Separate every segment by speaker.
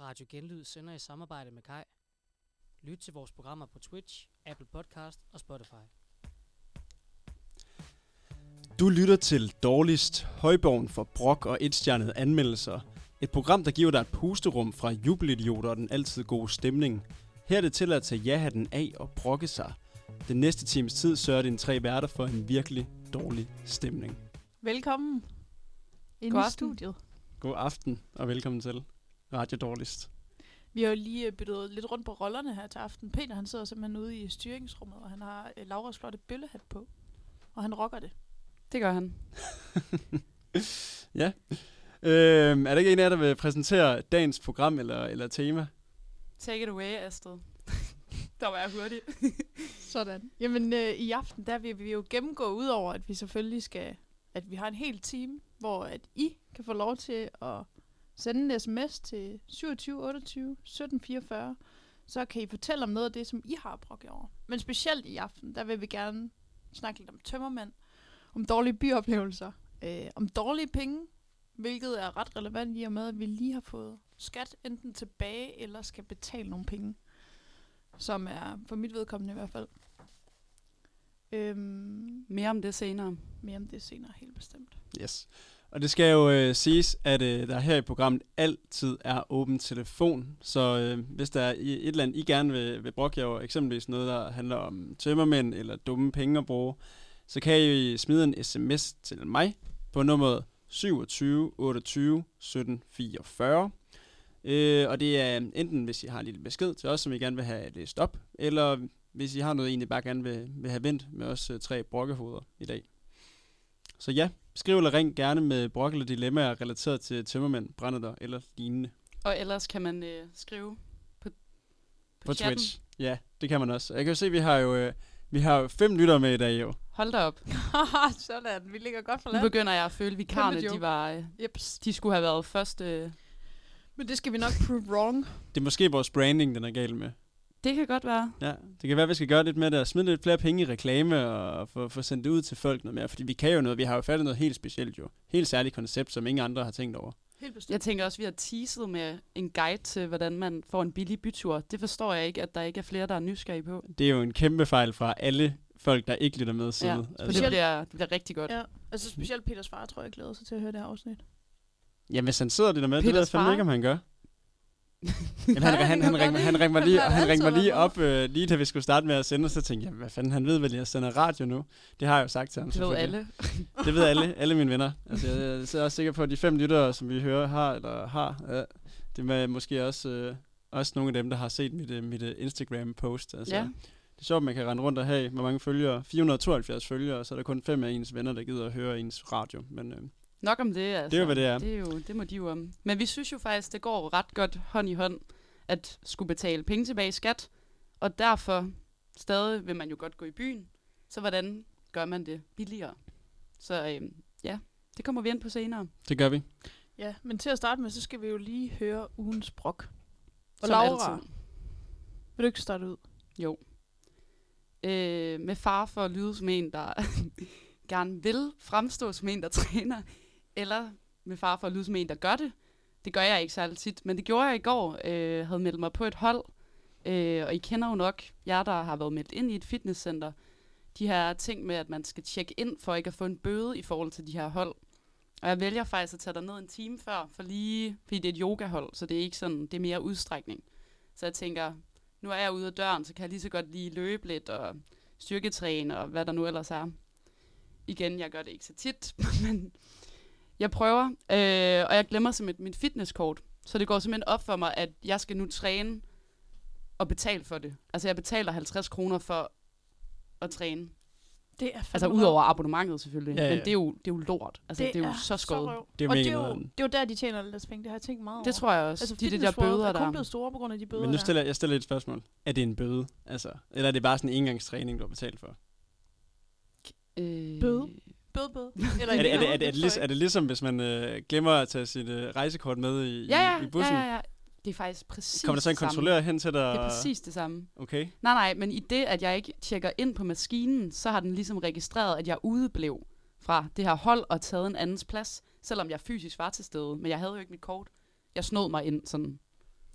Speaker 1: Radio Genlyd sender i samarbejde med Kai. Lyt til vores programmer på Twitch, Apple Podcast og Spotify.
Speaker 2: Du lytter til Dårligst, højborgen for brok og etstjernede anmeldelser. Et program, der giver dig et pusterum fra jubelidioter og den altid gode stemning. Her er det til at tage ja-hatten af og brokke sig. Den næste times tid sørger dine tre værter for en virkelig dårlig stemning.
Speaker 3: Velkommen ind
Speaker 4: God
Speaker 3: i
Speaker 4: aften.
Speaker 3: studiet.
Speaker 2: God aften og velkommen til Radio Dårligst.
Speaker 3: Vi har jo lige øh, byttet lidt rundt på rollerne her til aften. Peter han sidder simpelthen ude i styringsrummet, og han har øh, Lauras flotte bøllehat på. Og han rocker det.
Speaker 4: Det gør han.
Speaker 2: Øhm, er der ikke en af jer, der vil præsentere dagens program eller, eller tema?
Speaker 4: Take it away, Astrid. der var jeg hurtig.
Speaker 3: Sådan. Jamen øh, i aften, der vil vi jo gennemgå udover, at vi selvfølgelig skal, at vi har en hel time, hvor at I kan få lov til at sende en sms til 27 28 17 44, så kan I fortælle om noget af det, som I har brugt over. Men specielt i aften, der vil vi gerne snakke lidt om tømmermænd, om dårlige byoplevelser, øh, om dårlige penge, hvilket er ret relevant i og med, at vi lige har fået skat enten tilbage eller skal betale nogle penge som er for mit vedkommende i hvert fald. Øhm,
Speaker 4: Mere om det senere.
Speaker 3: mere om det senere, helt bestemt.
Speaker 2: Yes. Og det skal jo øh, siges, at øh, der her i programmet altid er åben telefon. Så øh, hvis der er i- et eller andet, I gerne vil, vil brokke jer over, eksempelvis noget, der handler om tømmermænd eller dumme penge at bruge, så kan I smide en sms til mig på nummeret 27 28 17 44. Øh, og det er enten, hvis I har en lille besked til os, som I gerne vil have læst op, eller hvis I har noget, I egentlig bare gerne vil, vil have vendt med os øh, tre brokkehoveder i dag. Så ja, Skriv eller ring gerne med brok eller dilemmaer relateret til tømmermænd, brændeter eller lignende
Speaker 4: Og ellers kan man øh, skrive på, på,
Speaker 2: på
Speaker 4: chatten.
Speaker 2: Twitch. Ja, det kan man også. Jeg kan jo se, vi har jo, øh, vi har jo fem lyttere med i dag jo.
Speaker 4: Hold da op.
Speaker 3: Sådan, vi ligger godt for
Speaker 4: Nu begynder jeg at føle, at vikarerne,
Speaker 3: Kæmpe joke.
Speaker 4: de, var, øh,
Speaker 3: Jeps.
Speaker 4: de skulle have været første... Øh.
Speaker 3: Men det skal vi nok prove wrong.
Speaker 2: Det er måske vores branding, den er gal med.
Speaker 4: Det kan godt være.
Speaker 2: Ja, det kan være, vi skal gøre lidt med det og smide lidt flere penge i reklame og få, få sendt det ud til folk noget mere. Fordi vi kan jo noget. Vi har jo fat i noget helt specielt jo. Helt særligt koncept, som ingen andre har tænkt over.
Speaker 3: Helt bestemt.
Speaker 4: Jeg tænker også, at vi har teaset med en guide til, hvordan man får en billig bytur. Det forstår jeg ikke, at der ikke er flere, der er nysgerrige på.
Speaker 2: Det er jo en kæmpe fejl fra alle folk, der ikke lytter med Altså, siden.
Speaker 4: Ja, Så det
Speaker 3: Specielt-
Speaker 4: bliver, det bliver rigtig godt.
Speaker 3: Ja, altså specielt Peters far, tror jeg, glæder sig til at høre det her afsnit.
Speaker 2: Jamen, hvis han sidder og lytter med, det ved jeg
Speaker 4: Peters
Speaker 2: fandme
Speaker 4: far?
Speaker 2: ikke, om han gør. Jamen, han,
Speaker 3: Nej,
Speaker 2: han,
Speaker 3: det
Speaker 2: han,
Speaker 3: kan
Speaker 2: ring,
Speaker 3: godt
Speaker 2: han
Speaker 3: lide.
Speaker 2: ringte mig
Speaker 3: Han
Speaker 2: lige,
Speaker 3: har
Speaker 2: han
Speaker 3: altid
Speaker 2: ringte mig
Speaker 3: været
Speaker 2: lige
Speaker 3: med.
Speaker 2: op, øh, lige da vi skulle starte med at sende, og så tænkte jeg, hvad fanden, han ved vel, jeg sender radio nu. Det har jeg jo sagt til ham.
Speaker 4: Det ved
Speaker 2: selvfølgelig.
Speaker 4: alle.
Speaker 2: Det ved alle, alle mine venner. Altså, jeg, jeg er også sikker på, at de fem lyttere, som vi hører har, eller har, ja, det er måske også, øh, også nogle af dem, der har set mit, øh, mit øh, Instagram-post. Altså,
Speaker 4: Ja.
Speaker 2: Det er sjovt, man kan rende rundt og have, hvor mange følgere, 472 følgere, og så er der kun fem af ens venner, der gider at høre ens radio. Men øh,
Speaker 4: Nok om det, altså.
Speaker 2: det er jo, hvad det er.
Speaker 4: Det, er jo, det må de jo om. Men vi synes jo faktisk, det går ret godt hånd i hånd, at skulle betale penge tilbage i skat, og derfor stadig vil man jo godt gå i byen. Så hvordan gør man det billigere? Så øhm, ja, det kommer vi ind på senere.
Speaker 2: Det gør vi.
Speaker 3: Ja, men til at starte med, så skal vi jo lige høre ugens brok. Og
Speaker 4: som
Speaker 3: Laura,
Speaker 4: altid.
Speaker 3: vil du ikke starte ud?
Speaker 4: Jo. Øh, med far for at lyde som en, der gerne vil fremstå som en, der træner, eller med far for at lyde som en, der gør det. Det gør jeg ikke særlig tit, men det gjorde jeg i går. Øh, havde meldt mig på et hold, øh, og I kender jo nok jer, der har været meldt ind i et fitnesscenter. De her ting med, at man skal tjekke ind for ikke at få en bøde i forhold til de her hold. Og jeg vælger faktisk at tage dig ned en time før, for lige, fordi det er et yogahold, så det er ikke sådan, det er mere udstrækning. Så jeg tænker, nu er jeg ude af døren, så kan jeg lige så godt lige løbe lidt og styrketræne og hvad der nu ellers er. Igen, jeg gør det ikke så tit, men jeg prøver, øh, og jeg glemmer simpelthen mit fitnesskort. Så det går simpelthen op for mig, at jeg skal nu træne og betale for det. Altså jeg betaler 50 kroner for at træne.
Speaker 3: Det er
Speaker 4: Altså udover abonnementet selvfølgelig,
Speaker 2: Ja,
Speaker 4: ja,
Speaker 2: ja.
Speaker 4: ja. men det er, jo, det er jo lort. Altså det, det er jo så skåret.
Speaker 2: Det er
Speaker 3: og
Speaker 2: mega
Speaker 3: det er, jo,
Speaker 2: nederen.
Speaker 3: det er jo der, de tjener deres penge. Det har jeg tænkt meget over.
Speaker 4: Det tror jeg også. Altså, de, de der
Speaker 3: Fitness World
Speaker 4: bøder
Speaker 3: er kun
Speaker 4: der.
Speaker 3: blevet store på grund af de bøder
Speaker 2: Men nu
Speaker 3: der.
Speaker 2: stiller jeg stiller et spørgsmål. Er det en bøde? Altså, eller er det bare sådan en engangstræning, du har betalt for?
Speaker 4: Øh,
Speaker 3: Bøde? Bøde, bøde. Eller
Speaker 2: Er det, er, det,
Speaker 3: bøde,
Speaker 2: er, det, er, det,
Speaker 3: forstår
Speaker 2: ligesom, er det ligesom, hvis man øh, glemmer at tage sit øh, rejsekort med i,
Speaker 4: Ja, ja,
Speaker 2: i bussen?
Speaker 4: ja, ja, ja. Det er faktisk præcis
Speaker 2: Kommer der så en
Speaker 4: det samme.
Speaker 2: kontrollør hen til dig?
Speaker 4: Det er præcis det samme.
Speaker 2: Okay.
Speaker 4: Nej, nej, men i det, at jeg ikke tjekker ind på maskinen, så har den ligesom registreret, at jeg udeblev fra det her hold og taget en andens plads, selvom jeg fysisk var til stede, men jeg havde jo ikke mit kort. Jeg snod mig ind sådan.
Speaker 3: ikke.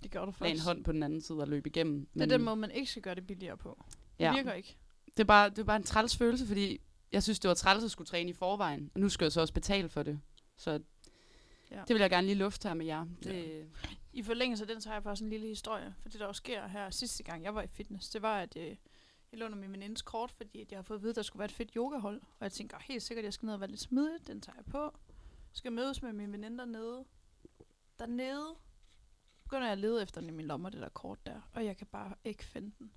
Speaker 3: Det gør du
Speaker 4: lagde en
Speaker 3: faktisk.
Speaker 4: hånd på den anden side og løb igennem.
Speaker 3: Det er den måde, man ikke skal gøre det billigere på. Det
Speaker 4: ja.
Speaker 3: virker ikke.
Speaker 4: det, er bare, det er bare en træls følelse, fordi jeg synes, det var træls at skulle træne i forvejen. Og nu skal jeg så også betale for det. Så
Speaker 3: Ja.
Speaker 4: ja. det vil jeg gerne lige lufte her med jer. Det,
Speaker 3: I forlængelse af den, så har jeg faktisk en lille historie. For det, der også sker her sidste gang, jeg var i fitness, det var, at øh, jeg låner min venindes kort, fordi at jeg har fået at vide, at der skulle være et fedt yogahold. Og jeg tænker helt sikkert, at jeg skal ned og være lidt smidig. Den tager jeg på. Skal mødes med min veninde dernede. Dernede begynder jeg at lede efter den i min lommer, det der kort der. Og jeg kan bare ikke finde den.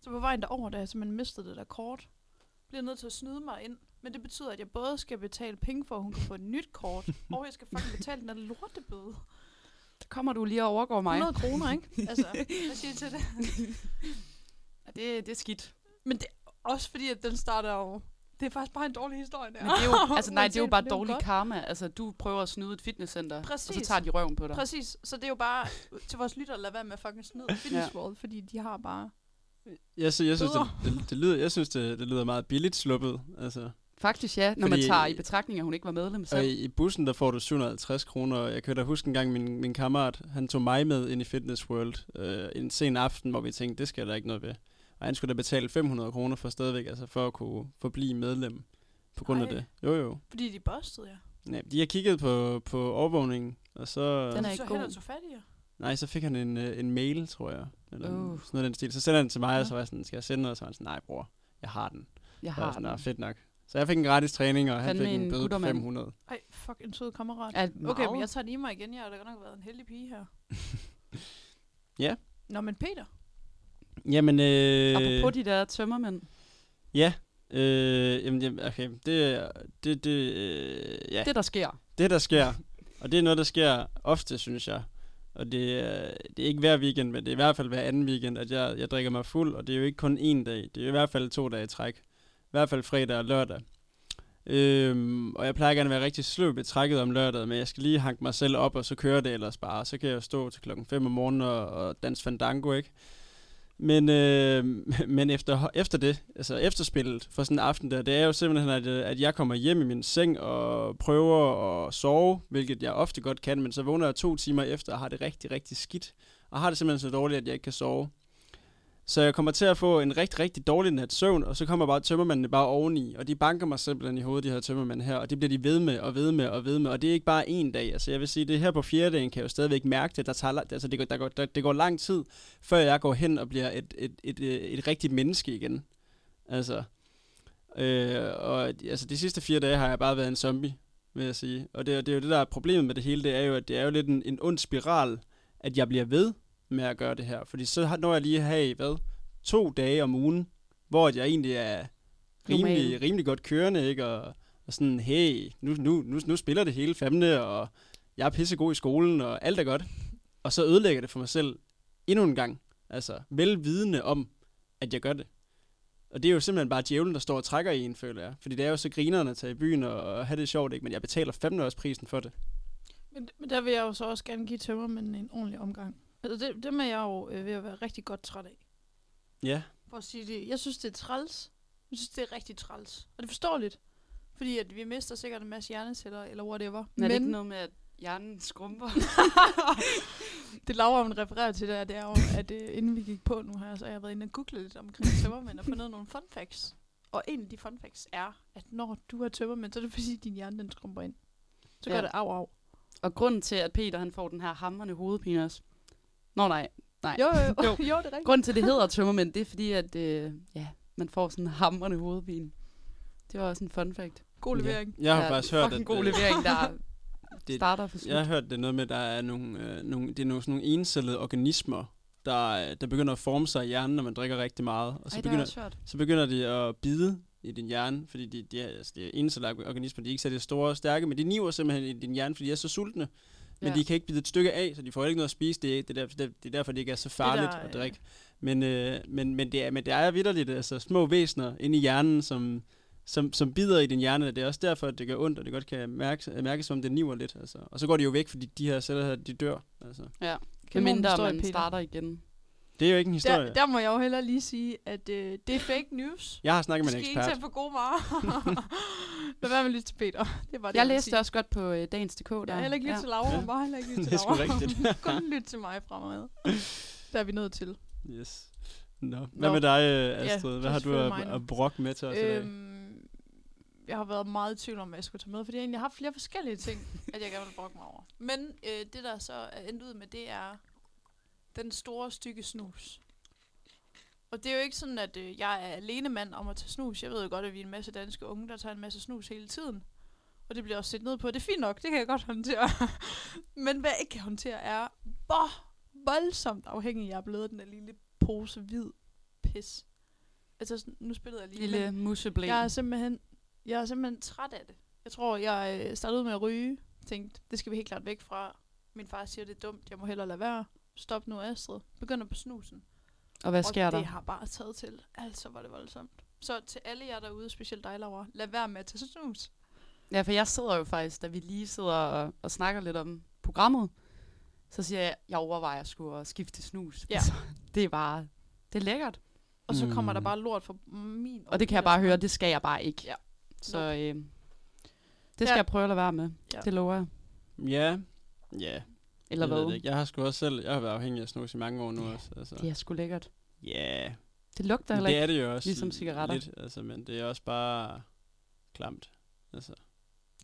Speaker 3: Så på vejen derover, der har jeg simpelthen mistet det der kort. Bliver nødt til at snyde mig ind. Men det betyder, at jeg både skal betale penge for, at hun kan få et nyt kort, og jeg skal fucking betale den der lortebøde.
Speaker 4: Så kommer du lige og overgår mig.
Speaker 3: 100 kroner, ikke? Altså, hvad siger I til det?
Speaker 4: Og det, det er skidt.
Speaker 3: Men det er også fordi, at den starter jo... Det er faktisk bare en dårlig historie, der.
Speaker 4: Men det er jo, altså, nej, det er jo
Speaker 3: Uanset,
Speaker 4: bare
Speaker 3: for
Speaker 4: dårlig
Speaker 3: godt.
Speaker 4: karma. Altså, du prøver at snyde et fitnesscenter, og så
Speaker 3: Præcis.
Speaker 4: tager de røven på dig.
Speaker 3: Præcis, så det er jo bare til vores lytter, lad være med at fucking snyde Fitness World, fordi de har bare...
Speaker 2: Jeg, sy- jeg synes, det,
Speaker 3: Bedre.
Speaker 2: det, det, lyder, jeg synes det, det lyder meget billigt sluppet. Altså.
Speaker 4: Faktisk ja, når man
Speaker 2: Fordi- Øh,
Speaker 4: tager i betragtning, at hun ikke var medlem
Speaker 2: Og
Speaker 4: selv.
Speaker 2: i, i bussen, der får du 750 kroner. og Jeg kan da huske en gang, min, min kammerat, han tog mig med ind i Fitness World øh, en sen aften, hvor vi tænkte, det skal der ikke noget ved. Og han skulle da betale 500 kroner for stadigvæk, altså for at kunne forblive medlem på grund af
Speaker 3: Ej.
Speaker 2: det. Jo, jo.
Speaker 3: Fordi de bustede jer.
Speaker 2: Ja, de har kigget på, på overvågningen, og så...
Speaker 4: Den er
Speaker 3: så
Speaker 4: ikke
Speaker 3: hen
Speaker 4: god.
Speaker 3: og tog fat i jer.
Speaker 2: Nej, så fik han en, øh, en mail, tror jeg. Eller uh.
Speaker 4: Uh.
Speaker 2: sådan noget i den stil. Så sender han den til mig,
Speaker 4: Ja.
Speaker 2: og så var jeg sådan, skal jeg sende noget? Og så var han sådan, nej bror, jeg har den.
Speaker 4: Jeg
Speaker 2: Jeg har
Speaker 4: har
Speaker 2: sådan, "Nå,
Speaker 4: den.
Speaker 2: fedt nok. Så jeg fik en gratis træning, og han
Speaker 4: Fandme
Speaker 2: fik en
Speaker 4: en
Speaker 2: bøde på
Speaker 4: guttermand.
Speaker 2: 500.
Speaker 3: Ej, fuck, en sød kammerat.
Speaker 4: Er
Speaker 3: Okay,
Speaker 4: meget-
Speaker 3: men jeg tager den i mig igen. Jeg har da godt nok været en heldig pige her.
Speaker 2: Ja.
Speaker 3: Nå, men Peter.
Speaker 2: Jamen, øh,
Speaker 4: Apropos de der tømmermænd.
Speaker 2: ja. Øh, jamen, jamen, okay, det, er- det, det, øh, ja.
Speaker 4: Det, der sker.
Speaker 2: det, der sker, og det er noget, der sker ofte, synes jeg, og det, er- det er ikke hver weekend, men det er i hvert fald hver anden weekend, at jeg, jeg drikker mig fuld, og det er jo ikke kun én dag, det er i hvert fald to dage i træk. I hvert fald fredag og lørdag. Øhm, og jeg plejer gerne at være rigtig sløv ved trækket om lørdag, men jeg skal lige hanke mig selv op, og så kører det ellers bare. Så kan jeg jo stå til klokken 5 om morgenen og, og danse fandango, ikke? Men, øh, men efter, efter det, altså efterspillet for sådan en aften der, det er jo simpelthen, at, øh, at jeg kommer hjem i min seng og prøver at sove, hvilket jeg ofte godt kan, men så vågner jeg to timer efter og har det rigtig, rigtig skidt. Og har det simpelthen så dårligt, at jeg ikke kan sove. Så jeg kommer til at få en rigtig, rigtig dårlig nat søvn, og så kommer bare tømmermændene bare oveni, og de banker mig simpelthen i hovedet, de her tømmermænd her, og det bliver de ved med og ved med og ved med, og det er ikke bare en dag. Altså jeg vil sige, det her på fjerde dagen kan jeg jo stadigvæk mærke det, der tager, la- altså det, går, der går, der, det går lang tid, før jeg går hen og bliver et, et, et, øh, et rigtigt menneske igen. Altså, øh, og altså, de sidste fire dage har jeg bare været en zombie, vil jeg sige. Og det, det er jo det, der er problemet med det hele, det er jo, at det er jo lidt en, en ond spiral, at jeg bliver ved med at gøre det her. Fordi så har- når jeg lige har, hvad, to dage om ugen, hvor at jeg egentlig er rimelig,
Speaker 4: Normal.
Speaker 2: rimelig godt kørende, ikke? Og, og sådan, hey, nu, nu, nu, nu spiller det hele fandme, og jeg er pissegod i skolen, og alt er godt. Og så ødelægger jeg det for mig selv endnu en gang. Altså, velvidende om, at jeg gør det. Og det er jo simpelthen bare djævlen, der står og trækker i en, føler jeg. Fordi det er jo så grinerne at tage i byen og, og have det sjovt, ikke? Men jeg betaler fandme også prisen for det.
Speaker 3: Men, men der vil jeg jo så også gerne give tømmermændene en ordentlig omgang. Altså, det, dem er jeg jo øh, ved at være rigtig godt træt af.
Speaker 2: Ja.
Speaker 3: for at sige det. Jeg synes, det er træls. Jeg synes, det er rigtig træls. Og det er forståeligt. Fordi at vi mister sikkert en masse hjerneceller, eller whatever.
Speaker 4: Men er det ikke
Speaker 3: Men
Speaker 4: noget med, at hjernen skrumper?
Speaker 3: det Laura hun refererer til der, det er jo, at øh, inden vi gik på nu her, så har jeg været inde og googlet lidt omkring tømmermænd og fundet nogle fun facts. Og en af de fun facts er, at når du har tømmermænd, så er det fordi, at din hjerne den skrumper ind. Så ja. gør
Speaker 4: Ja.
Speaker 3: det af, af.
Speaker 4: og grunden til, at Peter han får den her hammerne hovedpine også. Nå nej, nej.
Speaker 3: Jo, jo, jo,
Speaker 4: Jo.
Speaker 3: jo, det er rigtigt.
Speaker 4: Grunden til, at det hedder tømmermænd, det er fordi, at øh, ja, man får sådan en hammerne hovedpine. Det var også en fun fact.
Speaker 3: God levering.
Speaker 2: Ja. Jeg har
Speaker 4: Ja,
Speaker 2: ja, faktisk hørt, at
Speaker 4: fucking god
Speaker 2: øh,
Speaker 4: levering, der
Speaker 2: det-
Speaker 4: det, starter for slut.
Speaker 2: jeg har hørt det er noget med, at der er nogle, øh, nogle, det er nogle, sådan nogle encellede organismer, der, øh, der begynder at forme sig i hjernen, når man drikker rigtig meget. Og så,
Speaker 4: Ej, det har jeg
Speaker 2: begynder,
Speaker 4: også hørt.
Speaker 2: så begynder de at bide i din hjerne, fordi de, de, er- altså, de er encellede organismer, de er ikke særlig store og stærke, men de niver simpelthen i din hjerne, fordi de er så sultne. Men
Speaker 4: Ja.
Speaker 2: de kan ikke bide et stykke af, så de får ikke noget at spise. Det er, det er, derfor, det er derfor, det ikke er så farligt
Speaker 3: der,
Speaker 2: der, at
Speaker 3: øh,
Speaker 2: drikke. Men, øh, men, men, det er, men det er vidderligt, altså små væsener inde i hjernen, som, som, som bider i din hjerne. og Det er også derfor, at det gør ondt, og det godt kan mærkes, mærkes som det niver lidt. Altså. Og så går de jo væk, fordi de her celler her, de dør. Altså.
Speaker 4: Men mindre
Speaker 3: Kanon historie,
Speaker 4: man
Speaker 3: Peter.
Speaker 4: starter igen.
Speaker 2: Det er jo ikke en historie.
Speaker 3: Der, der må jeg jo hellere lige sige, at øh, det er fake news.
Speaker 2: Jeg har snakket med
Speaker 3: skal
Speaker 2: en
Speaker 3: I ikke
Speaker 2: ekspert.
Speaker 3: tage på gode varer. Lad være med at lytte til Peter. Det var det,
Speaker 4: Jeg
Speaker 3: ville
Speaker 4: læste
Speaker 3: sige.
Speaker 4: også godt på øh, dagens.dk. Der.
Speaker 3: Jeg har heller ikke lyttet ja. til Laura.
Speaker 2: Ja.
Speaker 3: Ja. Bare heller ikke lytte
Speaker 2: Det
Speaker 3: til
Speaker 2: er sgu
Speaker 3: Laura.
Speaker 2: rigtigt.
Speaker 3: Kun lytte til mig fremad. Der er vi nødt til.
Speaker 2: Yes. Nå. Hvad
Speaker 3: Nå.
Speaker 2: med dig, øh,
Speaker 3: Ja,
Speaker 2: Astrid?
Speaker 3: så
Speaker 2: Hvad har du
Speaker 3: selvfølgelig mig
Speaker 2: at,
Speaker 3: nu.
Speaker 2: at brokke med til os i dag?
Speaker 3: Øhm, jeg har været meget i tvivl om, hvad jeg skulle tage med, fordi jeg egentlig har haft flere forskellige ting, at jeg gerne vil brokke mig over. Men øh, det, der så er endt ud med, det er den store stykke snus. Og det er jo ikke sådan, at øh, jeg er alene mand om at tage snus. Jeg ved jo godt, at vi er en masse danske unge, der tager en masse snus hele tiden. Og det bliver også set ned på. Det er fint nok, det kan jeg godt håndtere. Men hvad jeg ikke kan håndtere er, hvor voldsomt afhængig jeg er blevet af den der lille pose hvid pis. Altså, sådan, nu spillede jeg lige. men-
Speaker 4: Lille museblæ.
Speaker 3: jeg er simpelthen, jeg er simpelthen træt af det. Jeg tror, jeg øh, startede ud med at ryge. Tænkte, det skal vi helt klart væk fra. Min far siger, det er dumt. Jeg må hellere lade være. Stop nu, Astrid. Begynder på snusen.
Speaker 4: Og hvad sker
Speaker 3: og
Speaker 4: der?
Speaker 3: det har bare taget til. Altså var det voldsomt. Så til alle jer derude, specielt dig, Laura, lad være med at tage snus.
Speaker 4: Ja, for jeg sidder jo faktisk, da vi lige sidder og, og snakker lidt om programmet, så siger jeg, jeg overvejer sgu at skifte til snus.
Speaker 3: Ja.
Speaker 4: Altså, det er bare, det er lækkert.
Speaker 3: Og så kommer
Speaker 2: Mm.
Speaker 3: der bare lort fra min
Speaker 4: Og det kan jeg bare høre, det skal jeg bare ikke.
Speaker 3: Ja.
Speaker 4: Så
Speaker 3: Nope.
Speaker 4: øh, det skal
Speaker 3: Ja.
Speaker 4: jeg prøve at lade være med.
Speaker 3: Ja.
Speaker 4: Det lover jeg.
Speaker 2: Ja. Ja,
Speaker 4: Eller
Speaker 2: jeg ved
Speaker 4: hvad?
Speaker 2: det ikke. Jeg har sgu også selv, jeg har været afhængig af snus i mange år nu også. Altså.
Speaker 4: Det er sgu lækkert.
Speaker 2: Ja,
Speaker 4: Det lugter
Speaker 2: Men
Speaker 4: heller
Speaker 2: det
Speaker 4: ikke.
Speaker 2: er det jo også.
Speaker 4: ligesom cigaretter.
Speaker 2: Lidt, altså, men det er også bare klamt. Altså,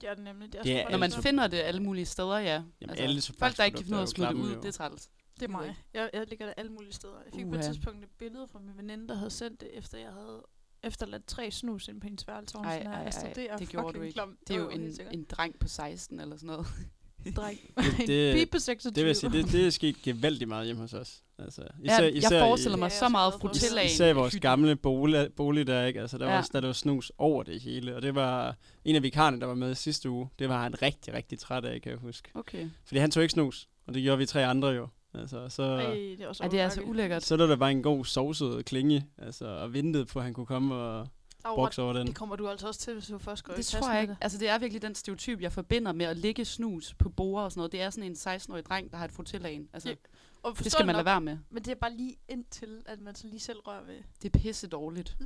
Speaker 3: Ja, det er nemlig. Det er,
Speaker 2: Det
Speaker 3: sgu
Speaker 2: er
Speaker 3: bare
Speaker 4: Når man
Speaker 2: Altså-
Speaker 3: voldsomt.
Speaker 4: finder det alle mulige steder, ja. Altså,
Speaker 2: jamen, alle
Speaker 4: folk, der ikke
Speaker 2: tobaksprodukter
Speaker 4: kan finde ud af
Speaker 2: er
Speaker 4: at
Speaker 2: jo
Speaker 4: smide det
Speaker 2: klamme
Speaker 4: ud,
Speaker 2: jo.
Speaker 4: det er træls.
Speaker 3: Det er mig.
Speaker 4: ikke.
Speaker 3: Jeg, jeg ligger der alle mulige steder. Jeg fik på
Speaker 4: Uha.
Speaker 3: et tidspunkt et billede fra min veninde, der havde sendt det, efter jeg havde efterladt tre snus ind på hendes værelse. Ej,
Speaker 4: Ej,
Speaker 3: sådan her,
Speaker 4: ej,
Speaker 3: Astrid,
Speaker 4: ej,
Speaker 3: det, er
Speaker 4: det gjorde du
Speaker 3: fucking
Speaker 4: ikke.
Speaker 3: Klamt.
Speaker 4: Det er jo
Speaker 3: Jo, helt
Speaker 4: en,
Speaker 3: sikkert.
Speaker 4: en dreng på 16 eller sådan noget.
Speaker 3: dreng.
Speaker 2: Det- det-
Speaker 3: en pige på 26.
Speaker 2: Det vil jeg sige, det, det er sket gevaldigt meget hjemme hos os. Altså,
Speaker 4: Især, ja, jeg forestiller
Speaker 2: i,
Speaker 4: mig
Speaker 3: Ja,
Speaker 4: så
Speaker 3: jeg
Speaker 4: meget
Speaker 3: er så glad for det.
Speaker 2: især,
Speaker 4: frutillaen.
Speaker 2: især i vores
Speaker 4: i hytten.
Speaker 2: gamle bolig, bolig der, ikke? Altså, der, var
Speaker 4: Ja.
Speaker 2: også, der, der var snus over det hele, og det var en af vikarerne, der var med sidste uge. Det var han rigtig, rigtig træt af, kan jeg huske.
Speaker 4: Okay.
Speaker 2: Fordi han tog ikke snus, og det gjorde vi tre andre jo. Altså, og så,
Speaker 3: Ej, det er også
Speaker 4: Ej, det er altså
Speaker 3: overmærkeligt.
Speaker 4: ulækkert.
Speaker 2: så lå der bare en god sovset klinge, altså, og ventede på, at han kunne komme og
Speaker 3: Laura,
Speaker 2: brokse over den.
Speaker 3: Det kommer du altså også til, hvis du først går i
Speaker 4: Det
Speaker 3: klasse
Speaker 4: tror jeg
Speaker 3: med
Speaker 4: ikke. Altså, det er virkelig den stereotyp, jeg forbinder med at ligge snus på borer og sådan noget. Det er sådan en 16-årig dreng, der har et frutillagen. Altså,
Speaker 3: Ja,
Speaker 4: ja,
Speaker 3: det. Og
Speaker 4: det skal man lade
Speaker 3: nok,
Speaker 4: være med.
Speaker 3: Men det er bare lige indtil, at man så lige selv rører ved.
Speaker 4: Det er pisse dårligt.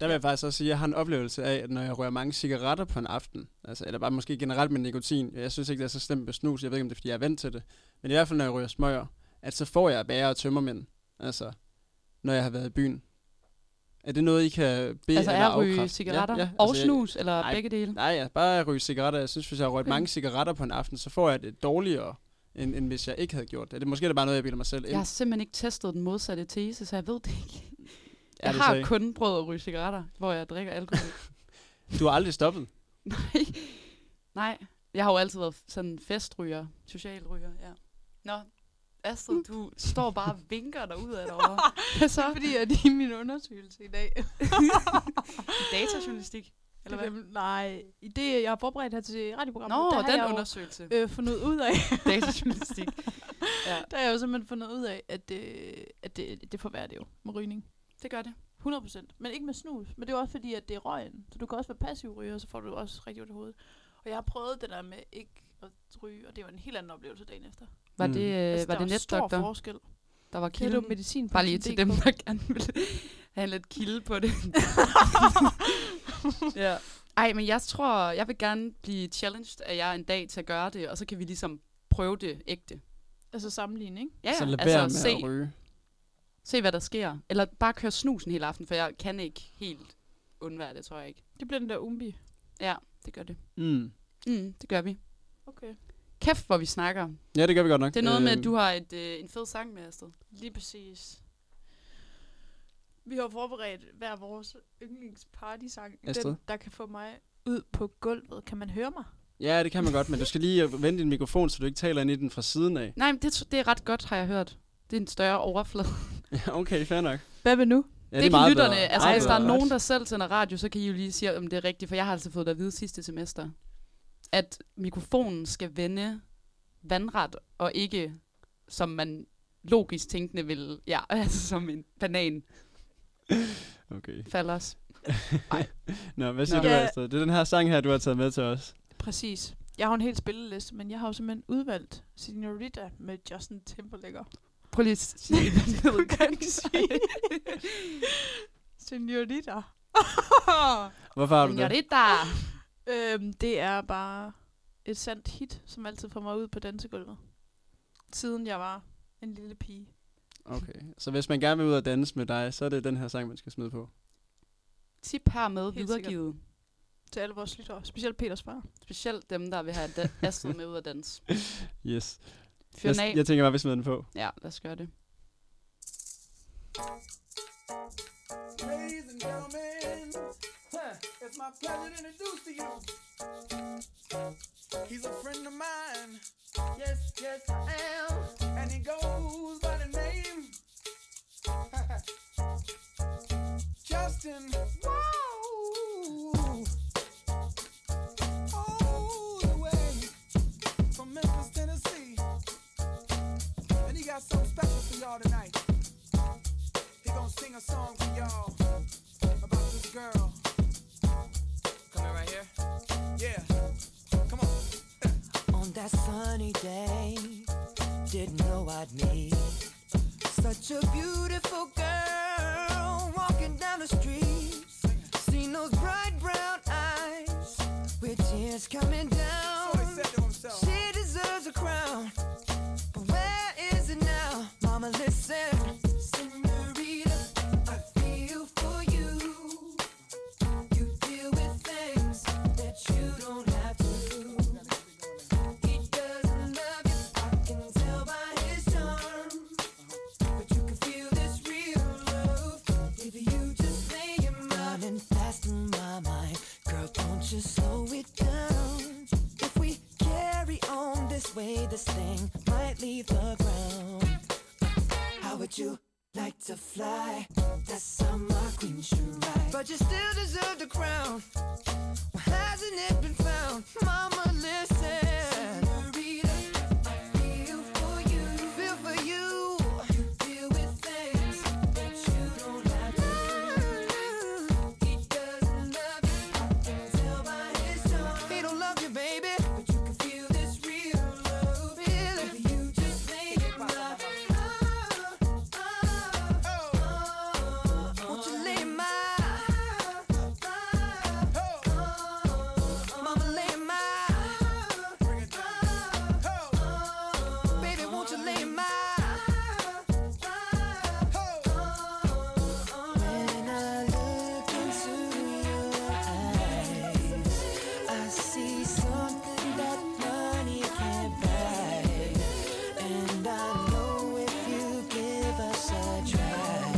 Speaker 2: Der vil jeg faktisk også sige, at jeg har en oplevelse af, at når jeg rører mange cigaretter på en aften, altså, eller bare måske generelt med nikotin, jeg synes ikke, det er så slemt med snus, jeg ved ikke, om det er, fordi jeg er vant til det, men i hvert fald, når jeg rører smøger, at så får jeg bager og tømmermænd, altså, når jeg har været i byen. Er det noget, I kan bede
Speaker 4: altså,
Speaker 2: eller
Speaker 4: er at ryge
Speaker 2: afkræfte? altså,
Speaker 4: cigaretter ja, ja, og
Speaker 2: jeg-
Speaker 4: snus, eller
Speaker 2: nej,
Speaker 4: begge dele.
Speaker 2: Nej, ja, bare at ryge cigaretter. Jeg synes, hvis jeg har røget
Speaker 4: Okay.
Speaker 2: mange cigaretter på en aften, så får jeg det dårligere, end, end hvis jeg ikke havde gjort det. Er det måske er det bare noget, jeg bilder mig selv ind?
Speaker 4: Jeg har simpelthen ikke testet den modsatte tese, så jeg ved det ikke.
Speaker 2: Er
Speaker 4: Jeg
Speaker 2: det så
Speaker 4: har
Speaker 2: ikke?
Speaker 4: kun prøvet at ryge cigaretter, hvor jeg drikker alkohol.
Speaker 2: Du har aldrig stoppet.
Speaker 4: Nej. Nej. Jeg har jo altid været sådan festryger, socialryger, ja. Nå, Astrid, du står bare og vinker dig ud af derovre. Hvad
Speaker 3: Så
Speaker 4: så?
Speaker 3: fordi, at det er min undersøgelse i dag.
Speaker 4: Datajournalistik, eller hvad?
Speaker 3: Jamen, Nej, i det, jeg har forberedt her til radioprogrammet,
Speaker 4: Nå,
Speaker 3: der har
Speaker 4: den
Speaker 3: jeg jo
Speaker 4: undersøgelse.
Speaker 3: øh, fundet ud af,
Speaker 4: Datajournalistik. ja,
Speaker 3: der har jeg jo simpelthen fundet ud af, at, øh, at det, det forværrer det jo med rygning.
Speaker 4: det gør det.
Speaker 3: 100%. Men ikke med snus. Men det er jo også fordi, at det er røgen. Så du kan også være passiv ryger, og så får du også rigtig ondt i hovedet. Og jeg har prøvet det der med ikke at ryge, og det var en helt anden oplevelse dagen efter. Øh,
Speaker 4: Var
Speaker 2: Mm.
Speaker 4: det, øh, var
Speaker 3: der
Speaker 4: det
Speaker 3: var stor
Speaker 4: netdoktor,
Speaker 3: forskel.
Speaker 4: der var
Speaker 3: Kan du
Speaker 4: kilden?
Speaker 3: medicin på
Speaker 4: Bare lige til
Speaker 3: DK?
Speaker 4: dem, der gerne vil have lidt kilde på det. ja. Ej, men jeg tror, jeg vil gerne blive challenged af jer en dag til at gøre det, og så kan vi ligesom prøve det ægte.
Speaker 3: Altså sammenligne, ikke?
Speaker 4: Ja,
Speaker 2: så lad
Speaker 4: altså
Speaker 2: være med
Speaker 4: se,
Speaker 2: at ryge.
Speaker 4: se, hvad der sker. Eller bare køre snusen hele aften, for jeg kan ikke helt undvære det, tror jeg ikke.
Speaker 3: Det bliver den der umbi.
Speaker 4: Ja, det gør det.
Speaker 2: Mm.
Speaker 4: Mm, det gør vi.
Speaker 3: Okay.
Speaker 4: Kæft, hvor vi snakker.
Speaker 2: Ja, det gør vi godt nok.
Speaker 4: Det er noget med,
Speaker 2: Øhm,
Speaker 4: at du har et, øh, en fed sang med, Astrid.
Speaker 3: Lige præcis. Vi har forberedt hver vores yndlingspartysang.
Speaker 2: Astrid?
Speaker 3: Den, der kan få mig ud på gulvet. Kan man høre mig?
Speaker 2: Ja, det kan man godt, men du skal lige vende din mikrofon, så du ikke taler ind i den fra siden af.
Speaker 4: Nej, men det, tr- det er ret godt, har jeg hørt. Det er en større overflade.
Speaker 2: Ja, okay, fair nok.
Speaker 3: Hvad vil nu?
Speaker 2: Ja,
Speaker 4: det, det kan lytterne, bedre. altså
Speaker 2: Meget
Speaker 4: hvis der er
Speaker 2: bedre.
Speaker 4: nogen, der selv sender radio, så kan I jo lige sige, om det er rigtigt, for jeg har altså fået det at vide sidste semester, at mikrofonen skal vende vandret, og ikke som man logisk tænkende vil, ja, altså som en banan
Speaker 2: Okay.
Speaker 4: falder os.
Speaker 2: Nå, hvad siger
Speaker 3: Nå.
Speaker 2: du,
Speaker 3: Ja.
Speaker 2: Astrid? Det er den her sang her, du har taget med til os.
Speaker 3: Præcis. Jeg har jo en hel spilleliste, men jeg har jo simpelthen udvalgt Senorita med Justin Timberlake.
Speaker 4: Prøv lige at sige, hvad
Speaker 3: Du kan ikke sige. Senorita.
Speaker 2: Hvorfor har du det?
Speaker 4: Senorita.
Speaker 3: øhm, det er bare et sandt hit, som altid får mig ud på dansegulvet. Siden jeg var en lille pige.
Speaker 2: Okay. Så hvis man gerne vil ud og danse med dig, så er det den her sang, man skal smide på.
Speaker 4: Tip hermed
Speaker 3: Helt sikkert.
Speaker 4: videregivet.
Speaker 3: Til alle vores lyttere. Specielt Peters far.
Speaker 4: Specielt dem, der vil have da- Astrid med ud at danse.
Speaker 2: Yes.
Speaker 4: Fyr
Speaker 2: Jeg,
Speaker 4: den af.
Speaker 2: jeg tænker bare, vi smider den på.
Speaker 4: Ja, lad os gøre det.
Speaker 5: Ladies and gentlemen, huh, it's my pleasure to introduce to you. He's a friend of mine. Yes, yes, I am. And he goes by the name Justin. Whoa. All the way from Memphis, Tennessee. And he got something special for y'all tonight. He gonna sing a song for y'all about this girl. Coming right here? Yeah. Come on.
Speaker 6: On that sunny day, didn't know I'd meet such a beautiful girl walking down the street. Seen those bright brown eyes with tears coming
Speaker 5: So he
Speaker 6: down.
Speaker 5: said to himself.
Speaker 6: She deserves a crown, but where is it now? Mama, listen. Senorita, I feel for you. You deal with things that you don't have to do. He doesn't love you, I can tell by his charm. But you can feel this real love if you just lay your mind and fast through my mind. Girl, don't you slow it down. If we carry on this way, this thing might leave the ground. How would you like to fly? That's how my queen should ride. But you still deserve the crown. Why hasn't it been found? Mama, listen. I feel for you. Feel for you. You deal with things that you don't have to do. He doesn't love you. I can tell by his charm. He don't love you, baby. But you can feel this real love. Feel it. If you just make it mine. Oh, oh, oh, oh. Won't you lay my Mama lay my Baby, won't you lay my When I look into your eyes, I see something that money can't buy. And I know if you give us a try.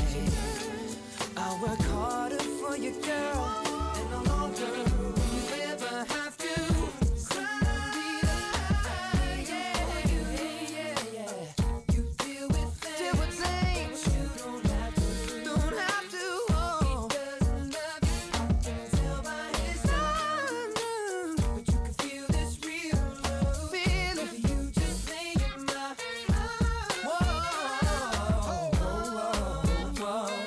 Speaker 6: I work harder for you, girl, and no longer will you ever have to cry. Yeah, yeah, yeah. You deal with things, deal with things you don't have to, don't have to. Oh. He doesn't love you, I can tell by his time. But you can feel this real love, feel it. If you just lay your mind, whoa, whoa, whoa, whoa.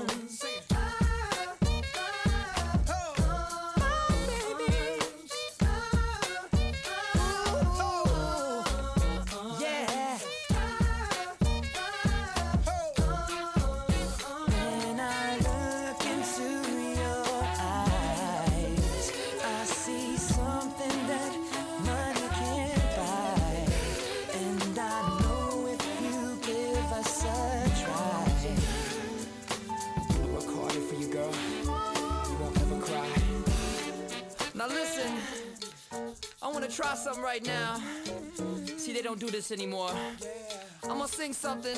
Speaker 6: And I know if you give us a try.
Speaker 5: Work harder for you, girl. You won't ever cry.
Speaker 6: Now listen, I wanna try something right now. See, they don't do this anymore. I'm gonna sing something,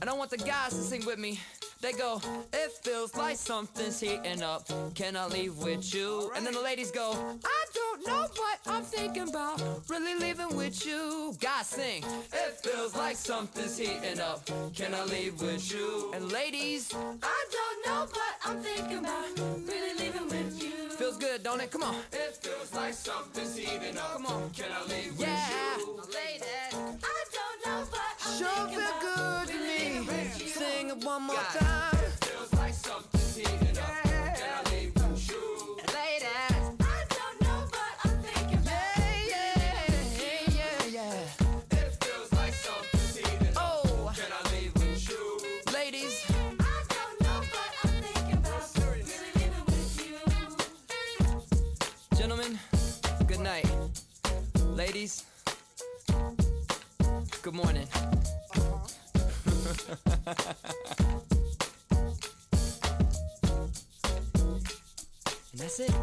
Speaker 6: and I want the guys to sing with me. They go, it feels like something's heating up. Can I leave with you? And then the ladies go, I don't know what I'm thinking about. Really leaving with you. Guys sing, it feels like something's heating up. Can I leave with you? And ladies, I don't know what I'm thinking about. Really leaving with you. Feels good, don't it? Come on. It feels like something's heating up. Come on. Can I leave with you? I don't know what I'm sure thinking about. Sure feel good to me. Sing it one more time. I don't know what I'm thinking about. Yeah, yeah, yeah, yeah. It feels like something's heating up. Oh. Can I leave with
Speaker 7: Good morning. and that's it.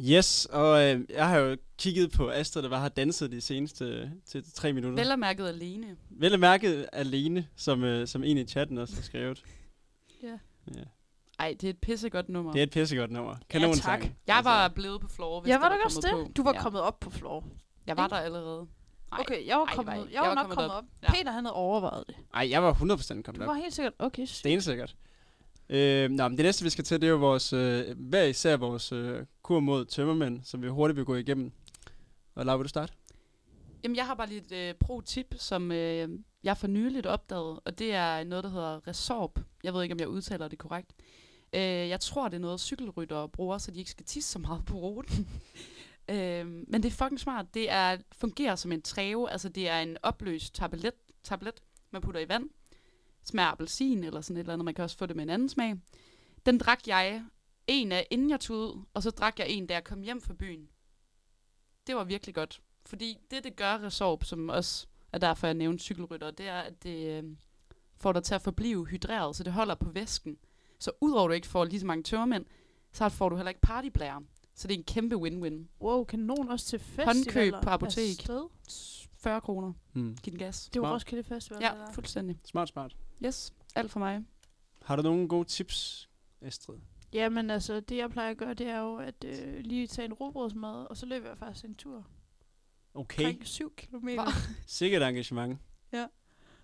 Speaker 2: Yes, og øh, jeg har jo kigget på Astrid, der bare har danset de seneste øh, til tre minutter.
Speaker 4: Vel og mærket alene.
Speaker 2: Vel at mærke alene, som, øh, som en i chatten også har skrevet.
Speaker 3: Ja.
Speaker 2: ja.
Speaker 4: Ej, det er et pissegodt nummer.
Speaker 2: Det er et pissegodt nummer. Kanon
Speaker 3: tak.
Speaker 4: Jeg var blevet på floor, hvis
Speaker 3: Altså, Ja, var
Speaker 4: der
Speaker 3: du også
Speaker 4: kommet
Speaker 3: det?
Speaker 4: På.
Speaker 3: Du var
Speaker 4: ja.
Speaker 3: kommet op på floor.
Speaker 4: Jeg var der allerede. Ej.
Speaker 3: Okay, jeg var,
Speaker 4: Ej, det var
Speaker 3: kommet,
Speaker 4: ikke.
Speaker 3: jeg var, nok kommet op.
Speaker 4: Ja.
Speaker 3: Peter, han havde overvejet det.
Speaker 2: Nej, Altså, jeg var 100% kommet
Speaker 3: Du
Speaker 2: op.
Speaker 3: var helt sikkert, okay, sygt.
Speaker 2: Stensikkert. Øh, nå, men det næste, vi skal til, det er jo vores, øh, hver især vores øh, kur mod tømmermænd, som vi hurtigt vil gå igennem. Og Laura, vil du starte?
Speaker 4: Jamen, jeg har bare lige et øh, pro-tip, som øh, jeg for nyligt opdagede, og det er noget, der hedder Resorb. Jeg ved ikke, om jeg udtaler det korrekt. Øh, jeg tror, det er noget, cykelryttere bruger, så de ikke skal tisse så meget på ruten. øh, men det er fucking smart. Det er, fungerer som en træve, altså det er en opløst tablet, tablet man putter i vand. Smager appelsin eller sådan et eller andet. Man kan også få det med en anden smag. Den drak jeg en af, inden jeg tog ud, og så drak jeg en, da jeg kom hjem fra byen. Det var virkelig godt. Fordi det, det gør Resorb, som også er derfor, jeg nævnte cykelrytter, det er, at det øh, får dig til at forblive hydreret, så det holder på væsken. Så udover du ikke får lige så mange tørmænd, så får du heller ikke partyblære. Så det er en kæmpe win-win.
Speaker 3: Wow, kanon også til festivaler.
Speaker 4: på apotek.
Speaker 3: Afsted.
Speaker 4: 40 kroner.
Speaker 2: Hmm.
Speaker 4: Giv den gas.
Speaker 3: Det var
Speaker 2: Smart.
Speaker 3: Roskilde Festival. det
Speaker 4: Ja,
Speaker 3: der.
Speaker 4: fuldstændig.
Speaker 2: Smart, smart.
Speaker 4: Yes, alt for mig.
Speaker 2: Har du nogle gode tips, Astrid?
Speaker 3: Jamen altså, det jeg plejer at gøre, det er jo at øh, lige tage en robrødsmad, og så løber jeg faktisk en tur.
Speaker 2: Okay.
Speaker 3: Omkring 7 km.
Speaker 2: Sikkert engagement.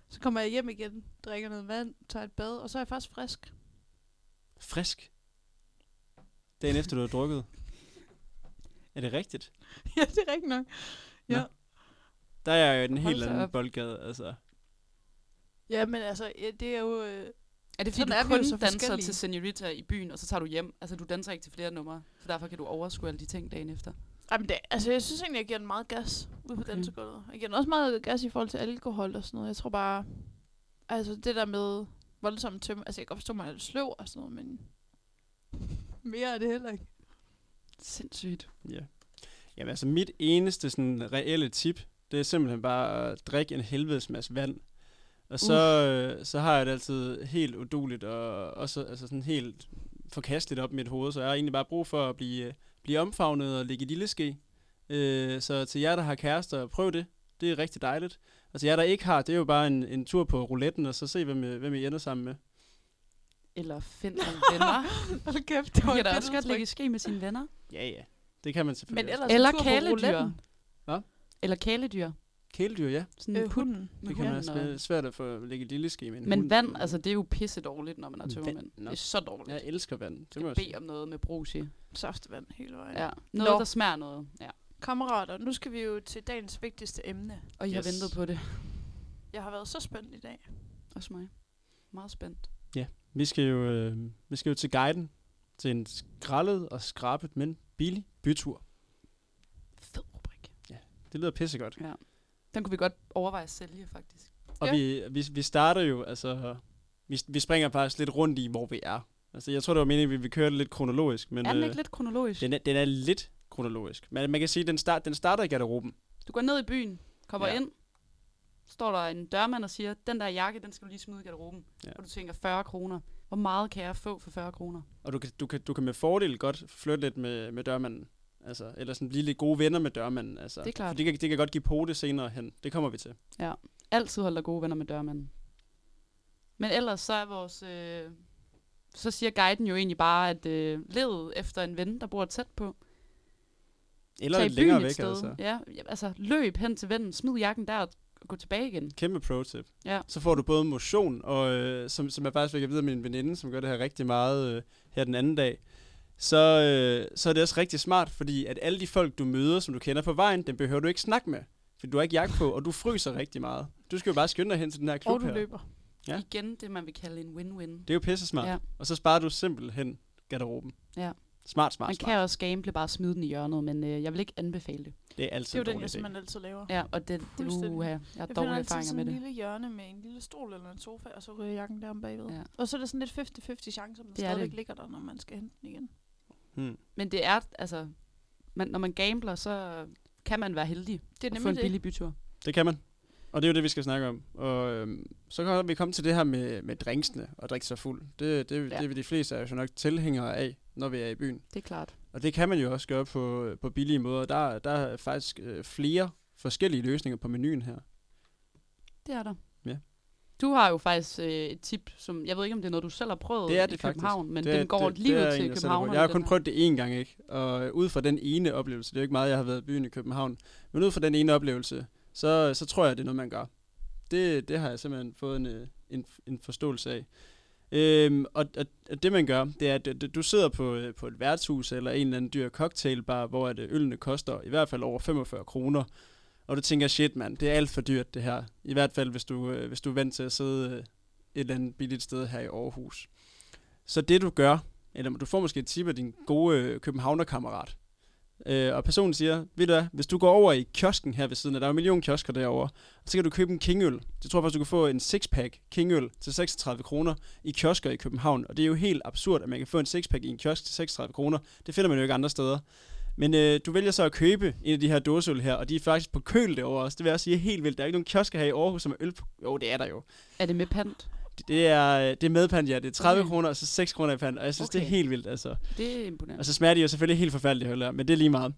Speaker 3: Så kommer jeg hjem igen, drikker noget vand, tager et bad, og så er jeg faktisk frisk.
Speaker 2: Frisk. Dagen efter, du har drukket. Er det rigtigt?
Speaker 3: ja, det er rigtigt nok. Ja.
Speaker 2: Nå. Der er jeg jo i den
Speaker 4: Hold
Speaker 2: helt
Speaker 4: da
Speaker 2: anden
Speaker 4: op.
Speaker 2: boldgade, altså.
Speaker 3: Ja, men altså, ja, det er jo... Øh,
Speaker 4: Er
Speaker 3: Sådan
Speaker 4: det fordi, Sådan
Speaker 3: er
Speaker 4: du
Speaker 3: vi
Speaker 4: kun
Speaker 3: jo så
Speaker 4: danser
Speaker 3: forskellige.
Speaker 4: til Senorita i byen, og så tager du hjem? Altså, du danser ikke til flere numre, så derfor kan du overskue alle de ting dagen efter.
Speaker 3: jamen, det, altså, jeg synes egentlig, jeg giver den meget gas ude på
Speaker 4: Okay.
Speaker 3: okay. dansegulvet. Jeg giver den også meget gas i forhold til alkohol og sådan noget. Jeg tror bare... Altså, det der med voldsomme tømme... Altså, jeg kan godt forstå, at man er lidt sløv og sådan noget, men... Mere er det heller ikke.
Speaker 4: Sindssygt.
Speaker 2: Ja. Jamen altså, mit eneste sådan reelle tip, det er simpelthen bare at drikke en helvedes masse vand. Og så, øh, så har jeg det altid helt uduligt og også altså sådan helt forkasteligt op i mit hoved, så jeg har egentlig bare brug for at blive, øh, blive omfavnet og ligge i lille ske. Øh, så til jer, der har kærester, prøv det. Det er rigtig dejligt. Og til jer, der ikke har, det er jo bare en, en tur på rouletten, og så se, hvem, øh, hvem I ender sammen med.
Speaker 4: Eller find nogle venner.
Speaker 3: Hold kæft, det
Speaker 4: Du
Speaker 3: var
Speaker 4: kan
Speaker 3: et
Speaker 4: da
Speaker 3: fedt
Speaker 4: også godt
Speaker 3: udtryk.
Speaker 4: ligge i ske med sine venner.
Speaker 2: Ja, ja. Det kan man selvfølgelig
Speaker 3: Men
Speaker 2: også.
Speaker 3: ellers
Speaker 4: Eller
Speaker 3: en tur på
Speaker 4: kæledyr.
Speaker 3: rouletten.
Speaker 4: Eller kæledyr.
Speaker 2: Kæledyr, ja.
Speaker 4: Sådan
Speaker 3: Øh, hunden.
Speaker 2: Det kan man også. Det er svært at få ligge i lille ske med en
Speaker 4: Men
Speaker 2: hund.
Speaker 4: vand, altså det er jo pisse dårligt, når man er
Speaker 2: Vand,
Speaker 4: tømmermænd.
Speaker 2: nå.
Speaker 4: Det er så dårligt.
Speaker 2: Jeg
Speaker 4: Jeg
Speaker 2: elsker vand. Det må
Speaker 4: skal
Speaker 2: jeg
Speaker 4: bede
Speaker 2: sige.
Speaker 4: om noget med brus i.
Speaker 3: Saftevand hele vejen.
Speaker 4: Ja. Noget,
Speaker 3: Nå.
Speaker 4: der smager noget. Ja.
Speaker 3: Kammerater, nu skal vi jo til dagens vigtigste emne.
Speaker 4: Og jeg yes. har
Speaker 2: Yes.
Speaker 4: ventet på det.
Speaker 3: Jeg har været så spændt i dag.
Speaker 4: Også mig. Meget spændt.
Speaker 2: Vi skal jo, øh, vi skal jo til guiden til en skrællet og skrabet, men billig bytur.
Speaker 4: Fed rubrik.
Speaker 2: Det lyder pissegodt.
Speaker 4: Den kunne vi godt overveje at sælge, faktisk.
Speaker 2: Og
Speaker 3: Ja.
Speaker 2: vi, vi, vi starter jo, altså, vi, vi springer faktisk lidt rundt i, hvor vi er. Altså, jeg tror, det var meningen, at vi ville køre det lidt kronologisk, men
Speaker 4: Men, er den
Speaker 2: øh,
Speaker 4: ikke lidt kronologisk? Den.
Speaker 2: den, er, den er lidt kronologisk. Men man kan sige, at den, start, den starter i garderoben.
Speaker 4: Du går ned i byen, kommer
Speaker 2: Ja.
Speaker 4: ja. ind, står der en dørmand og siger, den der jakke, den skal du lige smide i garderoben.
Speaker 2: Ja.
Speaker 4: Ja. Og du tænker, 40 kroner. Hvor meget kan jeg få for 40 kroner?
Speaker 2: Og du kan, du kan, du kan med fordel godt flytte lidt med, med dørmanden. Altså, eller sådan blive lidt gode venner med dørmanden. Altså.
Speaker 4: Det er klart.
Speaker 2: For det kan, det kan godt give pote senere hen. Det kommer vi til.
Speaker 4: altid holder gode venner med dørmanden. Men ellers så er vores... Øh, så siger guiden jo egentlig bare, at øh, led efter en ven, der bor tæt på.
Speaker 2: Eller
Speaker 4: Tag i
Speaker 2: lidt længere
Speaker 4: byen et
Speaker 2: væk,
Speaker 4: sted.
Speaker 2: altså.
Speaker 4: Ja, ja, altså løb hen til vennen, smid jakken der og gå tilbage igen.
Speaker 2: Kæmpe pro-tip.
Speaker 4: Ja.
Speaker 2: Så får du både motion, og øh, som, som jeg faktisk fik at vide af min veninde, som gør det her rigtig meget øh, her den anden dag, så, øh, så er det også rigtig smart, fordi at alle de folk, du møder, som du kender på vejen, dem behøver du ikke snakke med. For du har ikke jakke på, og du fryser rigtig meget. Du skal jo bare skynde dig hen til den her klub
Speaker 3: Og du
Speaker 2: her.
Speaker 3: løber.
Speaker 2: Ja.
Speaker 4: Ja. Igen det, man vil kalde en win-win.
Speaker 2: Det er jo pisse smart.
Speaker 4: Ja.
Speaker 2: Og så sparer du simpelthen garderoben.
Speaker 4: Ja.
Speaker 2: Smart, smart,
Speaker 4: Man
Speaker 2: smart.
Speaker 4: kan også gamble bare smide den i hjørnet, men øh, jeg vil ikke anbefale det.
Speaker 2: Det er
Speaker 3: Det
Speaker 2: altid
Speaker 3: er jo
Speaker 2: en
Speaker 3: den, jeg
Speaker 2: dårlig idé.
Speaker 3: simpelthen altid laver.
Speaker 4: Ja, og det, det
Speaker 3: Fuldstændig.
Speaker 4: uha, jeg har
Speaker 3: Jeg finder
Speaker 4: dårlige
Speaker 3: altid
Speaker 4: erfaringer
Speaker 3: sådan en
Speaker 4: med det.
Speaker 3: lille hjørne med en lille stol eller en sofa, og så ryger jakken der om bagved.
Speaker 4: Ja.
Speaker 3: Ja. Og så er det sådan lidt 50-50 chance, om der
Speaker 4: Det er
Speaker 3: stadigvæk
Speaker 4: det.
Speaker 3: ligger der, når man skal hente den igen.
Speaker 2: Hmm.
Speaker 4: Men det er, altså, man, når man gambler, så kan man være heldig
Speaker 3: Det er
Speaker 4: og få
Speaker 3: nemlig
Speaker 4: en
Speaker 3: det.
Speaker 4: billig bytur.
Speaker 2: Det kan man. Og det er jo det, vi skal snakke om. Og øhm, så kan vi komme til det her med, med drinksene og drikke sig fuld. Det, det, ja.
Speaker 4: Ja.
Speaker 2: det er vi de fleste af os jo nok tilhængere af, når vi er i byen.
Speaker 4: Det er klart.
Speaker 2: Og det kan man jo også gøre på, på billige måder. Der, der er faktisk øh, flere forskellige løsninger på menuen her.
Speaker 4: Det er der.
Speaker 2: Ja.
Speaker 4: Du har jo faktisk øh, et tip, som jeg ved ikke, om det er noget, du selv har prøvet
Speaker 2: Det er
Speaker 4: i
Speaker 2: det faktisk.
Speaker 4: København, men
Speaker 2: det,
Speaker 4: den går
Speaker 2: det,
Speaker 4: lige
Speaker 2: det er
Speaker 4: ud
Speaker 2: en,
Speaker 4: til
Speaker 2: jeg selv har
Speaker 4: København.
Speaker 2: prøvet. Jeg har kun prøvet det én gang, ikke? Og øh, ud fra den ene oplevelse, det er jo ikke meget, jeg har været i byen i København, men ud fra den ene oplevelse, så, så tror jeg, det er noget, man gør. Det, det har jeg simpelthen fået en, øh, en, en forståelse af. Øhm, og, og, og det man gør, det er, at du- du sidder på, øh, på et værtshus eller en eller anden dyr cocktailbar, hvor at øh, ølene koster i hvert fald over 45 kroner, og du tænker, shit mand, det er alt for dyrt det her. I hvert fald, hvis du, øh, hvis du er vant til at sidde øh, et eller andet billigt sted her i Aarhus. Så det du gør, eller du får måske et tip af din gode øh, københavnerkammerat. Øh, og personen siger, ved du hvad, hvis du går over i kiosken her ved siden af, der er jo en million kiosker derovre, så kan du købe en kingøl. Det tror jeg faktisk, du kan få en sixpack kingøl til 36 kroner i kiosker i København. Og det er jo helt absurd, at man kan få en sixpack i en kiosk til 36 kroner. Det finder man jo ikke andre steder. Men øh, du vælger så at købe en af de her dåseøl her, og de er faktisk på køl derovre også. Det vil jeg også sige er helt vildt. Der er ikke nogen kiosker her i Aarhus, som er øl på... Jo, det er der jo.
Speaker 4: Er det med pant?
Speaker 2: Det- Det er, øh, det er med pand, ja. Det er 30
Speaker 4: Okay.
Speaker 2: kroner, og så 6 kroner i pand. Og jeg synes, okay. det er
Speaker 4: Okay.
Speaker 2: helt vildt, altså.
Speaker 4: Det er imponerende.
Speaker 2: Og så smager de jo selvfølgelig helt forfærdeligt, høller, men det er lige meget.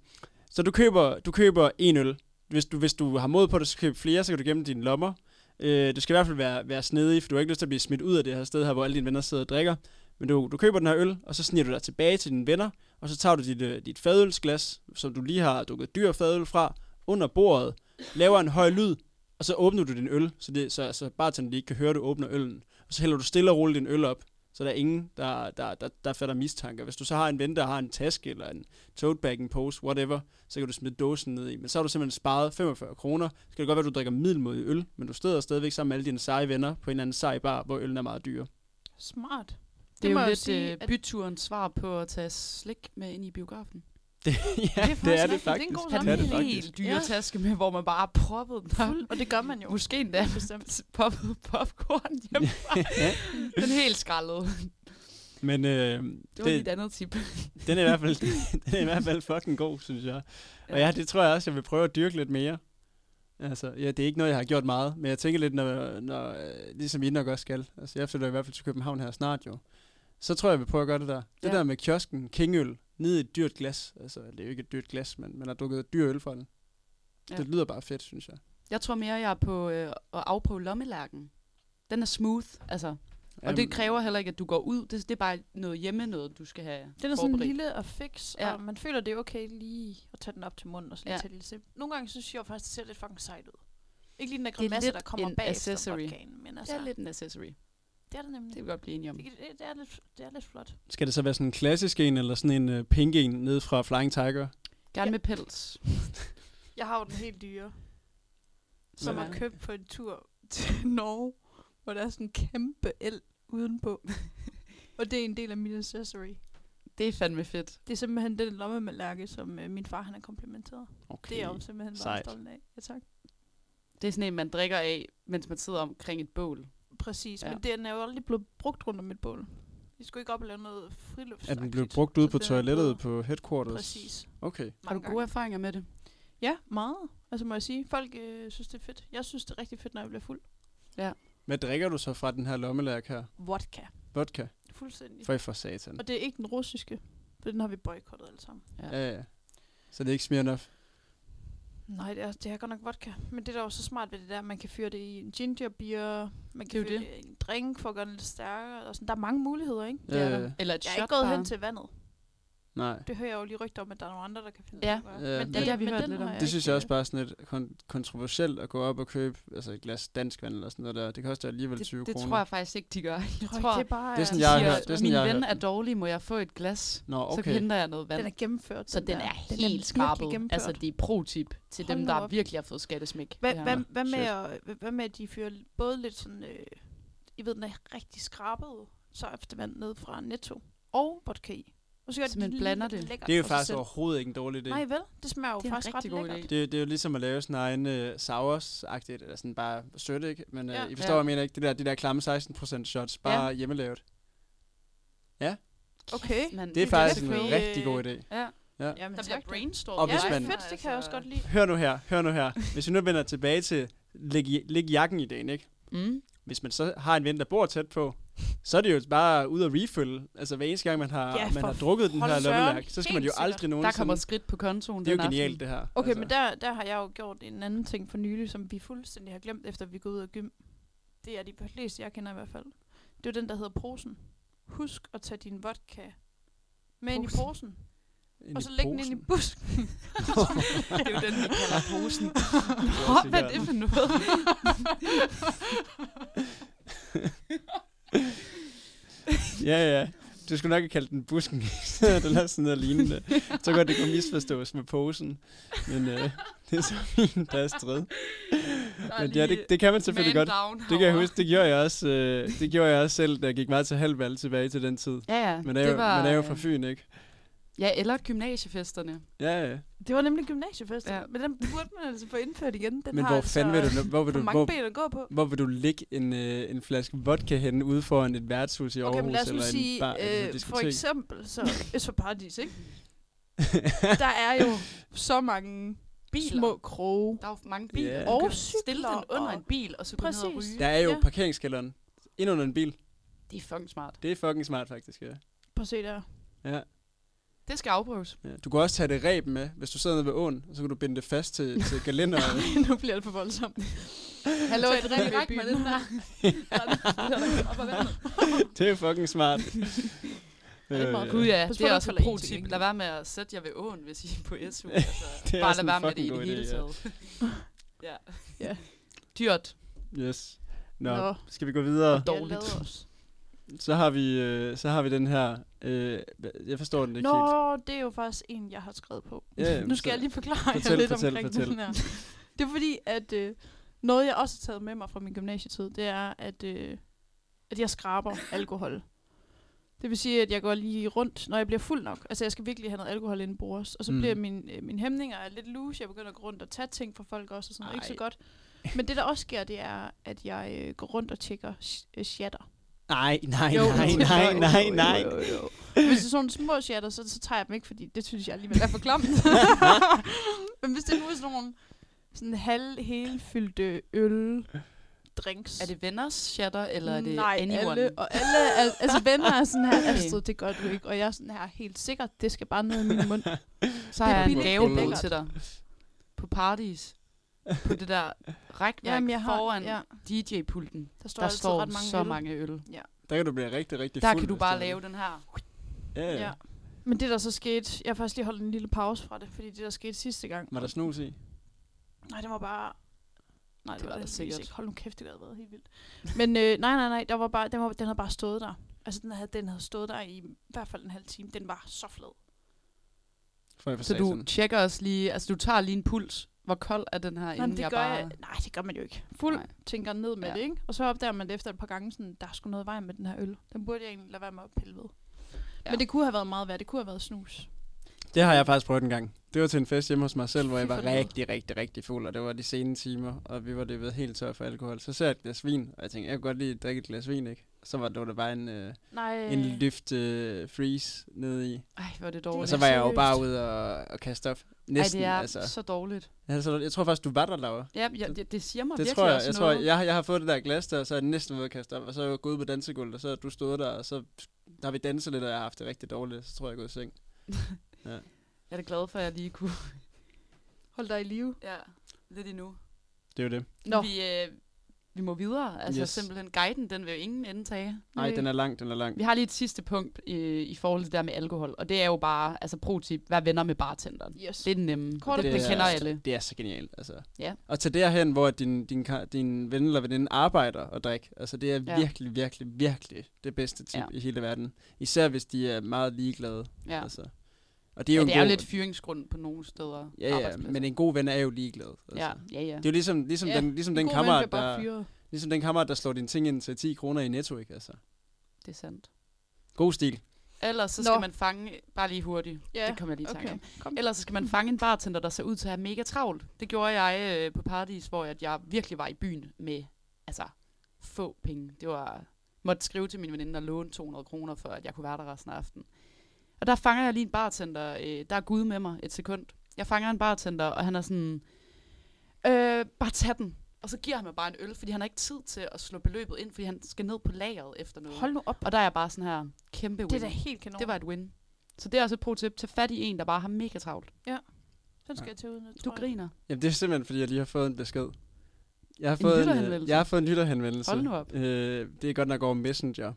Speaker 2: Så du køber, du køber en øl. Hvis du, hvis du har mod på det, så køb flere, så kan du gemme dine lommer. Øh, du skal i hvert fald være, være snedig, for du har ikke lyst til at blive smidt ud af det her sted her, hvor alle dine venner sidder og drikker. Men du, du køber den her øl, og så sniger du dig tilbage til dine venner, og så tager du dit, øh, dit fadølsglas, som du lige har dukket dyr fadøl fra, under bordet, laver en høj lyd, og så åbner du din øl, så, det, så, så bartenderen lige kan høre, at du åbner øllen. Og så hælder du stille og roligt din øl op, så der er ingen, der, der, der, der fatter mistanke. Hvis du så har en ven, der har en taske eller en tote bag, en pose, whatever, så kan du smide dåsen ned i. Men så har du simpelthen sparet 45 kroner. Så kan det godt være, at du drikker middelmodig øl, men du steder stadigvæk sammen med alle dine seje venner på en eller anden sej bar, hvor øllen er meget dyre.
Speaker 3: Smart. Det,
Speaker 4: Det, det
Speaker 3: må
Speaker 4: er
Speaker 3: jeg
Speaker 4: jo lidt
Speaker 3: sige,
Speaker 4: sige,
Speaker 3: at-
Speaker 4: byturens svar på at tage slik med ind i biografen.
Speaker 2: ja,
Speaker 3: faktisk
Speaker 2: det er det
Speaker 3: rigtigt. Det er en
Speaker 2: faktisk.
Speaker 3: god
Speaker 2: det er det
Speaker 4: en
Speaker 2: faktisk.
Speaker 4: helt dyre taske med, hvor man bare har proppet den op.
Speaker 3: Fuld, og det gør man jo.
Speaker 4: Måske endda
Speaker 3: Bestemt.
Speaker 4: poppet popcorn hjemmefra. den er helt skrællet.
Speaker 2: Men øh,
Speaker 4: Det var
Speaker 2: det,
Speaker 4: mit andet tip.
Speaker 2: den, er i hvert fald, den er i hvert fald fucking god, synes jeg. Og ja, det tror jeg også, jeg vil prøve at dyrke lidt mere. Altså, ja, det er ikke noget, jeg har gjort meget, men jeg tænker lidt, når, når, øh, ligesom I nok også skal. Altså, jeg flytter i hvert fald til København her snart jo. Så tror jeg, jeg vil prøve at gøre det der. Det
Speaker 4: Ja.
Speaker 2: der med kiosken, kingøl, ned i et dyrt glas. Altså, det er jo ikke et dyrt glas, men man har drukket dyr øl fra den. Ja.
Speaker 4: Ja.
Speaker 2: Det lyder bare fedt, synes jeg.
Speaker 4: Jeg tror mere, jeg er på øh, at afprøve lommelærken. Den er smooth, altså. Og
Speaker 2: Øhm.
Speaker 4: det kræver heller ikke, at du går ud. Det, det er bare noget hjemme noget, du skal have
Speaker 3: Den er sådan
Speaker 4: forberedt.
Speaker 3: lille og fix, ja.
Speaker 4: Ja.
Speaker 3: og man føler, det er okay lige at tage den op til munden og slet
Speaker 4: Ja.
Speaker 3: ja. til det. Så Nogle gange synes jeg faktisk, det ser lidt fucking sejt ud. Ikke lige den der
Speaker 4: Det er
Speaker 3: grimasse,
Speaker 4: lidt
Speaker 3: der kommer
Speaker 4: en
Speaker 3: bag efter
Speaker 4: accessory.
Speaker 3: vodkaen, men
Speaker 4: Det
Speaker 3: altså,
Speaker 4: er lidt en accessory.
Speaker 3: det er det
Speaker 4: Det
Speaker 3: nemlig.
Speaker 4: vil
Speaker 3: Det,
Speaker 4: vi godt blive enige om.
Speaker 3: det, det, er lidt, det er lidt flot.
Speaker 2: Skal det så være sådan en klassisk en, eller sådan en uh, pink en ned fra Flying Tiger?
Speaker 4: Gerne
Speaker 3: Ja.
Speaker 4: med pels.
Speaker 3: Jeg har jo den helt dyre, som
Speaker 2: Hvad
Speaker 3: er købt på en tur til Norge, hvor der er sådan en kæmpe el udenpå. og det er en del af min accessory.
Speaker 4: Det er fandme fedt.
Speaker 3: Det er simpelthen den lommemalærke, som øh, min far han har komplementeret.
Speaker 2: Okay.
Speaker 3: Det er jeg jo simpelthen bare
Speaker 2: Sejt.
Speaker 3: stolt af. Ja, tak.
Speaker 4: Det er sådan en, man drikker af, mens man sidder omkring et bål.
Speaker 3: Præcis, ja.
Speaker 4: Ja.
Speaker 3: men den er jo aldrig blevet brugt rundt om et bål. Vi skulle ikke op og lave noget frilufts.
Speaker 2: Er den blevet brugt ude
Speaker 3: Så
Speaker 2: på
Speaker 3: den er
Speaker 2: toilettet
Speaker 3: blevet-
Speaker 2: på headquarters?
Speaker 3: Præcis.
Speaker 2: Okay.
Speaker 4: Har du
Speaker 3: mange
Speaker 4: gode
Speaker 3: gange.
Speaker 4: erfaringer med
Speaker 2: Øh,
Speaker 4: det?
Speaker 3: Ja, meget. Altså må jeg sige, folk øh, synes det er fedt. Jeg synes det er rigtig fedt, når jeg bliver fuld.
Speaker 2: Hvad drikker du så fra den her lommelærk her?
Speaker 3: Vodka.
Speaker 2: Vodka?
Speaker 3: Fuldstændig.
Speaker 2: For for satan.
Speaker 3: Og det er ikke den russiske, for den har vi boykottet alle sammen.
Speaker 4: Ja.
Speaker 2: Ja, ja. Så det er ikke Smirnoff?
Speaker 3: Nej, det er, det er godt nok vodka. Men det der er jo så smart ved det der, man kan fyre det i en ginger beer, man kan
Speaker 4: Det er
Speaker 3: fyre
Speaker 4: jo
Speaker 3: det i en drink for at gøre den lidt stærkere. Og sådan. Der er mange muligheder, ikke?
Speaker 4: Det er der.
Speaker 2: Øh,
Speaker 4: Eller et
Speaker 3: Jeg
Speaker 4: shot
Speaker 3: er ikke gået
Speaker 4: bare.
Speaker 3: hen til vandet.
Speaker 2: nej.
Speaker 3: Det hører jeg jo lige rygter om, at der er nogle andre, der kan finde
Speaker 4: Ja.
Speaker 3: ud af at gøre.
Speaker 2: Ja, men-
Speaker 3: Men det,
Speaker 4: Det har vi
Speaker 3: men
Speaker 4: hørt
Speaker 3: den
Speaker 4: lidt
Speaker 3: har
Speaker 4: om.
Speaker 3: jeg
Speaker 2: Det
Speaker 3: ikke,
Speaker 2: synes jeg
Speaker 3: øh,
Speaker 2: også bare er sådan lidt kon- kontroversielt at gå op og købe altså et glas dansk vand eller sådan noget der. Det koster alligevel 20
Speaker 4: Det, det
Speaker 2: kroner.
Speaker 4: tror jeg faktisk ikke, de gør. Jeg
Speaker 3: Tror,
Speaker 4: tror, øh,
Speaker 3: ikke, det er bare...
Speaker 2: Det er sådan,
Speaker 4: de
Speaker 2: jeg har
Speaker 4: siger,
Speaker 2: hørt. Det er sådan,
Speaker 4: min
Speaker 2: jeg har
Speaker 4: ven
Speaker 2: hørt
Speaker 4: er
Speaker 2: den."
Speaker 4: dårlig, må jeg få et glas?
Speaker 2: Nå,
Speaker 4: Så
Speaker 2: okay.
Speaker 4: henter jeg noget vand.
Speaker 3: Den er gennemført.
Speaker 4: så Altså, den er
Speaker 3: den
Speaker 4: helt
Speaker 3: virkelig
Speaker 4: skrabet.
Speaker 3: gennemført.
Speaker 4: Altså, det er pro-tip til
Speaker 3: Hold
Speaker 4: dem,
Speaker 3: nu
Speaker 4: der
Speaker 3: op.
Speaker 4: virkelig har fået skattesmæk.
Speaker 3: Hvad,
Speaker 4: Det her.
Speaker 3: hvad, hvad, med
Speaker 2: Shit.
Speaker 3: at, hvad- hvad med, at de fyrer både lidt sådan... Øh, I ved, den er rigtig skrabet, så efter vand ned fra Netto og vodka i. Og så gør
Speaker 4: Så
Speaker 3: de
Speaker 4: man
Speaker 3: lige
Speaker 4: blander
Speaker 3: lidt
Speaker 4: det.
Speaker 3: lækkert
Speaker 2: det er jo
Speaker 3: for sig
Speaker 2: faktisk
Speaker 3: selv.
Speaker 2: overhovedet ikke en dårlig idé.
Speaker 3: Nej vel, det smager jo
Speaker 4: Det er en
Speaker 3: faktisk ret
Speaker 4: rigtig god
Speaker 3: lækkert.
Speaker 4: idé.
Speaker 2: Det, det er jo ligesom at lave sådan en egen uh, sours-agtigt, eller sådan bare sødt, ikke? Men uh,
Speaker 3: Ja.
Speaker 2: I forstår,
Speaker 4: Ja.
Speaker 2: hvad jeg mener, ikke? Det der, de der klamme 16% shots, bare hjemmelavet.
Speaker 3: Okay.
Speaker 4: Kæft, mand.
Speaker 2: Det er
Speaker 3: Det er
Speaker 2: faktisk
Speaker 3: lidt
Speaker 2: en
Speaker 3: free.
Speaker 2: rigtig god idé.
Speaker 4: Ja.
Speaker 2: Ja.
Speaker 3: Jamen,
Speaker 4: Der bliver
Speaker 3: tak da.
Speaker 4: brainstormet.
Speaker 2: Og hvis
Speaker 3: ja,
Speaker 2: man-
Speaker 3: fedt, det kan jeg også godt lide.
Speaker 4: Altså-
Speaker 2: Hør nu her, hør nu her. Hvis vi nu vender tilbage til læg, i- læg jakken i dagen, ikke?
Speaker 3: Mm.
Speaker 2: Hvis man så har en ven, der bor tæt på, så er det jo bare ud at refille. Altså hver eneste gang, man har,
Speaker 3: Ja,
Speaker 2: man
Speaker 3: for
Speaker 2: har drukket den
Speaker 3: hold
Speaker 2: her
Speaker 3: søren.
Speaker 2: lommelærk, så skal man jo
Speaker 3: Helt
Speaker 2: aldrig
Speaker 4: Der
Speaker 2: nogensinde...
Speaker 4: kommer skridt på kontoen
Speaker 2: det er
Speaker 4: den
Speaker 2: jo
Speaker 4: aften.
Speaker 2: genialt, det her.
Speaker 3: Okay, altså. men der, der har jeg jo gjort en anden ting for nylig, som vi fuldstændig har glemt, efter vi går ud af gym. Det er de fleste, jeg kender i hvert fald. Det er jo den, der hedder posen. Husk at tage din vodka med ind i
Speaker 4: Posen.
Speaker 3: posen.
Speaker 2: Ind
Speaker 3: Og
Speaker 2: i
Speaker 3: så læg den ind i
Speaker 2: posen.
Speaker 3: busken.
Speaker 4: det er jo den, vi kalder posen.
Speaker 2: Det er
Speaker 4: Nå,
Speaker 2: også
Speaker 4: hvad er
Speaker 2: sikkert.
Speaker 4: det for noget?
Speaker 2: Ja, ja. Du skulle nok have kaldt den busken, det lader sådan noget lignende. Så godt, det kunne misforstås med posen. Men øh, det er så fint, der er strid. Men ja, det, det kan man selvfølgelig godt. Det kan jeg huske, det gjorde jeg også, øh, det gjorde jeg også selv, da jeg gik meget til halvvalg tilbage til den tid.
Speaker 4: Ja, ja.
Speaker 2: Man er,
Speaker 4: det
Speaker 2: jo,
Speaker 4: var,
Speaker 2: man er jo
Speaker 4: øh,
Speaker 2: fra Fyn, ikke?
Speaker 4: Ja, eller gymnasiefesterne.
Speaker 2: Ja, ja.
Speaker 3: Det var nemlig gymnasiefest, ja.
Speaker 4: Ja.
Speaker 3: men den burde man altså få indført igen. Den
Speaker 2: Men
Speaker 3: har
Speaker 2: hvor
Speaker 3: altså
Speaker 2: fanden vil du, nu- hvor vil
Speaker 3: for
Speaker 2: du,
Speaker 3: mange
Speaker 2: hvor,
Speaker 3: ben at gå på.
Speaker 2: hvor vil du ligge en, øh, en flaske vodka henne ude foran et værtshus i Aarhus
Speaker 3: Okay, men lad os nu
Speaker 2: eller
Speaker 3: sige,
Speaker 2: en bar eller et
Speaker 3: øh, for
Speaker 2: diskotek?
Speaker 3: eksempel, så Øst for Paradis, ikke? Der er jo så mange
Speaker 4: Biler.
Speaker 3: små kroge.
Speaker 4: Der er jo mange biler.
Speaker 2: Ja.
Speaker 4: Du
Speaker 3: Og
Speaker 4: kan Stille
Speaker 3: cykler
Speaker 4: den under
Speaker 3: og-
Speaker 4: en bil, og så gå ned og
Speaker 3: Præcis.
Speaker 4: ryge.
Speaker 2: Der er jo
Speaker 3: ja.
Speaker 2: parkeringskælderen. Ind under en bil.
Speaker 4: Det er fucking smart.
Speaker 2: Det er fucking smart, faktisk, ja.
Speaker 3: Prøv at se der.
Speaker 2: ja.
Speaker 4: Det skal afprøves.
Speaker 2: Ja, du kan også tage det reb med, hvis du sidder nede ved åen, så kan du binde det fast til, til galender.
Speaker 3: nu bliver det for voldsomt.
Speaker 4: Hallo,
Speaker 3: Så
Speaker 4: er det
Speaker 3: drikker
Speaker 4: rigtig
Speaker 3: jeg ikke med den der.
Speaker 2: det er fucking smart.
Speaker 3: det er meget
Speaker 2: Øh,
Speaker 4: Gud ja,
Speaker 3: Pas
Speaker 4: det
Speaker 3: på, du
Speaker 4: er også
Speaker 3: falder
Speaker 4: et
Speaker 3: i
Speaker 4: pro
Speaker 3: til
Speaker 4: tip.
Speaker 3: gengæld.
Speaker 4: Lad være med at sætte jer ved åen, hvis I er på SU. Altså,
Speaker 2: Det er
Speaker 4: bare
Speaker 2: også
Speaker 4: lad
Speaker 2: en
Speaker 4: være med det
Speaker 2: fucking
Speaker 4: i
Speaker 2: god
Speaker 4: det
Speaker 2: idé,
Speaker 4: hele
Speaker 2: ja.
Speaker 4: taget. ja.
Speaker 3: Ja.
Speaker 4: Dyrt.
Speaker 2: Yes. Nå,
Speaker 3: Nå.
Speaker 2: Nå, skal vi gå videre?
Speaker 4: Dårligt.
Speaker 3: Jeg lader os.
Speaker 2: Så har vi, øh, så har vi den her... Øh, jeg forstår den ikke helt.
Speaker 3: Nå, det er jo faktisk en, jeg har skrevet på.
Speaker 2: Ja, jamen,
Speaker 3: nu skal
Speaker 2: så-
Speaker 3: jeg lige forklare jer
Speaker 2: fortæl,
Speaker 3: lidt
Speaker 2: fortæl,
Speaker 3: omkring
Speaker 2: fortæl.
Speaker 3: den her. Det er fordi, at øh, noget, jeg også har taget med mig fra min gymnasietid, det er, at, øh, at jeg skraber alkohol. Det vil sige, at jeg går lige rundt, når jeg bliver fuld nok. Altså, jeg skal virkelig have noget alkohol inden bords. Og så
Speaker 2: Mm.
Speaker 3: mm. bliver min, øh, mine hæmninger er lidt loose. Jeg begynder at gå rundt og tage ting fra folk også, og sådan noget. Ikke så
Speaker 2: Ej.
Speaker 3: godt. Men det, der også sker, det er, at jeg øh, går rundt og tjekker sh- øh, shatter.
Speaker 2: Nej, nej,
Speaker 3: Jo,
Speaker 2: nej,
Speaker 3: jo,
Speaker 2: nej,
Speaker 3: jo,
Speaker 2: nej,
Speaker 3: jo,
Speaker 2: nej.
Speaker 3: jo, jo. Hvis det er sådan nogle små shatter, så, så tager jeg dem ikke, fordi det synes jeg alligevel er for klamt. Men hvis det nu er sådan nogle sådan halv, helfyldte øl, drinks.
Speaker 4: Er det venners shatter, eller er det
Speaker 3: Nej,
Speaker 4: anyone?
Speaker 3: alle, og alle, al, altså venner er sådan her,
Speaker 4: Okay.
Speaker 3: Astrid, det gør du ikke, og jeg er sådan her, helt sikkert, det skal bare ned i min mund.
Speaker 4: Så har
Speaker 3: Det er
Speaker 4: jeg en
Speaker 3: billigt,
Speaker 4: gave
Speaker 3: det er
Speaker 4: med til dig. På parties. På det der rækværk
Speaker 3: Jamen, jeg har,
Speaker 4: foran
Speaker 3: ja,
Speaker 4: DJ-pulten.
Speaker 3: der står,
Speaker 4: Der
Speaker 3: altid
Speaker 4: står
Speaker 3: ret mange
Speaker 4: så
Speaker 3: øl.
Speaker 4: mange øl.
Speaker 2: Der kan du blive rigtig, rigtig
Speaker 4: Der
Speaker 2: fuld.
Speaker 4: kan du
Speaker 2: hvis
Speaker 4: bare
Speaker 2: er det.
Speaker 4: lave den her.
Speaker 2: Ja, ja.
Speaker 3: Ja. Men det, der så skete, jeg har faktisk lige holdt en lille pause fra det, fordi det, der skete sidste gang.
Speaker 2: Var der snus i?
Speaker 3: Nej, det var bare... Nej, det,
Speaker 4: Det
Speaker 3: var
Speaker 4: var der
Speaker 3: det sikkert.
Speaker 4: sikkert.
Speaker 3: Ikke. Hold nu kæft, det havde været helt vildt. Men øh, nej, nej, nej, der var bare, den, var, den havde bare stået der. Altså, den havde, den havde stået der i i hvert fald en halv time. Den var så flad.
Speaker 2: For jeg
Speaker 4: Så du tjekker også lige, altså du tager lige en puls. Hvor kold er den her,
Speaker 3: Nej,
Speaker 4: inden
Speaker 3: men det
Speaker 4: jeg
Speaker 3: gør
Speaker 4: bare...
Speaker 3: jeg, nej, det gør man jo ikke. Fuld nej.
Speaker 4: Nej.
Speaker 3: tænker ned med ja.
Speaker 4: Ja.
Speaker 3: det, ikke? Og så opdager man det efter et par gange, sådan, der er sgu noget vej med den her øl. Den burde jeg egentlig lade være med at pille ved. Ja.
Speaker 4: Ja.
Speaker 3: Men det kunne have været meget værd. Det kunne have været snus.
Speaker 2: Det har jeg faktisk prøvet en gang. Det var til en fest hjemme hos mig selv, hvor jeg
Speaker 3: Fy for
Speaker 2: var
Speaker 3: helvede.
Speaker 2: rigtig, rigtig, rigtig fuld, og det var de sene timer, og vi var det ved helt tør for alkohol. Så ser jeg et glas vin, og jeg tænkte, jeg kunne godt lige drikke et glas vin, ikke? Så var det, var der bare en, øh,
Speaker 3: Nej.
Speaker 2: en løft øh, freeze nede i.
Speaker 4: Ej, hvor er det
Speaker 2: Og
Speaker 4: dårligt.
Speaker 2: så var jeg jo
Speaker 3: seriøst.
Speaker 2: bare ude og, og kaste op. Altså, Næsten,
Speaker 4: Ej, det er
Speaker 2: altså.
Speaker 4: så dårligt.
Speaker 2: altså. Jeg tror faktisk, du var der, Laura.
Speaker 4: Ja, ja det, det siger mig
Speaker 2: Det
Speaker 4: virkelig
Speaker 2: tror jeg.
Speaker 4: også
Speaker 2: Jeg, tror,
Speaker 4: noget.
Speaker 2: jeg, jeg, har- jeg har fået det der glas der, og så er jeg næsten ude at kaste op, og så er jeg gået ud på dansegulvet, og så er du stået der, og så har vi danset lidt, og jeg har haft det rigtig dårligt, så tror jeg, jeg er gået i seng.
Speaker 4: Jeg er da glad for, at jeg lige kunne...
Speaker 3: Hold dig i live.
Speaker 4: Ja, lidt endnu.
Speaker 2: Det er jo det.
Speaker 3: Nå.
Speaker 4: Vi, øh, vi må videre. Altså
Speaker 2: Yes.
Speaker 4: yes. simpelthen guiden, den vil jo ingen ende tage.
Speaker 2: Nej, den er lang, den er lang.
Speaker 4: Øh, Vi har lige et sidste punkt øh, i forhold til det der med alkohol, og det er jo bare, altså pro-tip, vær venner med bartenderen.
Speaker 3: Yes.
Speaker 2: ligesom
Speaker 4: Det er den nemme.
Speaker 3: Kort og
Speaker 4: Kort det, det
Speaker 3: præcist.
Speaker 4: kender alle.
Speaker 2: Det er så genialt, altså.
Speaker 4: Ja.
Speaker 2: Og til derhen, hvor din, din, ka- din ven eller veninde arbejder og drikker, altså det er ja.
Speaker 4: Ja.
Speaker 2: virkelig, virkelig, virkelig det bedste tip ja.
Speaker 4: Ja.
Speaker 2: i hele verden. Især hvis de er meget ligeglade.
Speaker 4: Ja.
Speaker 2: Altså. Og det
Speaker 4: Det
Speaker 2: er
Speaker 4: er
Speaker 2: jo,
Speaker 4: jo,
Speaker 2: en
Speaker 4: ja, det er jo
Speaker 2: god,
Speaker 4: lidt fyringsgrund på nogle steder.
Speaker 2: Ja, ja,
Speaker 4: arbejdspladser.
Speaker 2: men en god ven er jo ligeglad. Altså.
Speaker 4: Ja, ja, ja.
Speaker 2: Det er jo ligesom, ligesom,
Speaker 3: Ja,
Speaker 2: den, ligesom,
Speaker 3: En
Speaker 2: den
Speaker 3: god ven bliver
Speaker 2: kammerat,
Speaker 3: bare
Speaker 2: der,
Speaker 3: fyret.
Speaker 2: ligesom den kammerat, der slår dine ting ind til 10 kroner i netto, ikke? Altså.
Speaker 4: Det er sandt.
Speaker 2: God stil.
Speaker 4: Ellers så
Speaker 3: Nå.
Speaker 4: skal man fange, bare lige hurtigt,
Speaker 3: Ja,
Speaker 4: det kommer jeg lige i tanke
Speaker 3: okay.
Speaker 4: om.
Speaker 3: Kom.
Speaker 4: Ellers så skal man fange en bartender, der ser ud til at have mega travlt. Det gjorde jeg øh, på Paradis, hvor at jeg virkelig var i byen med altså, få penge. Det var måtte skrive til min veninde og låne 200 kroner, for at jeg kunne være der resten af aftenen. Og der fanger jeg lige en bartender. Øh, der er Gud med mig et sekund. Jeg fanger en bartender, og han er sådan, øh, bare tag den. Og så giver han mig bare en øl, fordi han har ikke tid til at slå beløbet ind, fordi han skal ned på lageret efter noget.
Speaker 3: Hold nu op.
Speaker 4: Og der er jeg bare sådan her, kæmpe win.
Speaker 3: Det er da helt kanon.
Speaker 4: det var et win. Så det er også et pro-tip. Tag fat i en, der bare har mega travlt.
Speaker 3: Den skal jeg tage ud nu,
Speaker 4: Du
Speaker 3: tror jeg.
Speaker 4: griner.
Speaker 2: Jamen, det er simpelthen, fordi jeg lige har fået en besked. Jeg har
Speaker 4: En
Speaker 2: fået en, øh,
Speaker 4: lytterhenvendelse?
Speaker 2: jeg har fået en lytterhenvendelse.
Speaker 4: Hold nu op.
Speaker 2: Øh, det er godt nok over Messenger.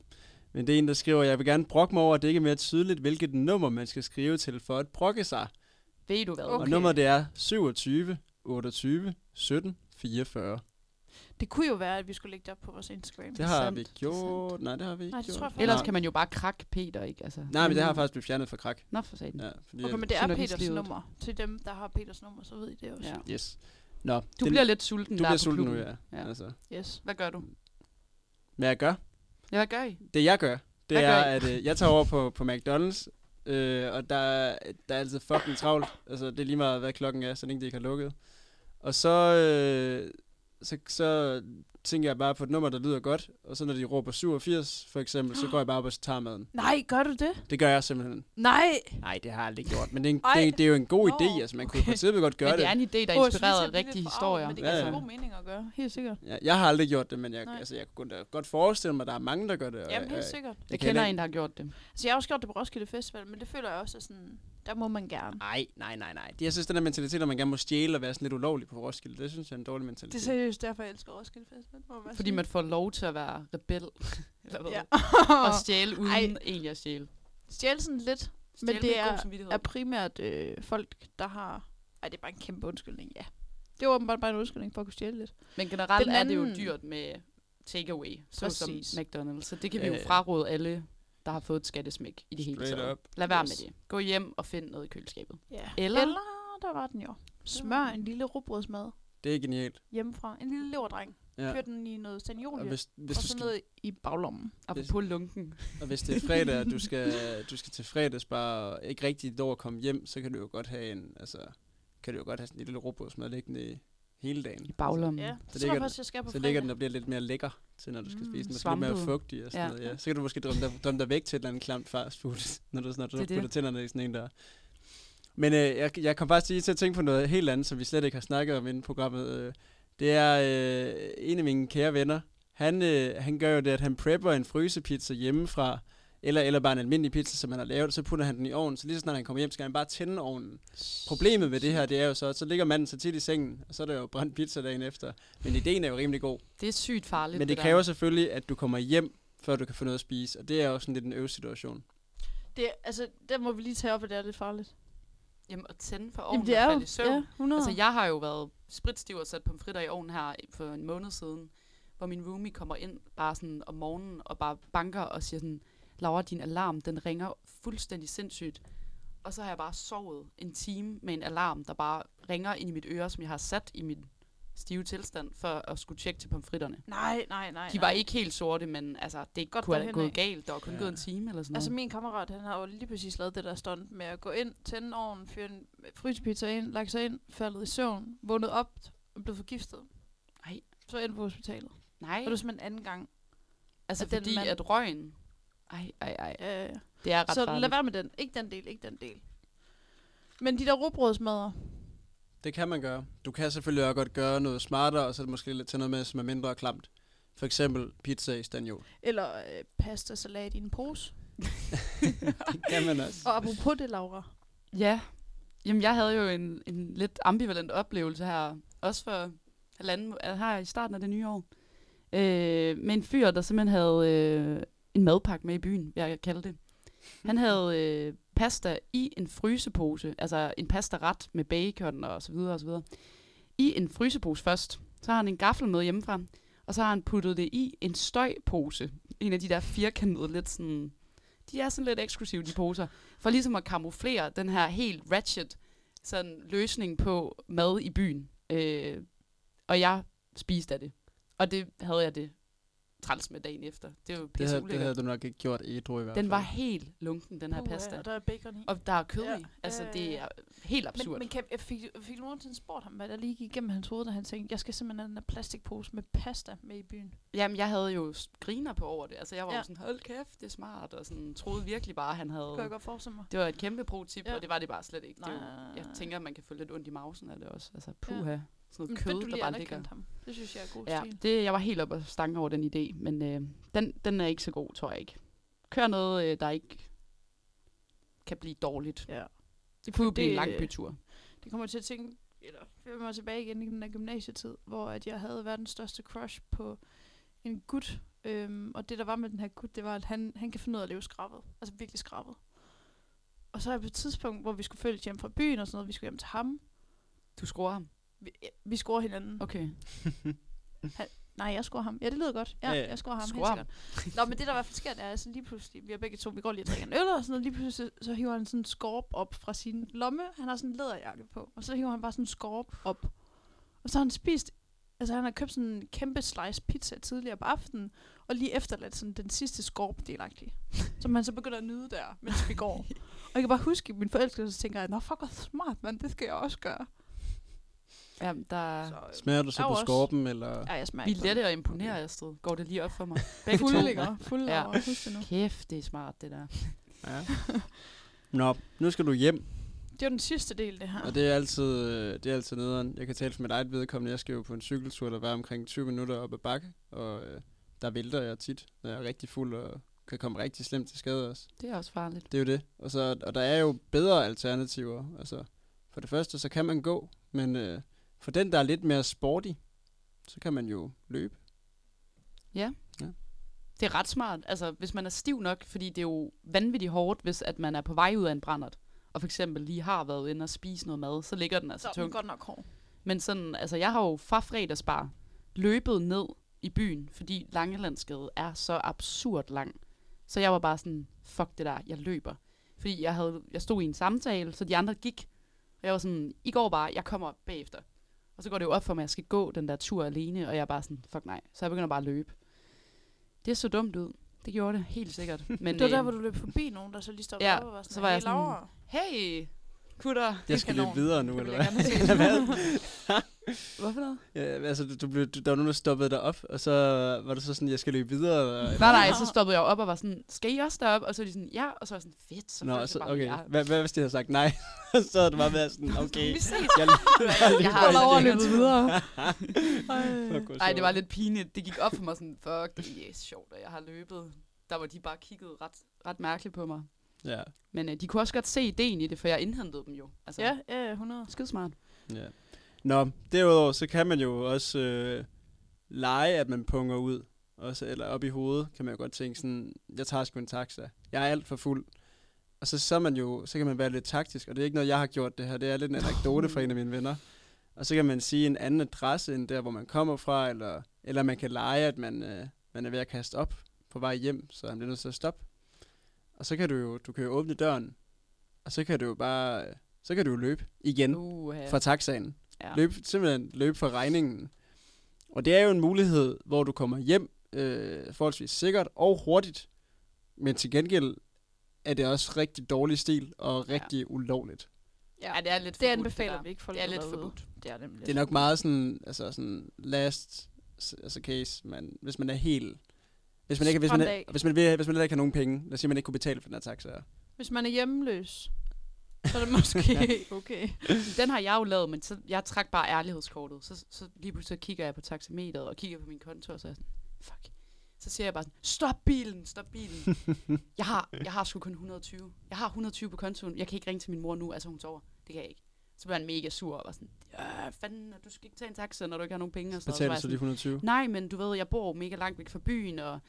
Speaker 2: Men det er en, der skriver, jeg vil gerne brokke mig over, at det ikke er mere tydeligt, hvilket nummer man skal skrive til for at brokke sig.
Speaker 4: Ved du hvad?
Speaker 2: Okay. Og nummeret det er 27, 28, 17, 44.
Speaker 3: Det kunne jo være, at vi skulle lægge det op på vores Instagram.
Speaker 2: Det har
Speaker 4: sandt,
Speaker 2: vi
Speaker 4: det er
Speaker 2: gjort. Nej, det har vi ikke
Speaker 3: Nej, det
Speaker 2: gjort.
Speaker 3: tror jeg faktisk
Speaker 4: Ellers
Speaker 2: Nej.
Speaker 4: kan man jo bare krakke Peter, ikke? Altså,
Speaker 2: Nej, men det har faktisk blevet fjernet fra krak.
Speaker 4: Nå, for satan.
Speaker 2: Ja, fordi
Speaker 3: Okay,
Speaker 2: at-
Speaker 3: men det er
Speaker 4: Synergislivet.
Speaker 3: Peters nummer. Til dem, der har Peters nummer, så ved I det også.
Speaker 4: Ja.
Speaker 2: Yes. Nå,
Speaker 4: Du
Speaker 2: den-
Speaker 4: bliver lidt sulten
Speaker 2: du
Speaker 4: der
Speaker 2: bliver
Speaker 4: på
Speaker 2: sulten nu,
Speaker 4: klubben.
Speaker 2: ja.
Speaker 4: Ja.
Speaker 2: ja. Altså.
Speaker 3: Yes.
Speaker 4: Hvad gør du?
Speaker 2: Hvad jeg gør?
Speaker 4: Ja, hvad gør I?
Speaker 2: Det jeg gør, det
Speaker 4: Hvad gør
Speaker 2: er,
Speaker 4: I?
Speaker 2: at øh, jeg tager over på, på McDonald's, øh, og der, er- der er altid fucking travlt. Altså, det er lige meget, hvad klokken er, så længe de ikke har lukket. Og så, øh, så, så tænker jeg bare på et nummer, der lyder godt, og så når de råber 87, for eksempel, så går jeg bare op og så tager maden.
Speaker 3: Nej, gør du det?
Speaker 2: Det gør jeg simpelthen.
Speaker 3: Nej!
Speaker 2: Nej, det har jeg aldrig gjort, men det er, en,
Speaker 3: Ej.
Speaker 2: det, er, det er jo en god
Speaker 3: Nå,
Speaker 2: idé, altså man kunne i
Speaker 3: okay.
Speaker 2: princippet godt gøre
Speaker 4: men det
Speaker 2: det.
Speaker 4: er en idé, der er
Speaker 3: Åh, jeg synes,
Speaker 4: inspireret
Speaker 3: jeg
Speaker 4: af
Speaker 3: bliver lidt
Speaker 4: rigtige
Speaker 3: forarget,
Speaker 4: historier.
Speaker 3: Men det
Speaker 2: Ja,
Speaker 3: giver så
Speaker 2: ja.
Speaker 3: god mening at gøre, helt sikkert.
Speaker 2: Ja, jeg har aldrig gjort det, men jeg,
Speaker 3: Nej.
Speaker 2: altså, jeg kunne da godt forestille mig, at der er mange, der gør det. og
Speaker 3: Jamen, helt
Speaker 2: jeg,
Speaker 3: sikkert.
Speaker 4: Jeg kender
Speaker 2: heller
Speaker 4: en, der har gjort det.
Speaker 3: Altså, jeg har også gjort det på Roskilde Festival, men det føler jeg også er sådan, der må man gerne.
Speaker 2: Nej, nej, nej, nej. Det- Jeg synes, den der mentalitet, at man gerne må stjæle og være sådan lidt ulovlig på Roskilde, det synes jeg er en dårlig
Speaker 3: Det er
Speaker 2: mentalitet.
Speaker 3: seriøst derfor, jeg elsker Roskilde Festival. Må man
Speaker 4: Fordi man får lov til at være rebel. Eller hvad?
Speaker 3: Ja.
Speaker 4: Ja. Og stjæle uden egentlig at stjæle.
Speaker 3: Stjæle sådan lidt,
Speaker 4: Stjæle
Speaker 3: det
Speaker 4: med god
Speaker 3: er-
Speaker 4: samvittighed.
Speaker 3: er primært øh, folk, der har... Ej, det er bare en kæmpe undskyldning, ja. Det er åbenbart bare en undskyldning for at kunne stjæle lidt.
Speaker 4: Men generelt
Speaker 3: Den
Speaker 4: er det jo
Speaker 3: anden-
Speaker 4: dyrt med takeaway, såsom
Speaker 3: Præcis.
Speaker 4: McDonald's. Så det kan vi
Speaker 2: Ja,
Speaker 4: jo
Speaker 2: ja.
Speaker 4: fraråde alle, der har fået et skattesmæk i det hele
Speaker 2: Straight
Speaker 4: taget.
Speaker 2: up.
Speaker 4: Lad være
Speaker 2: Yes.
Speaker 4: med det. Gå hjem og find noget i køleskabet.
Speaker 3: Ja.
Speaker 4: Eller-
Speaker 3: Eller der var den jo. Smør en lille rugbrødsmad
Speaker 2: Det er genialt.
Speaker 3: hjemmefra. En lille leverdreng.
Speaker 2: Ja.
Speaker 3: Ja. Kør den i noget
Speaker 2: Og
Speaker 3: sanjolie.
Speaker 2: hvis, hvis,
Speaker 3: og
Speaker 2: du
Speaker 3: så
Speaker 2: skal,
Speaker 3: ned i baglommen.
Speaker 4: Apropos lunken.
Speaker 2: og hvis det er fredag, og du skal, du skal til fredagsbar og ikke rigtig når at komme hjem, så kan du jo godt have en, altså, kan du jo godt have sådan en lille robrødsmad liggende i- hele dagen.
Speaker 4: I baglommen.
Speaker 3: Ja,
Speaker 2: Så
Speaker 3: det tror
Speaker 2: ligger
Speaker 3: jeg
Speaker 2: den-
Speaker 3: faktisk, jeg skal på
Speaker 2: Så
Speaker 3: fredag.
Speaker 2: ligger den og bliver lidt mere lækker til, når du skal
Speaker 4: Mm,
Speaker 2: spise den. Den skal lidt mere
Speaker 4: svampet.
Speaker 2: fugtig og sådan
Speaker 4: Ja.
Speaker 2: noget, ja. Så kan du måske drømme dig, drømme dig væk til et eller andet klamt fast food, når du, når du
Speaker 4: Det er det.
Speaker 2: putter tænderne i sådan en der. Men øh, jeg, jeg kom faktisk lige til at tænke på noget helt andet, som vi slet ikke har snakket om inden programmet. Øh, Det er øh, en af mine kære venner. Han, øh, han gør jo det, at han prepper en frysepizza hjemmefra, eller, eller bare en almindelig pizza, som han har lavet, så putter han den i ovnen, så lige så snart han kommer hjem, skal han bare tænde ovnen. Problemet med det her, det er jo så, at så ligger manden så tit i sengen, og så er der jo brændt pizza dagen efter. Men ideen er jo rimelig god.
Speaker 4: Det er sygt farligt.
Speaker 2: Men det
Speaker 4: der.
Speaker 2: kræver selvfølgelig, at du kommer hjem, før du kan få noget at spise. Og det er jo sådan lidt en øvesituation.
Speaker 3: Det, altså, der må vi lige tage op, at det er lidt farligt.
Speaker 4: Jamen, at tænde for ovnen
Speaker 3: Jamen, det
Speaker 4: Jamen,
Speaker 3: er
Speaker 4: og
Speaker 3: jo
Speaker 4: falde i søvn.
Speaker 3: ja, 100.
Speaker 4: Altså, jeg har jo været spritstiv og sat pomfritter i ovnen her for en måned siden, hvor min roomie kommer ind bare sådan om morgenen og bare banker og siger sådan, Laura, din alarm, den ringer fuldstændig sindssygt. Og så har jeg bare sovet en time med en alarm, der bare ringer ind i mit øre, som jeg har sat i min stive tilstand, for at skulle tjekke til pomfritterne.
Speaker 3: nej, nej, nej.
Speaker 4: De
Speaker 3: nej.
Speaker 4: var ikke helt sorte, men altså,
Speaker 3: Godt
Speaker 4: det Godt kunne have
Speaker 3: derhenad.
Speaker 4: gået galt. Der var kun
Speaker 2: Ja.
Speaker 4: ja. gået en time eller sådan noget.
Speaker 3: Altså, min kammerat, han har jo lige præcis lavet det der stunt med at gå ind, tænde ovnen, fyre en frysepizza ind, lagt sig ind, faldet i søvn, vågnet op og blevet forgiftet.
Speaker 4: Ej.
Speaker 3: Så ind på hospitalet.
Speaker 4: Nej,
Speaker 3: Og det var simpelthen anden gang.
Speaker 4: altså
Speaker 3: at den
Speaker 4: fordi
Speaker 3: mand-
Speaker 4: at røgen... Ej, ej, ej.
Speaker 3: Ja, ja.
Speaker 4: Det er ret
Speaker 3: Øh, Så
Speaker 4: farligt.
Speaker 3: lad være med den. Ikke den del, ikke den del. Men de der rugbrødsmadder,
Speaker 2: Det kan man gøre. Du kan selvfølgelig også godt gøre noget smartere, og så måske lidt til noget med, som er mindre klamt. For eksempel pizza i stanjol.
Speaker 3: eller øh, pasta salat i en pose.
Speaker 2: Det kan man også.
Speaker 3: Og apropos det, Laura.
Speaker 4: Ja, jamen jeg havde jo en, en lidt ambivalent oplevelse her, også for halvanden, må- her i starten af det nye år, øh, med en fyr, der simpelthen havde øh, en madpakke med i byen, vil jeg kalde det. Han havde øh, pasta i en frysepose, altså en pastaret med bacon og så videre og så videre, i en frysepose først. Så har han en gaffel med hjemmefra, og så har han puttet det i en støjpose. En af de der firkantede, lidt sådan... De er sådan lidt eksklusive, de poser for ligesom at kamuflere den her helt ratchet sådan, løsning på mad i byen. Øh, og jeg spiste af det. Og det havde jeg det træls med dagen efter. Det er jo
Speaker 2: Det,
Speaker 4: pisse
Speaker 2: havde,
Speaker 4: det
Speaker 2: det havde du nok ikke gjort ædru i hvert fald.
Speaker 4: Den var helt lunken, den her
Speaker 3: Puha,
Speaker 4: pasta.
Speaker 3: Og der er bacon i.
Speaker 4: Og der er kød
Speaker 3: Ja.
Speaker 4: i. Altså,
Speaker 3: Ja, ja,
Speaker 4: det
Speaker 3: ja.
Speaker 4: er helt
Speaker 3: men,
Speaker 4: absurd.
Speaker 3: men kan, jeg fik, fik du nogensinde spurgt ham, hvad der lige gik igennem hans hoved, da han tænkte, jeg skal simpelthen have den her plastikpose med pasta med i byen.
Speaker 4: Jamen, jeg havde jo s- griner på over det. Altså, jeg var
Speaker 3: Ja.
Speaker 4: jo sådan, hold kæft, det er smart, og sådan, troede virkelig bare, han
Speaker 3: Det kan jeg
Speaker 4: havde...
Speaker 3: godt forestille mig.
Speaker 4: Det var et kæmpe pro-tip,
Speaker 3: Ja.
Speaker 4: og det var det bare slet ikke. Det er jo,
Speaker 3: Nej.
Speaker 4: jeg tænker, man kan få lidt ondt i mausen af det også. Altså,
Speaker 3: Ja.
Speaker 4: puha. Sådan
Speaker 3: Men
Speaker 4: noget
Speaker 3: fedt, du
Speaker 4: kød, der
Speaker 3: lige
Speaker 4: bare ligger.
Speaker 3: anerkendte ham. Det synes jeg er god
Speaker 4: Ja,
Speaker 3: stil.
Speaker 4: det, jeg var helt oppe og stange over den idé, men øh, den, den er ikke så god, tror jeg ikke. Kør noget, øh, der ikke kan blive dårligt.
Speaker 3: Ja.
Speaker 4: Det kunne jo blive en lang
Speaker 3: det- øh,
Speaker 4: bytur.
Speaker 3: Det kommer jeg til at tænke, eller jeg mig tilbage igen i den der gymnasietid, hvor at jeg havde verdens største crush på en gut. Øhm, og det, der var med den her gut, det var, at han, han kan finde ud af at leve skrabet. Altså virkelig skrabet. Og så er jeg på et tidspunkt, hvor vi skulle følge hjem fra byen og sådan noget, vi skulle hjem til ham.
Speaker 4: Du skruer ham.
Speaker 3: Vi, ja, vi scorer hinanden. Okay.
Speaker 4: Okay.
Speaker 3: Nej, jeg scorer ham. Ja, det lyder godt. Ja,
Speaker 2: Ja,
Speaker 3: ja,
Speaker 2: ja.
Speaker 3: jeg scorer ham.
Speaker 4: Scorer
Speaker 3: helt sikkert. Nå, men det, der i hvert fald sker, det er sådan lige pludselig, vi har begge to, vi går lige og drikker en øl og sådan noget, lige pludselig så hiver han sådan en skorp op fra sin lomme. Han har sådan en læderjakke på, og så hiver han bare sådan en skorp op. Og så har han spist, altså han har købt sådan en kæmpe slice pizza tidligere på aftenen, og lige efterladt sådan den sidste skorp delagtig, som han så begynder at nyde der, mens vi går. og jeg kan bare huske, at min forældre så tænker, jeg, nå fuck, hvor smart, mand, det skal jeg også gøre.
Speaker 4: Ja, der,
Speaker 3: Så,
Speaker 2: Smager du så
Speaker 3: Der er
Speaker 2: på
Speaker 3: jo også-
Speaker 2: skorpen, eller?
Speaker 3: ja, jeg smager
Speaker 4: vi
Speaker 3: ikke
Speaker 4: er
Speaker 3: på den.
Speaker 4: lette at imponere, Astrid. Går det lige op for mig? Begge to.
Speaker 3: Fulde, ikke? Fulde,
Speaker 4: Ja.
Speaker 3: ja. husk det nu.
Speaker 4: Kæft, det er smart, det der.
Speaker 2: Ja. Nå, nu skal du hjem,
Speaker 3: Det var den sidste del, det her.
Speaker 2: og det er altid, øh, det er altid nederen. Jeg kan tale for mit eget vedkommende. Jeg skal jo på en cykeltur, der var omkring 20 minutter op ad bakke, og øh, der vælter jeg tit, når jeg er rigtig fuld og kan komme rigtig slemt til skade også.
Speaker 4: Det er også farligt.
Speaker 2: Det er jo det. Og, så, og der er jo bedre alternativer. Altså, for det første, så kan man gå, men øh, for den, der er lidt mere sporty, så kan man jo løbe.
Speaker 4: Det er ret smart, altså hvis man er stiv nok, fordi det er jo vanvittigt hårdt, hvis at man er på vej ud af en brændert, og for eksempel lige har været inde og spise noget mad, så ligger den altså
Speaker 3: Så er den
Speaker 4: tungt.
Speaker 3: godt nok hård.
Speaker 4: Men sådan, altså jeg har jo fra fredagsbar løbet ned i byen, fordi Langelandsgade er så absurd lang. Så jeg var bare sådan, fuck det der, jeg løber. Fordi jeg, havde, jeg stod i en samtale, så de andre gik. Og jeg var sådan, I går bare, jeg kommer bagefter. Og så går det jo op for mig, at jeg skal gå den der tur alene, og jeg er bare sådan, fuck nej. Så jeg begynder bare at løbe. Det så dumt ud. Det gjorde det, helt sikkert. Men,
Speaker 3: Det var der,
Speaker 4: øh,
Speaker 3: hvor du løb forbi nogen, der så lige stoppede
Speaker 4: ja,
Speaker 3: op og var sådan,
Speaker 4: så var jeg
Speaker 3: "Hey, Laura."
Speaker 4: Hey, kutter.
Speaker 2: Jeg skal løbe
Speaker 3: kanon.
Speaker 2: videre nu,
Speaker 4: Det vil
Speaker 2: eller
Speaker 4: jeg
Speaker 2: hvad?
Speaker 4: gerne se.
Speaker 2: Eller hvad?
Speaker 4: Hvorfor noget?
Speaker 2: Ja, altså, du, du blev, du, der var nogen, der stoppede dig op, og så var du så sådan, jeg skal løbe videre. Eller,
Speaker 4: Nej, nej, så stoppede jeg op og var sådan, skal I også derop? Og så var de sådan, ja, og så var jeg sådan, fedt, så
Speaker 2: Nå,
Speaker 4: følte
Speaker 2: så,
Speaker 4: jeg bare,
Speaker 2: okay.
Speaker 4: jeg,
Speaker 2: Hvad, hvad hvis de havde sagt nej? så havde du bare været sådan, okay.
Speaker 4: Vi ses.
Speaker 2: Jeg,
Speaker 4: jeg har
Speaker 2: Bare
Speaker 4: allerede
Speaker 2: lige-
Speaker 4: løbet videre.
Speaker 2: Fuck, hvor
Speaker 4: Nej, det var
Speaker 2: sjovt.
Speaker 4: lidt pinligt. Det gik op for mig sådan, fuck, det er sjovt, at jeg har løbet. Der var de bare kigget ret, ret mærkeligt på mig.
Speaker 2: Ja,
Speaker 4: Men øh, de kunne også godt se ideen i det, for jeg indhentede dem jo. Altså,
Speaker 3: Ja, ja, ja, 100.
Speaker 4: Skidesmart.
Speaker 2: ja. Nå, derudover, så kan man jo også øh, lege, at man punger ud. Også, eller op i hovedet, kan man jo godt tænke sådan, jeg tager sgu en taxa. Jeg er alt for fuld. Og så, så, er man jo, så kan man være lidt taktisk, og det er ikke noget, jeg har gjort det her. Det er lidt en anekdote fra en af mine venner. Og så kan man sige en anden adresse end der, hvor man kommer fra, eller, eller man kan lege, at man, øh, man er ved at kaste op på vej hjem, så han bliver nødt til at stoppe. Og så kan du jo, du kan jo åbne døren, og så kan du jo bare, øh, så kan du jo løbe igen
Speaker 4: Uh,
Speaker 2: fra taxaen.
Speaker 4: Ja.
Speaker 2: Ja. Løb, simpelthen løb for regningen. Og det er jo en mulighed, hvor du kommer hjem øh, forholdsvis sikkert og hurtigt, men til gengæld er det også rigtig dårlig stil og
Speaker 4: Ja.
Speaker 2: rigtig ulovligt.
Speaker 4: ja, det er lidt
Speaker 3: Det
Speaker 4: forbudt,
Speaker 3: anbefaler
Speaker 4: der.
Speaker 3: vi ikke folk
Speaker 4: Det er lidt
Speaker 3: derude.
Speaker 4: forbudt.
Speaker 3: Det er nemlig.
Speaker 2: Det er nok meget sådan, altså sådan last s- altså case, man, hvis man er helt... Hvis man, ikke, hvis, man
Speaker 3: Skræmt
Speaker 2: er,
Speaker 3: af.
Speaker 2: hvis, man vil, hvis man heller ikke har nogen penge, lad os sige, at man ikke kunne betale for den her taxa.
Speaker 3: Hvis man er hjemløs, så er det måske okay.
Speaker 4: Den har jeg jo lavet, men så, jeg trak bare ærlighedskortet. Så, så lige pludselig så kigger jeg på taxameteret og kigger på min konto, og så er jeg sådan, fuck. Så siger jeg bare sådan, stop bilen, stop bilen. jeg, har, jeg har sgu kun 120. Jeg har 120 på kontoen. Jeg kan ikke ringe til min mor nu, altså hun sover. Det kan jeg ikke. Så blev han mega sur og var sådan, ja, fanden, og du skal ikke tage en taxa, når du ikke har nogen penge. Og sådan, noget.
Speaker 2: Betaler
Speaker 4: var
Speaker 2: så
Speaker 4: jeg
Speaker 2: de 120.
Speaker 4: nej, men du ved, jeg bor mega langt væk fra byen, og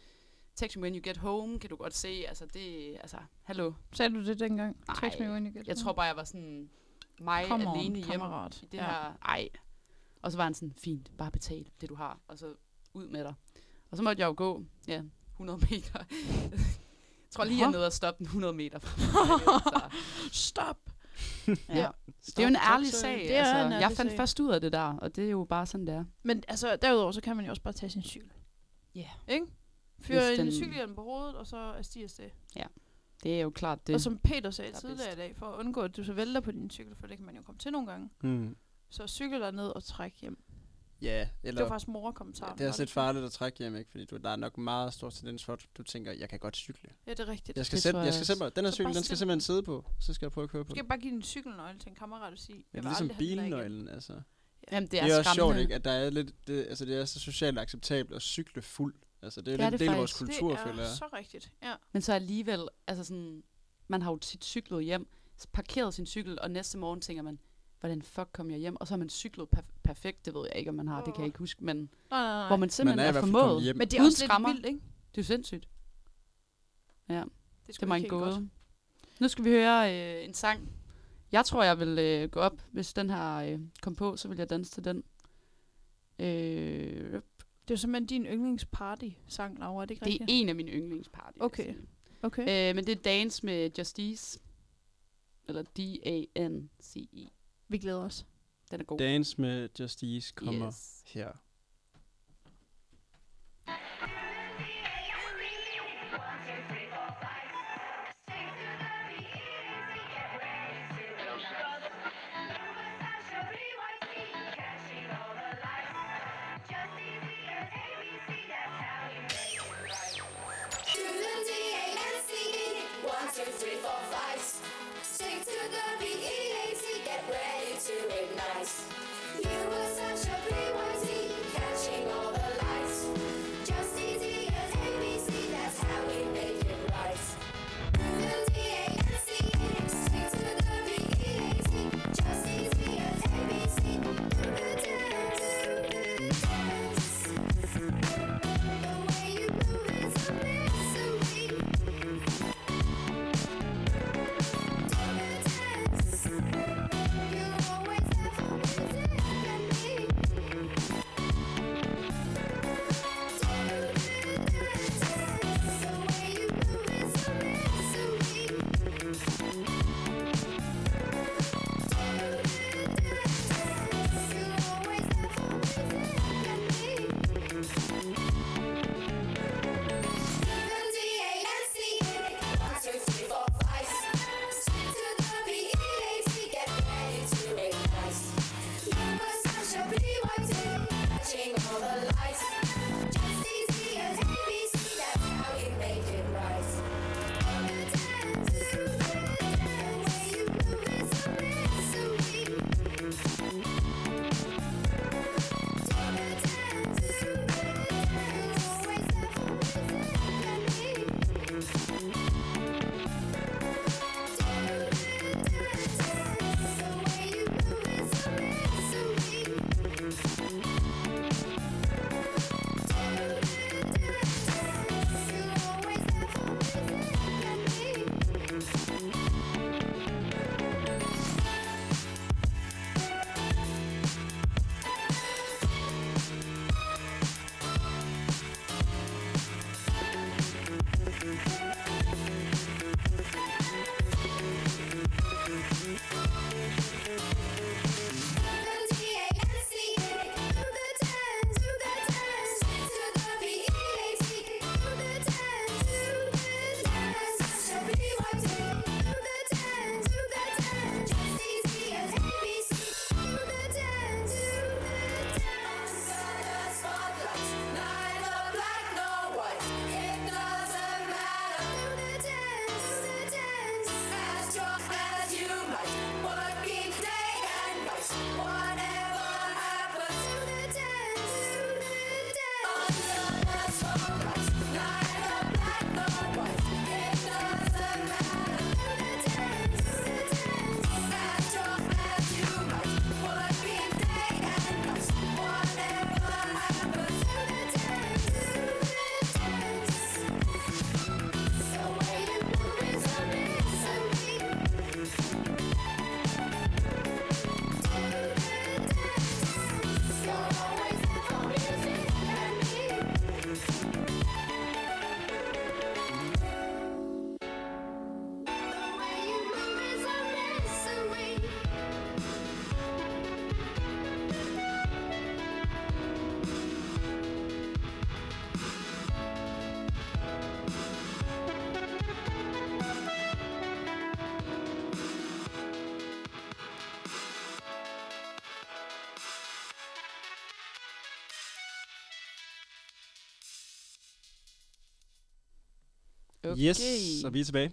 Speaker 4: text me when you get home, kan du godt se. Altså, det, altså, hallo.
Speaker 3: Sagde du det dengang?
Speaker 4: Nej,
Speaker 3: Text me when you get
Speaker 4: Jeg tror bare, jeg var sådan, mig
Speaker 3: Mm. Come on,
Speaker 4: alene hjemme
Speaker 3: kammerat.
Speaker 4: i det ja. her, ej. Og så var han sådan, fint, bare betal det, du har, og så ud med dig. Og så måtte jeg jo gå, ja, 100 meter. jeg tror lige, jeg
Speaker 3: Nå.
Speaker 4: nåede at stoppe den 100 meter. fra mig, så,
Speaker 3: Stop!
Speaker 4: ja. Det er jo en ærlig sag.
Speaker 3: Det er
Speaker 4: altså,
Speaker 3: en ærlig
Speaker 4: jeg fandt
Speaker 3: sag.
Speaker 4: først ud af det der, og det er jo bare sådan, det er.
Speaker 3: Men altså, derudover, så kan man jo også bare tage sin cykel.
Speaker 4: Ja.
Speaker 3: Ikke? Fyre
Speaker 4: Hvis
Speaker 3: en
Speaker 4: den-
Speaker 3: cykelhjelm på hovedet, og så er stiger det.
Speaker 4: Det er jo klart det.
Speaker 3: Og som Peter sagde
Speaker 4: der er
Speaker 3: tidligere i
Speaker 4: bedst.
Speaker 3: dag, for at undgå, at du så vælter på din cykel, for det kan man jo komme til nogle gange,
Speaker 2: Mm.
Speaker 3: så cykel dig ned og træk hjem.
Speaker 2: Ja,
Speaker 3: Det var
Speaker 2: eller...
Speaker 3: faktisk morkommentaren.
Speaker 2: Det er
Speaker 3: var
Speaker 2: også lidt farligt at trække hjem, ikke? Fordi du, der er nok meget stor tendens for, at du tænker, jeg kan godt cykle.
Speaker 3: Ja, det er rigtigt.
Speaker 2: Jeg skal,
Speaker 4: Det
Speaker 2: sætte,
Speaker 4: tror
Speaker 2: jeg,
Speaker 4: jeg
Speaker 2: skal
Speaker 4: også.
Speaker 2: simpelthen, den her
Speaker 3: Så
Speaker 2: cykel,
Speaker 3: bare
Speaker 2: den skal
Speaker 3: sæt-
Speaker 2: simpelthen sidde på. Så skal jeg prøve at køre på
Speaker 3: Du
Speaker 2: den.
Speaker 3: skal bare give din cykelnøgle til en kammerat og sige,
Speaker 2: Ja, det
Speaker 3: jeg vil
Speaker 2: er ligesom
Speaker 3: aldrig have den der igen.
Speaker 2: bilnøglen, altså. Det
Speaker 4: Jamen,
Speaker 2: er, det er også sjovt, ikke? At der er lidt, det, altså, det er så socialt acceptabelt at cykle fuld. Altså, det er jo
Speaker 4: Det er
Speaker 2: lidt en
Speaker 4: det
Speaker 2: del af vores
Speaker 4: faktisk.
Speaker 2: kultur,
Speaker 3: det
Speaker 2: føler
Speaker 3: er
Speaker 2: jeg.
Speaker 3: så rigtigt. Ja.
Speaker 4: Men så alligevel, altså sådan, man har jo tit cyklet hjem, s- parkeret sin cykel, og næste morgen tænker man, hvordan fuck kom jeg hjem? Og så har man cyklet perf- perfekt, det ved jeg ikke, om man har, det kan jeg ikke huske, men Nej.
Speaker 3: Nej, nej, nej.
Speaker 4: hvor man simpelthen
Speaker 2: Man er
Speaker 4: er,
Speaker 2: i
Speaker 4: er
Speaker 2: hvert fald kommet
Speaker 4: formået.
Speaker 2: hjem.
Speaker 3: Men det er
Speaker 4: uden
Speaker 3: også lidt
Speaker 4: skrammer.
Speaker 3: vildt, ikke?
Speaker 4: Det er jo sindssygt.
Speaker 3: er sgu
Speaker 4: Det var
Speaker 3: ikke
Speaker 4: en
Speaker 3: helt godt.
Speaker 4: gåde. Nu skal vi høre øh, en sang. Jeg tror, jeg vil øh, gå op. Hvis den her øh, kom på, så vil jeg danse til den. Øh,
Speaker 3: Det er jo simpelthen din yndlingsparty-sang, Laura, er det ikke
Speaker 4: det er
Speaker 3: rigtigt?
Speaker 4: en af mine yndlingspartier.
Speaker 3: Okay.
Speaker 4: vil jeg sige.
Speaker 3: Okay.
Speaker 4: Øh, men det er Dance med Justice. Eller D-A-N-C-E.
Speaker 3: Vi glæder os.
Speaker 4: E. Den er god.
Speaker 2: Dance med Justice kommer yes.
Speaker 4: Yes.
Speaker 2: her.
Speaker 8: To the D A N C E, one, two, three, four, five. Sing to the B E A T, get ready to ignite. You were such a BYT,
Speaker 4: Okay.
Speaker 2: Yes, og vi er tilbage.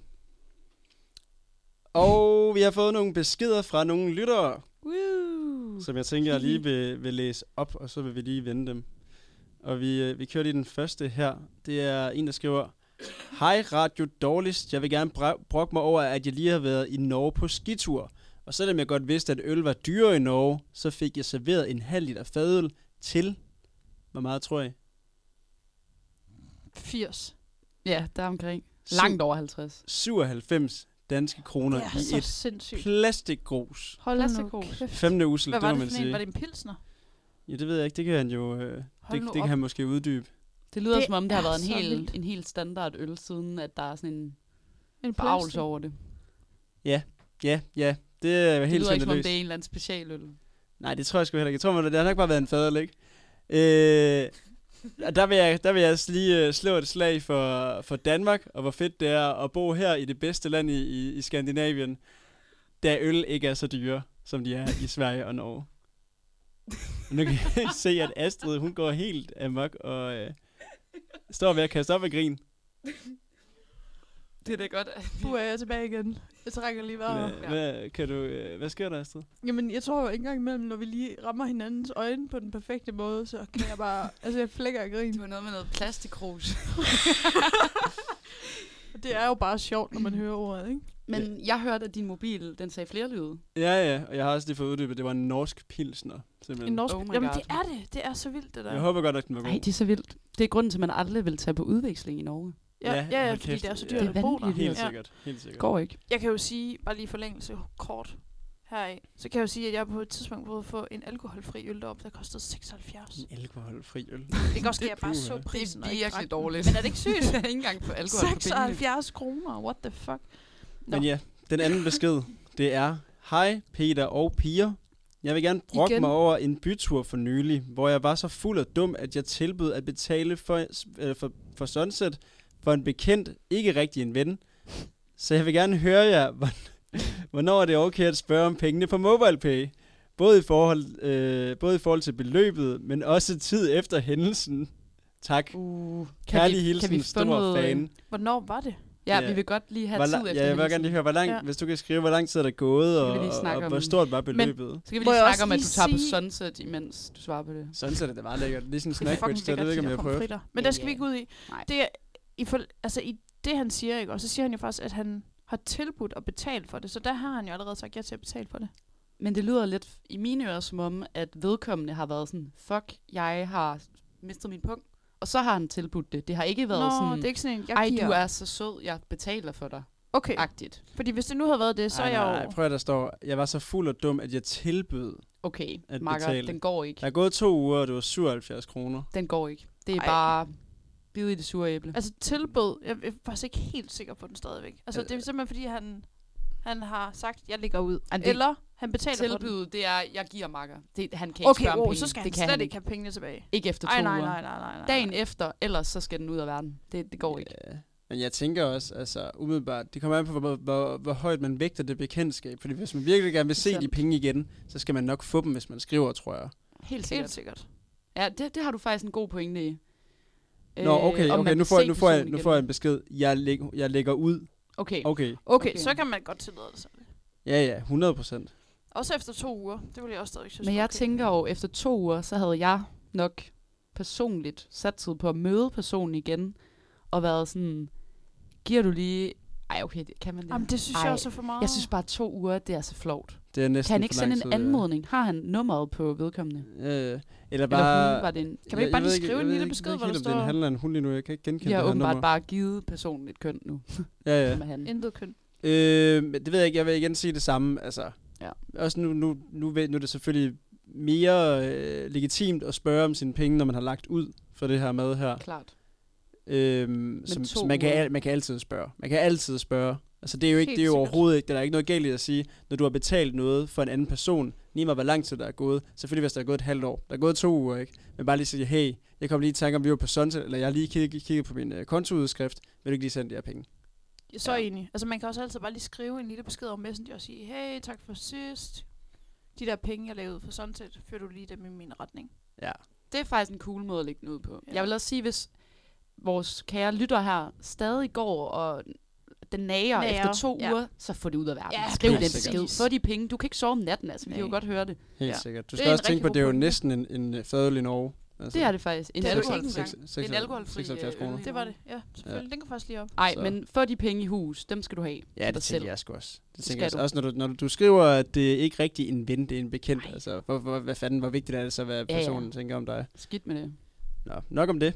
Speaker 2: Og vi har fået nogle beskeder fra nogle lyttere,
Speaker 3: Woo!
Speaker 2: som jeg tænker, jeg lige vil, vil læse op, og så vil vi lige vende dem. Og vi, øh, vi kører lige den første her. Det er en, der skriver, Hej Radio Dårligst, jeg vil gerne bra- brokke mig over, at jeg lige har været i Norge på skitur. Og selvom jeg godt vidste, at øl var dyrere i Norge, så fik jeg serveret en halv liter fadøl til, hvor meget tror jeg?
Speaker 3: 80.
Speaker 4: Ja, der er omkring. Langt over 50.
Speaker 2: 97 danske kroner
Speaker 3: Det er
Speaker 2: i
Speaker 3: så
Speaker 2: et
Speaker 3: sindssygt.
Speaker 2: plastikgrus.
Speaker 3: Hold nu
Speaker 4: Plastikkrus.
Speaker 3: kæft.
Speaker 2: Femte usel,
Speaker 3: Hvad
Speaker 2: det
Speaker 3: var
Speaker 2: må
Speaker 3: det
Speaker 2: man
Speaker 3: for en?
Speaker 2: sige.
Speaker 3: Var det en pilsner?
Speaker 2: Ja, det ved jeg ikke. Det kan han jo... Øh, det,
Speaker 3: Hold nu
Speaker 2: det kan
Speaker 3: op.
Speaker 2: han måske uddybe.
Speaker 4: Det lyder,
Speaker 3: Det
Speaker 4: det som om det har
Speaker 3: er
Speaker 4: været en
Speaker 3: så
Speaker 4: helt
Speaker 3: vildt.
Speaker 4: en helt standard øl, siden at der er sådan en
Speaker 3: En
Speaker 4: forarvelse over det.
Speaker 2: Ja, ja. Det er
Speaker 4: Det
Speaker 2: helt
Speaker 4: lyder ikke, som om det er
Speaker 2: sindeløst.
Speaker 4: en eller anden specialøl.
Speaker 2: Nej, det tror jeg sgu heller ikke. Jeg tror, man, det har nok bare været en fadel, ikke? Øh, og der vil jeg, der vil jeg altså lige øh, slå et slag for, for Danmark, og hvor fedt det er at bo her i det bedste land i, i, i Skandinavien, da øl ikke er så dyre, som de er i Sverige og Norge. Nu kan jeg se, at Astrid, hun går helt amok og øh, står ved at kaste op af grin.
Speaker 4: Det er da godt.
Speaker 3: Nu er jeg tilbage igen. Jeg trækker lige vejret.
Speaker 2: Hvad, hvad, kan du, øh, hvad sker der, Astrid?
Speaker 3: Jamen, jeg tror jo ikke engang imellem, når vi lige rammer hinandens øjne på den perfekte måde, så kan jeg bare... altså, jeg flækker og
Speaker 4: Det
Speaker 3: griner.
Speaker 4: var noget med noget plastikrus.
Speaker 3: Og Det er jo bare sjovt, når man hører ordet,
Speaker 4: Mm.
Speaker 3: ikke?
Speaker 4: Men jeg hørte, at din mobil, den sagde flere lyde.
Speaker 2: Ja, ja, og jeg har også lige fået uddybet, at det var en norsk pilsner,
Speaker 3: En
Speaker 2: simpelthen.
Speaker 3: norsk...
Speaker 4: oh my
Speaker 3: Jamen,
Speaker 4: God.
Speaker 3: det er det. Det er så vildt, det der.
Speaker 2: jeg håber godt, at den var god.
Speaker 4: Nej, det er så vildt. Det er grunden til, at man aldrig vil tage på udveksling i Norge.
Speaker 3: Ja,
Speaker 2: Ja,
Speaker 3: ja, ja
Speaker 2: hold
Speaker 3: fordi
Speaker 2: kæft,
Speaker 3: det er så
Speaker 2: det
Speaker 3: dyrt
Speaker 4: er
Speaker 3: at bo der.
Speaker 4: vanvittigt.
Speaker 2: Helt
Speaker 3: ja.
Speaker 2: sikkert, helt sikkert.
Speaker 4: Det går ikke.
Speaker 3: Jeg kan jo sige, bare lige forlængelse kort heraf, så kan jeg jo sige, at jeg på et tidspunkt prøvede at få en alkoholfri øl deroppe, der kostede 76. Det
Speaker 2: En alkoholfri øl.
Speaker 3: kan også ske, at jeg bare
Speaker 2: puha.
Speaker 3: så prisen
Speaker 4: det
Speaker 3: og
Speaker 4: er
Speaker 3: ikke
Speaker 4: virkelig
Speaker 3: drak den.
Speaker 4: dårligt.
Speaker 3: Men er det ikke sygt?
Speaker 4: Jeg er ikke engang på alkohol på pengene.
Speaker 3: 76 kroner, what the fuck?
Speaker 2: Men ja, den anden besked, det er, Hej Peter og piger. Jeg vil gerne brokke
Speaker 3: Igen.
Speaker 2: mig over en bytur for nylig, hvor jeg var så fuld og dum, at jeg tilbød at betale for, øh, for, for Sunset for en bekendt, ikke rigtig en ven. Så jeg vil gerne høre jer, hvorn- hvornår er det okay at spørge om pengene på MobilePay? Både i, forhold, øh, både i forhold til beløbet, men også tid efter hændelsen. Tak.
Speaker 4: Uh,
Speaker 2: Kærlig hilsen, stor fan.
Speaker 3: Hvornår var det?
Speaker 4: Ja,
Speaker 2: Ja.
Speaker 4: vi vil godt lige have
Speaker 2: Hvor
Speaker 4: tid
Speaker 2: lang,
Speaker 4: efter
Speaker 2: ja, jeg vil
Speaker 4: hændelsen.
Speaker 2: gerne lige høre, hvor lang,
Speaker 3: Ja.
Speaker 2: ja. hvis du kan skrive, hvor lang tid er der gået,
Speaker 4: Så
Speaker 2: og,
Speaker 4: kan vi lige
Speaker 2: og,
Speaker 4: snakke
Speaker 2: og
Speaker 4: om-
Speaker 2: hvor stort var beløbet. Men,
Speaker 4: Så kan vi
Speaker 3: Må
Speaker 4: lige
Speaker 3: jeg
Speaker 4: snakke
Speaker 3: også
Speaker 4: om, at du
Speaker 3: lige
Speaker 4: tager på
Speaker 3: sige-
Speaker 4: Sunset, imens du svarer på det.
Speaker 2: sådan ser det, det var lækkert. Ligesom
Speaker 3: Det er
Speaker 2: snack
Speaker 3: fucking
Speaker 2: det ved jeg ikke, om jeg
Speaker 3: lækkert,
Speaker 2: har
Speaker 3: de der
Speaker 2: prøvet.
Speaker 3: pomfritter. Men der skal
Speaker 4: Ja.
Speaker 3: vi ikke ud i.
Speaker 4: Nej.
Speaker 3: Det er, i, for, altså, i det, han siger, ikke? Og så siger han jo faktisk, at han har tilbudt at betale for det. Så der har han jo allerede sagt ja til at betale for det.
Speaker 4: Men det lyder lidt i mine ører som om, at vedkommende har været sådan, fuck, jeg har mistet min punkt. Og så har han tilbudt det. Det har ikke været
Speaker 3: Nå,
Speaker 4: sådan,
Speaker 3: det er ikke sådan en, jeg
Speaker 4: ej,
Speaker 3: giver. Øh.
Speaker 4: du er så sød, jeg betaler for dig.
Speaker 3: Okay,
Speaker 4: Agtigt.
Speaker 3: fordi hvis det nu havde været det, så er jeg jo...
Speaker 2: nej, prøv at der står, jeg var så fuld og dum, at jeg tilbød.
Speaker 4: Okay,
Speaker 2: At
Speaker 4: Marker,
Speaker 2: betale.
Speaker 4: den går ikke.
Speaker 2: Der er gået to uger, og det var 77 kroner.
Speaker 4: Den går ikke. Det er
Speaker 3: Ej.
Speaker 4: Ej. bare bid i det sure æble.
Speaker 3: Altså tilbød, jeg jeg er faktisk ikke helt sikker på den stadigvæk. Altså
Speaker 2: Øh.
Speaker 3: det er simpelthen fordi, han, han har sagt, jeg ligger ud.
Speaker 4: Ej, det-
Speaker 3: Eller han betaler for den.
Speaker 4: Tilbuddet, det er, jeg giver Marker. Det, han kan ikke
Speaker 3: Okay,
Speaker 4: spørge om
Speaker 3: wow,
Speaker 4: penge.
Speaker 3: så skal han
Speaker 4: det
Speaker 3: slet
Speaker 4: kan han
Speaker 3: ikke have pengene tilbage.
Speaker 4: Ikke efter to
Speaker 3: Ej, nej,
Speaker 4: uger.
Speaker 3: nej, nej, nej, Øh. nej.
Speaker 4: Dagen efter, ellers så skal den ud af verden. Det, det går ikke.
Speaker 2: Ja. Men jeg tænker også, altså umiddelbart, det kommer an på, hvor, hvor, hvor højt man vægter det bekendtskab. Fordi hvis man virkelig gerne vil se de
Speaker 4: Sandt.
Speaker 2: penge igen, så skal man nok få dem, hvis man skriver, tror jeg.
Speaker 4: Helt
Speaker 3: Helt
Speaker 4: sikkert.
Speaker 3: sikkert.
Speaker 4: Ja, det, det har du faktisk en god pointe i.
Speaker 2: Nå,
Speaker 4: Øh,
Speaker 2: okay,
Speaker 4: om
Speaker 2: okay,
Speaker 4: man
Speaker 2: nu
Speaker 4: vil
Speaker 2: får, jeg,
Speaker 4: se
Speaker 2: nu, får jeg,
Speaker 4: personen
Speaker 2: nu
Speaker 4: igen.
Speaker 2: får jeg en besked. Jeg, læg, jeg lægger ud.
Speaker 4: Okay.
Speaker 2: Okay.
Speaker 3: Okay,
Speaker 4: Okay.
Speaker 3: så kan man godt tillade det sig.
Speaker 2: Ja, ja, 100 procent.
Speaker 3: Også efter to uger. Det ville jeg også stadig synes.
Speaker 4: Men jeg
Speaker 3: okay.
Speaker 4: tænker jo, efter to uger, så havde jeg nok personligt sat tid på at møde personen igen, og været sådan, giver du lige... Ej, okay, det- kan man det?
Speaker 3: Jamen, det synes Ej. jeg
Speaker 4: Ej,
Speaker 3: også er for meget.
Speaker 4: Jeg synes bare, to uger, det er så flot.
Speaker 2: Det er næsten
Speaker 4: Kan han ikke
Speaker 2: for lang
Speaker 4: sende
Speaker 2: tid,
Speaker 4: en
Speaker 2: det der.
Speaker 4: anmodning? Har han nummeret på vedkommende?
Speaker 2: Øh, eller
Speaker 4: Eller
Speaker 2: bare...
Speaker 4: hun var det en...
Speaker 3: Kan man ikke bare
Speaker 2: jeg ved
Speaker 3: lige skrive
Speaker 2: jeg
Speaker 3: en
Speaker 2: ved
Speaker 3: lille
Speaker 2: ikke-
Speaker 3: besked,
Speaker 2: jeg ved
Speaker 3: hvor
Speaker 2: ikke helt,
Speaker 3: der
Speaker 2: om Det er en
Speaker 3: står-
Speaker 2: handler en hund lige nu. Jeg kan ikke genkende
Speaker 4: Jeg
Speaker 2: det
Speaker 4: har
Speaker 2: her
Speaker 4: åbenbart
Speaker 2: nummer.
Speaker 4: bare givet personen et køn nu.
Speaker 2: Ja, ja.
Speaker 4: Som er han.
Speaker 3: Intet køn.
Speaker 2: Øh, men det ved jeg ikke. Jeg vil igen sige det samme. Altså,
Speaker 4: Ja.
Speaker 2: Også nu, nu, nu, ved- nu er det selvfølgelig mere øh, legitimt at spørge om sine penge, når man har lagt ud for det her med her.
Speaker 4: Klart.
Speaker 2: Øhm, som,
Speaker 4: to
Speaker 2: som man, kan,
Speaker 4: uger.
Speaker 2: al- man kan altid spørge. Man kan altid spørge. Altså, det er jo ikke,
Speaker 3: Helt
Speaker 2: det er jo
Speaker 3: sikkert.
Speaker 2: overhovedet ikke, der er ikke noget galt i at sige, når du har betalt noget for en anden person, lige meget hvor lang tid der er gået, selvfølgelig hvis der er gået et halvt år, der er gået to uger, ikke? Men bare lige sige, hey, jeg kom lige i tanke om, vi var på Sunset, eller jeg har lige kigget, kigget på min øh, kontoudskrift, vil du ikke lige sende de her penge?
Speaker 3: Jeg er så
Speaker 2: Ja.
Speaker 3: ja. enig. Altså, man kan også altid bare lige skrive en lille besked om Messenger og sige, hey, tak for sidst. De der penge, jeg lavede for sådan set, fører du lige dem i min retning.
Speaker 2: Ja.
Speaker 4: Det er faktisk en cool måde at lægge den ud på.
Speaker 3: Ja.
Speaker 4: Jeg vil også sige, hvis vores kære lytter her stadig går og den nager,
Speaker 3: Nager,
Speaker 4: efter to
Speaker 3: ja.
Speaker 4: uger, så få det ud af verden.
Speaker 3: Ja,
Speaker 4: Skriv den
Speaker 2: helt sikkert.
Speaker 4: besked. Få de penge. Du kan ikke sove om natten, altså. Vi kan jo
Speaker 3: Nej.
Speaker 4: godt høre det.
Speaker 2: Helt
Speaker 4: Ja.
Speaker 2: sikkert. Du
Speaker 4: Det er
Speaker 2: skal
Speaker 4: en
Speaker 2: også tænke
Speaker 4: rigtig
Speaker 2: på,
Speaker 4: god
Speaker 2: at det er jo
Speaker 4: pointe.
Speaker 2: næsten en, en øh, fadøl i Norge. Altså,
Speaker 4: Det er det faktisk. En
Speaker 3: Det er det
Speaker 4: alkohol-
Speaker 3: ikke engang.
Speaker 4: Det er en alkoholfri, øh,
Speaker 2: 76 kroner.
Speaker 4: øl.
Speaker 3: Det var det, ja. Selvfølgelig. Den går faktisk lige op.
Speaker 4: Ej,
Speaker 2: Så.
Speaker 4: men få de penge i hus. Dem skal du have. til
Speaker 2: Ja,
Speaker 4: dig
Speaker 2: det tænker jeg sgu også. Det
Speaker 4: skal
Speaker 2: tænker jeg også.
Speaker 4: du.
Speaker 2: også, når du, når du skriver, at det er ikke rigtig en ven, det er en bekendt.
Speaker 4: Nej.
Speaker 2: Altså, hvor, hvor, hvad fanden, hvor vigtigt er det så, hvad
Speaker 4: Ja, ja.
Speaker 2: personen ja, ja. tænker om dig?
Speaker 4: Skidt med det.
Speaker 2: Nå, nok om det.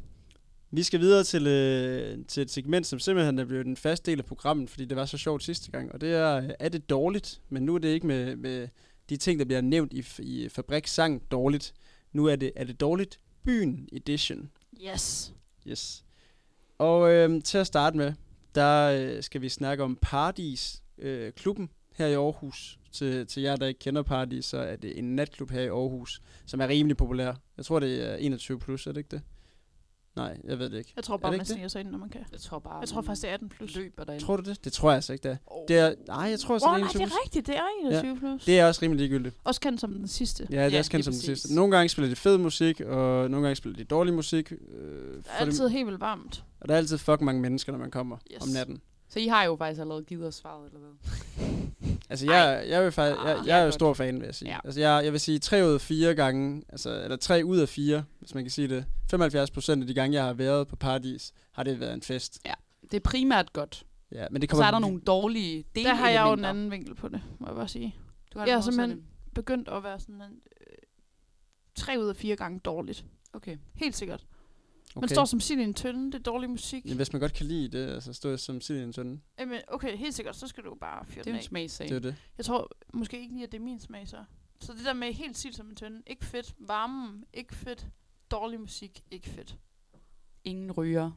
Speaker 2: Vi skal videre til, øh, til et segment, som simpelthen er blevet en fast del af programmet, fordi det var så sjovt sidste gang. Og det er, øh, er det dårligt? Men nu er det ikke med, med de ting, der bliver nævnt i, f- i fabrikssang dårligt. Nu er det, er det dårligt byen edition.
Speaker 3: Yes.
Speaker 2: Yes. Og øh, til at starte med, der øh, skal vi snakke om Paradis øh, klubben her i Aarhus. Til, til jer, der ikke kender Paradis, så er det en natklub her i Aarhus, som er rimelig populær. Jeg tror, det er 21 plus, er det ikke det? Nej, jeg ved det ikke.
Speaker 3: Jeg tror
Speaker 2: Er
Speaker 3: bare,
Speaker 2: det
Speaker 3: man
Speaker 2: ikke det?
Speaker 3: sniger sig ind, når man kan.
Speaker 4: Jeg tror bare,
Speaker 3: Jeg tror faktisk, det er 18 plus.
Speaker 4: løber derinde.
Speaker 2: Tror du det? Det tror jeg altså ikke, det er.
Speaker 3: Oh.
Speaker 2: Det er nej, jeg tror, altså,
Speaker 3: Åh,
Speaker 2: det er
Speaker 3: oh, nej,
Speaker 2: 21
Speaker 3: det
Speaker 2: plus.
Speaker 3: er rigtigt. Det er 21 plus.
Speaker 2: Det er også rimelig ligegyldigt.
Speaker 3: Også kendt som den sidste.
Speaker 2: Ja, det er
Speaker 4: Ja,
Speaker 2: også kendt
Speaker 4: lige
Speaker 2: som det
Speaker 4: præcis.
Speaker 2: sidste. Nogle gange spiller de fed musik, og nogle gange spiller de dårlig musik. Øh,
Speaker 3: Det
Speaker 2: for
Speaker 3: er
Speaker 2: det-
Speaker 3: altid helt vildt varmt.
Speaker 2: og der er altid fucking mange mennesker, når man kommer
Speaker 3: Yes.
Speaker 2: om natten.
Speaker 4: Så I har jo faktisk allerede givet os svaret, eller hvad?
Speaker 2: Altså, jeg, jeg, vil faktisk, jeg,
Speaker 4: Ah,
Speaker 2: jeg er jo
Speaker 4: godt.
Speaker 2: stor fan, vil jeg sige. Ja.
Speaker 4: Ja.
Speaker 2: Altså, jeg, jeg vil sige 3 ud af 4 gange, altså, eller 3 ud af 4, hvis man kan sige det. 75 procent af de gange, jeg har været på Paradis, har det været en fest.
Speaker 4: Det er primært godt.
Speaker 2: Ja, men det
Speaker 4: Og så
Speaker 2: kommer...
Speaker 4: er der nogle dårlige dele.
Speaker 3: Der har jeg jo en anden vinkel på det, må jeg bare sige.
Speaker 4: Du har
Speaker 3: Jeg
Speaker 4: det
Speaker 3: er simpelthen-
Speaker 4: modsatte.
Speaker 3: Begyndt at være sådan en, øh, tre ud af fire gange dårligt.
Speaker 4: Okay.
Speaker 3: Helt sikkert. Man
Speaker 2: Okay.
Speaker 3: står som sild i en tønde, det er dårlig musik.
Speaker 2: Ja, hvis man godt kan lide det, altså stå som sild i en tønde.
Speaker 3: Jamen, okay, helt sikkert, så skal du jo bare fyre
Speaker 4: Det er
Speaker 3: den
Speaker 4: jo en
Speaker 3: af.
Speaker 4: smagssag.
Speaker 2: Det er jo det.
Speaker 3: Jeg tror måske ikke lige, at det er min smag så. Så det der med helt sild som en tønde, ikke fedt. Varmen, ikke fedt. Dårlig musik, ikke fedt.
Speaker 4: Ingen ryger.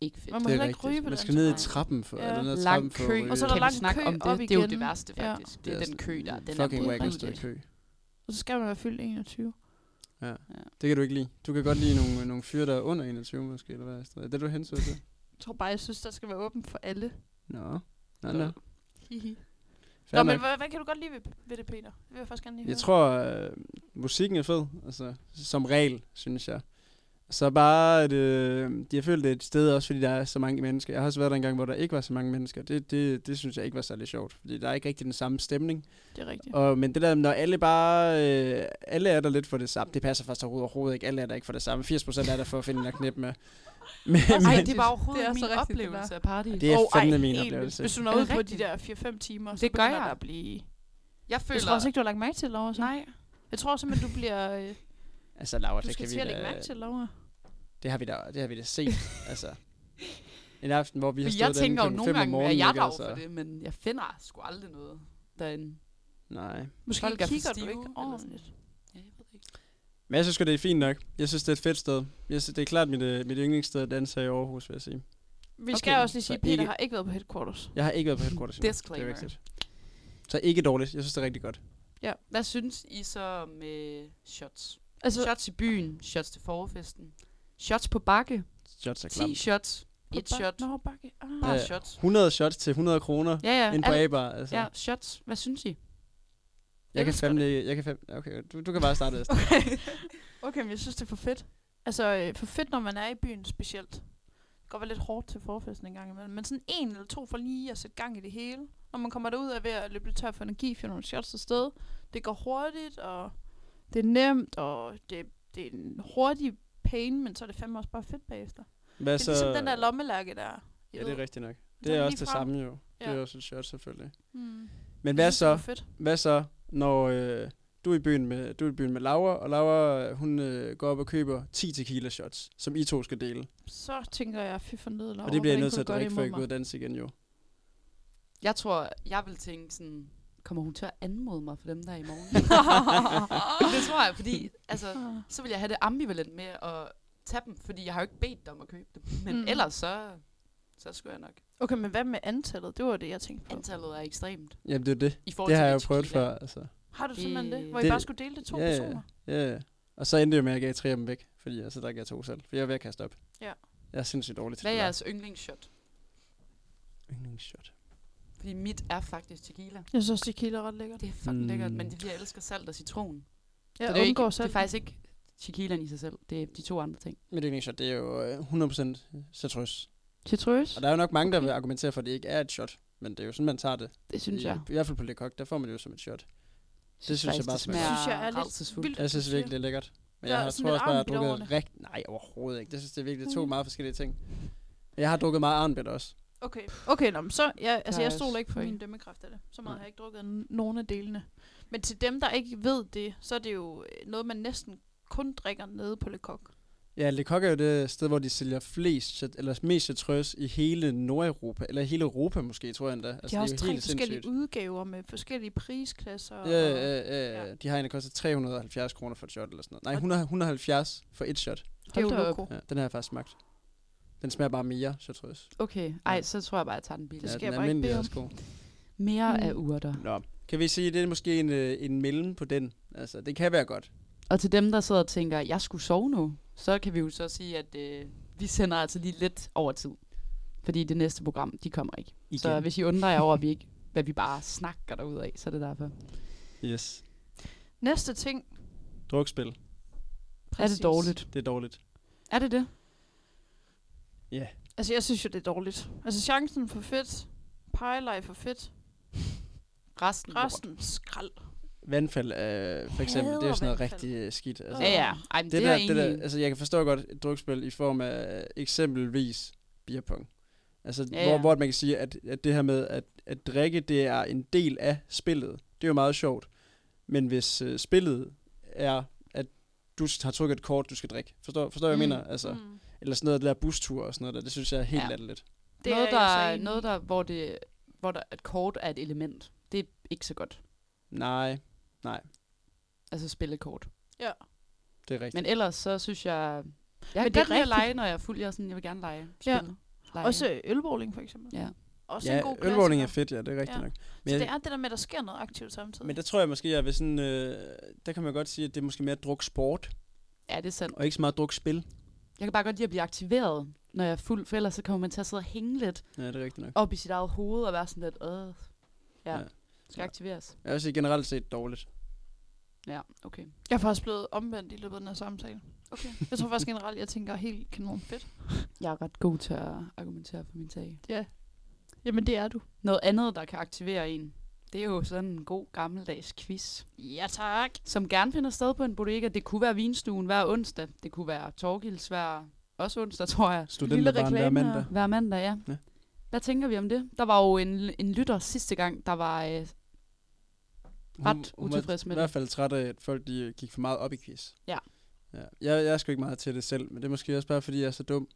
Speaker 4: Ikke fedt.
Speaker 3: Man må
Speaker 2: det
Speaker 3: heller
Speaker 2: er
Speaker 3: ikke ryge på
Speaker 2: Man
Speaker 3: den
Speaker 2: skal ned i
Speaker 3: så meget.
Speaker 2: trappen for,
Speaker 3: Ja.
Speaker 2: eller ned ad trappen
Speaker 4: Lang
Speaker 2: for at
Speaker 4: kø.
Speaker 2: ryge.
Speaker 3: Og så er der
Speaker 4: øh, Kan
Speaker 3: lang
Speaker 4: vi snakke
Speaker 3: kø
Speaker 4: om
Speaker 3: op
Speaker 4: det? Det er jo
Speaker 3: igen?
Speaker 4: det værste,
Speaker 3: Ja.
Speaker 4: faktisk. Det er
Speaker 2: Det er
Speaker 4: den kø, der den
Speaker 2: Fucking
Speaker 4: er
Speaker 2: whack at stå i
Speaker 4: modbydelig.
Speaker 2: kø.
Speaker 3: Og så skal man være fyldt 21.
Speaker 2: Det kan du ikke lide. Du kan godt lide nogle, nogle fyre, der er under 21 måske, eller hvad? Astrid? Er det, du hensyder til?
Speaker 3: Jeg tror bare, jeg synes, der skal være åben for alle.
Speaker 2: Nå. Nå, nå.
Speaker 3: Hihi.
Speaker 2: Fair
Speaker 3: Nå,
Speaker 2: nok.
Speaker 3: men hvad, hvad kan du godt lide ved, ved det, Peter? Det vil jeg faktisk gerne lige
Speaker 2: Jeg
Speaker 3: høre.
Speaker 2: tror, øh, musikken er fed, altså, som regel, synes jeg. Så bare, at øh, jeg følte, det er et sted også, fordi der er så mange mennesker. Jeg har også været der en gang, hvor der ikke var så mange mennesker. Det, det, det synes jeg ikke var særlig sjovt, fordi der er ikke rigtig den samme stemning.
Speaker 3: Det er rigtigt.
Speaker 2: Og, men det der, når alle bare, øh, alle er der lidt for det samme, det passer faktisk overhovedet ikke. Alle er der ikke for det samme. 80% er der for at finde en knep med. Men,
Speaker 4: Nej,
Speaker 2: men
Speaker 4: det var overhovedet
Speaker 3: Det er
Speaker 4: ikke
Speaker 3: så
Speaker 4: min
Speaker 3: rigtigt, det
Speaker 4: oplevelse
Speaker 3: der.
Speaker 4: af party.
Speaker 2: det er
Speaker 3: Åh,
Speaker 2: fandme
Speaker 3: ej,
Speaker 2: min
Speaker 3: helt vildt.
Speaker 2: oplevelse.
Speaker 3: Hvis du når
Speaker 4: Er det
Speaker 3: ud på de
Speaker 4: rigtigt?
Speaker 3: der 4-5 timer, så
Speaker 4: Det gør
Speaker 3: begynder
Speaker 4: jeg.
Speaker 3: der at blive...
Speaker 4: Jeg
Speaker 3: Jeg
Speaker 4: føler...
Speaker 3: tror også ikke, du har lagt mærke til, Laura. Så.
Speaker 4: Nej.
Speaker 3: Jeg tror simpelthen, du bliver... Øh,
Speaker 2: Altså, Laura,
Speaker 3: du
Speaker 2: det
Speaker 3: skal
Speaker 2: kan vi
Speaker 3: til at lægge
Speaker 2: da,
Speaker 3: mærke til, Laura.
Speaker 2: det har vi da, det har vi da set, altså. En aften, hvor vi har
Speaker 4: Fordi
Speaker 2: stået
Speaker 4: jeg tænker jo
Speaker 2: derinde klokken fem om
Speaker 4: nogle gange, at
Speaker 2: morgenen,
Speaker 4: jeg er
Speaker 2: ikke?
Speaker 4: dag for
Speaker 2: Altså,
Speaker 4: det, men jeg finder sgu aldrig noget derinde.
Speaker 2: Nej.
Speaker 3: Måske
Speaker 4: Folk er for
Speaker 3: kigger du
Speaker 4: stive,
Speaker 3: ikke
Speaker 4: eller sådan.
Speaker 3: ordentligt.
Speaker 4: Ja, jeg ved det ikke.
Speaker 2: Men jeg synes sgu, det er fint nok. Jeg synes, det er et fedt sted. Jeg synes, det er klart mit, øh, mit yndlingssted at danse her i Aarhus, vil jeg sige.
Speaker 3: Vi
Speaker 2: Okay,
Speaker 3: skal også lige
Speaker 2: så
Speaker 3: sige, at Peter
Speaker 2: ikke-
Speaker 3: har ikke været på headquarters.
Speaker 2: Jeg har ikke været på headquarters. endnu.
Speaker 4: Disclaimer.
Speaker 2: Det er rigtigt. Så ikke dårligt. Jeg synes, det er rigtig godt.
Speaker 4: Hvad synes I så med shots?
Speaker 3: Altså,
Speaker 4: Shots i byen, shots til forfesten, shots på bakke,
Speaker 2: Shots er
Speaker 4: 10
Speaker 2: klamt.
Speaker 4: shots,
Speaker 3: på
Speaker 4: et
Speaker 3: bak-
Speaker 4: shot,
Speaker 3: Nå, bakke. Ah.
Speaker 4: bare
Speaker 2: Ja.
Speaker 4: shots.
Speaker 2: 100 shots til 100 kroner
Speaker 4: Ja, ja,
Speaker 2: ind på
Speaker 4: alt-
Speaker 2: A-bar. Altså.
Speaker 4: ja, shots. Hvad synes I?
Speaker 2: jeg kan
Speaker 3: elsker
Speaker 2: fandme... ikke- Jeg kan fandme okay, du, du kan bare starte. Astrid.
Speaker 3: Okay, men jeg synes, det er for fedt. Altså, øh, for fedt, når man er i byen specielt. Det kan godt være lidt hårdt til forfesten en gang imellem, men sådan en eller to for lige at sætte gang i det hele. Når man kommer derud af ved at løbe lidt tør for energi, finde nogle shots til sted. Det går hurtigt, og det er nemt, og det, det er en hurtig pain, men så er det fandme også bare fedt bagefter.
Speaker 2: Hvad
Speaker 3: Altså,
Speaker 2: så?
Speaker 3: det er ligesom den der lommelærke der. I
Speaker 2: Ja, det
Speaker 3: ved.
Speaker 2: er rigtigt nok.
Speaker 3: tager
Speaker 2: Det er
Speaker 3: den
Speaker 2: også
Speaker 3: lige
Speaker 2: det
Speaker 3: frem.
Speaker 2: samme jo. Det er
Speaker 3: Ja.
Speaker 2: også et shot, selvfølgelig.
Speaker 3: Mm.
Speaker 2: Men
Speaker 3: Jeg
Speaker 2: hvad
Speaker 3: synes, det er ligesom-
Speaker 2: så?
Speaker 3: for fedt.
Speaker 2: Hvad så, når øh, du, er i byen med, du er i byen med Laura, og Laura øh, hun øh, går op og køber 10 tequila shots, som I to skal dele.
Speaker 3: Så tænker jeg, fy for nødler.
Speaker 2: Og det bliver jeg nødt til at drikke, før jeg går ud og danse igen, jo.
Speaker 4: Jeg tror, jeg vil tænke sådan, kommer hun til at anmode mig for dem der i morgen? det tror jeg, fordi altså, så vil jeg have det ambivalent med at tage dem, fordi jeg har jo ikke bedt dig om at købe dem. Men
Speaker 3: Mm.
Speaker 4: mm. ellers så, så skulle jeg nok.
Speaker 3: Okay, men hvad med antallet? Det var det, jeg tænkte på.
Speaker 4: Antallet er ekstremt.
Speaker 2: Jamen, det er det.
Speaker 4: I forhold
Speaker 2: Det
Speaker 4: til
Speaker 2: har jeg jo
Speaker 4: det
Speaker 2: prøvet
Speaker 4: tequila.
Speaker 2: før, altså.
Speaker 3: Har du simpelthen det?
Speaker 4: Øh,
Speaker 3: Hvor I
Speaker 2: det-
Speaker 3: bare skulle dele det to
Speaker 2: ja, ja.
Speaker 3: personer?
Speaker 2: Ja, ja. Og så endte det jo med, at jeg gav tre af dem væk, fordi altså, der gav jeg to selv. For jeg er ved at kaste op.
Speaker 3: Ja.
Speaker 2: Jeg er sindssygt dårlig til
Speaker 4: Hvad er
Speaker 2: det.
Speaker 4: jeres yndlingsshot?
Speaker 2: der. Yndlingsshot.
Speaker 4: Fordi mit er faktisk tequila.
Speaker 3: Jeg synes, tequila er ret lækkert.
Speaker 4: Det er fucking
Speaker 2: Mm.
Speaker 4: lækkert, men det er fordi, jeg elsker salt og citron.
Speaker 3: Jeg
Speaker 4: så det, er jo
Speaker 3: undgår
Speaker 4: ikke,
Speaker 3: selv.
Speaker 4: det er faktisk ikke Tequilaen i sig selv. Det er de to andre ting.
Speaker 2: Mit yndlingsshot, det er jo øh, 100% citrus.
Speaker 4: Citrus,
Speaker 2: Og der er jo nok mange, der vil argumentere for, at det ikke er et shot. Men det er jo sådan, man tager det.
Speaker 4: det synes
Speaker 2: I,
Speaker 4: jeg.
Speaker 2: I hvert fald på Le Coq, der får man det jo som et shot. synes jeg
Speaker 4: faktisk,
Speaker 2: bare
Speaker 4: det
Speaker 2: smager-
Speaker 4: smager
Speaker 3: synes jeg er lidt
Speaker 4: rædselsfuldt.
Speaker 3: vildt.
Speaker 2: Jeg synes det er virkelig, det er lækkert. Men
Speaker 3: Der
Speaker 2: jeg
Speaker 3: er
Speaker 2: har,
Speaker 3: sådan
Speaker 2: tror
Speaker 3: lidt
Speaker 2: også bare, jeg
Speaker 3: armbidt
Speaker 2: har
Speaker 3: over
Speaker 2: drukket rigtig... Nej, overhovedet ikke. Det synes jeg virkelig,
Speaker 4: Mm.
Speaker 2: to meget forskellige ting. Jeg har drukket meget arnbidt også.
Speaker 3: Okay, okay nå, men så, jeg, altså,
Speaker 4: Der
Speaker 3: jeg
Speaker 4: er
Speaker 3: stoler ikke på
Speaker 4: selvfølgelig-
Speaker 3: min dømmekraft af det. Så meget
Speaker 2: Nej.
Speaker 3: har jeg ikke drukket af n- nogen af delene. Men til dem, der ikke ved det, så er det jo øh, noget, man næsten kun drikker nede på Le Coq.
Speaker 2: Ja, Le Coq er jo det sted, hvor de sælger flest, cit- eller mest citrus i hele Nordeuropa. Eller hele Europa måske, tror jeg endda. Altså,
Speaker 3: Altså, de har også
Speaker 2: det er jo
Speaker 3: tre
Speaker 2: helt
Speaker 3: forskellige
Speaker 2: sindssygt.
Speaker 3: sindssygt. udgaver med forskellige prisklasser.
Speaker 2: Ja, ja,
Speaker 3: og-
Speaker 2: ja, ja, ja.
Speaker 3: ja.
Speaker 2: De har en, der koster 370 kroner for et shot eller sådan noget. Nej, 100, 170 for et shot.
Speaker 3: Det er jo
Speaker 4: Hold da op.
Speaker 3: loko.
Speaker 2: Ja, den har jeg faktisk smagt. Den smager bare mere, så tror jeg.
Speaker 4: Okay, ej, så tror jeg bare, jeg tager den
Speaker 3: Det
Speaker 4: billigere.
Speaker 3: skal
Speaker 2: den
Speaker 3: jeg bare ikke
Speaker 2: almindelige
Speaker 3: bede
Speaker 2: er
Speaker 3: om.
Speaker 2: også god.
Speaker 4: Mere
Speaker 3: Mm.
Speaker 4: af urter.
Speaker 2: Nå, kan vi sige, at det er måske en, øh, en mellem på den? Altså, det kan være godt.
Speaker 4: Og til dem, der sidder og tænker, jeg skulle sove nu, så kan vi jo så sige, at øh, vi sender altså lige lidt over tid. Fordi det næste program, de kommer ikke. Igen. Så hvis I undrer jer over, at vi ikke, hvad vi bare snakker derud af, så er det derfor.
Speaker 2: Yes.
Speaker 3: Næste ting.
Speaker 2: Drukspil,
Speaker 4: Præcis. Er det dårligt?
Speaker 2: det er dårligt.
Speaker 4: Er det det?
Speaker 3: Altså, jeg synes jo, det er dårligt. Altså, chancen for fedt. Pejlej for fedt.
Speaker 4: Resten?
Speaker 3: Resten skrald.
Speaker 2: Vandfald, øh, for eksempel, det er jo
Speaker 3: Hader
Speaker 2: sådan noget
Speaker 3: vandfald.
Speaker 2: rigtig øh, skidt. Altså,
Speaker 4: Ja, ja. Ej, men det, det, er
Speaker 2: der,
Speaker 4: jeg
Speaker 2: det
Speaker 4: egentlig...
Speaker 2: der, altså, jeg kan forstå godt et drukspil i form af øh, eksempelvis beerpong. Altså, ja,
Speaker 4: Ja,
Speaker 2: hvor,
Speaker 4: ja.
Speaker 2: hvor man kan sige, at, at det her med at, at drikke, det er en del af spillet. Det er jo meget sjovt. Men hvis øh, spillet er, at du har trykket et kort, du skal drikke. Forstår, forstår mm. jeg,
Speaker 4: Mm,
Speaker 2: mener? Altså, mm.
Speaker 3: Mm.
Speaker 2: Eller sådan noget, der bustur og sådan noget der. Det synes jeg er helt
Speaker 4: Ja.
Speaker 2: ja. lidt.
Speaker 3: Det
Speaker 4: noget,
Speaker 3: er
Speaker 4: der,
Speaker 3: jeg så enig i.
Speaker 4: noget der, hvor, det, hvor der, et kort er et element. Det er ikke så godt.
Speaker 2: Nej,
Speaker 4: Altså spillekort.
Speaker 3: Ja.
Speaker 2: det er rigtigt.
Speaker 4: Men ellers, så synes jeg...
Speaker 3: Men
Speaker 4: Jeg kan
Speaker 3: det er
Speaker 4: godt lide at
Speaker 3: rigtigt.
Speaker 4: lege, når jeg er fuld. Jeg, er sådan, jeg vil gerne lege.
Speaker 3: Ja.
Speaker 4: Spille, lege.
Speaker 3: Også ølbowling, for eksempel.
Speaker 4: Ja.
Speaker 3: Også en
Speaker 2: ja,
Speaker 3: god
Speaker 2: ølvågning er
Speaker 3: klassiker.
Speaker 2: fedt, ja, det er rigtigt ja.
Speaker 3: Ja.
Speaker 2: nok.
Speaker 3: Så
Speaker 2: Men,
Speaker 3: det
Speaker 2: jeg,
Speaker 3: er det der med, at der sker noget aktivt samtidig.
Speaker 2: men der tror jeg måske, at jeg vil sådan, øh, der kan man godt sige, at det er måske mere druk sport,
Speaker 4: Ja, det er sandt.
Speaker 2: og ikke så meget druk spil.
Speaker 4: Jeg kan bare godt lide at blive aktiveret, når jeg er fuld, for ellers så kommer man til at sidde og hænge lidt
Speaker 2: Ja, det er rigtigt nok.
Speaker 4: op i sit eget hoved og være sådan lidt, øh, ja,
Speaker 2: Ja.
Speaker 4: ja. skal aktiveres.
Speaker 2: Jeg vil sige generelt set dårligt.
Speaker 4: Ja, okay.
Speaker 3: Jeg er faktisk blevet omvendt i løbet af den her samtale. Okay. Jeg tror faktisk generelt, jeg tænker helt kanon fedt.
Speaker 4: Jeg er ret god til at argumentere for min sag.
Speaker 3: Ja. Jamen, det er du.
Speaker 4: Noget andet, der kan aktivere en, det er jo sådan en god gammeldags quiz,
Speaker 3: Ja, tak.
Speaker 4: som gerne finder sted på en bodega. Det kunne være Vinstuen hver onsdag. Det kunne være Torgils hver, også onsdag, tror jeg.
Speaker 2: Studenterbarn hver
Speaker 3: reklame her.
Speaker 2: mandag.
Speaker 4: Hver mandag, ja.
Speaker 2: Ja.
Speaker 4: ja. Hvad tænker vi om det? Der var jo en, en lytter sidste gang, der var... Øh, Ret
Speaker 2: hun
Speaker 4: utilfreds
Speaker 2: var i
Speaker 4: med det.
Speaker 2: hvert fald træt af, at folk de øh, gik for meget op i quiz.
Speaker 4: Ja.
Speaker 2: ja. Jeg, jeg er sgu ikke meget til det selv, men det er måske også bare, fordi jeg er så dum.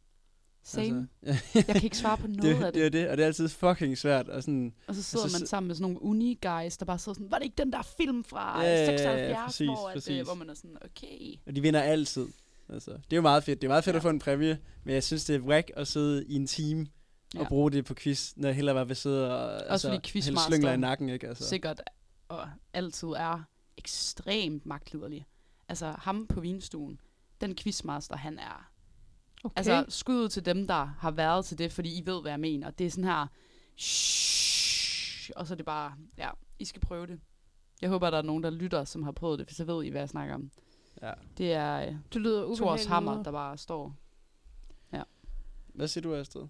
Speaker 4: same.
Speaker 2: Altså,
Speaker 4: Jeg kan ikke svare på noget
Speaker 2: det,
Speaker 4: af
Speaker 2: det er det, og det er altid fucking svært. Og sådan,
Speaker 4: Og så sidder
Speaker 2: Altså,
Speaker 4: man
Speaker 2: så-
Speaker 4: sammen med sådan nogle uni-guys, der bare sidder sådan, var det ikke den der film fra
Speaker 2: Ja, ja, ja, ja,
Speaker 4: ja, 76, ja,
Speaker 2: præcis,
Speaker 4: præcis, hvor, at,
Speaker 2: præcis.
Speaker 4: øh, hvor man er sådan, okay.
Speaker 2: Og de vinder altid. Altså, det er jo meget fedt. Det er meget fedt ja.
Speaker 4: Ja.
Speaker 2: at få en præmie, men jeg synes, det er vræk at sidde i en time ja. og
Speaker 4: Ja.
Speaker 2: bruge det på quiz, når jeg hellere bare vil sidde og altså,
Speaker 4: fordi
Speaker 2: hælde
Speaker 4: quizmasteren
Speaker 2: slyngler i nakken. Ikke? Altså.
Speaker 4: Så. Sikkert og altid er ekstremt magtliderlig. Altså ham på vinstuen, den quizmaster, han er.
Speaker 3: Okay.
Speaker 4: Altså skud ud til dem, der har været til det, fordi I ved, hvad jeg mener. Det er sådan her, og så er det bare, ja, I skal prøve det. Jeg håber, der er nogen, der lytter, som har prøvet det, for så ved I, hvad jeg snakker om.
Speaker 2: Ja.
Speaker 4: Det er øh,
Speaker 3: du lyder ubehagelig.
Speaker 4: Thors Hammer,
Speaker 3: ud.
Speaker 4: der bare står
Speaker 2: Hvad siger du, Astrid?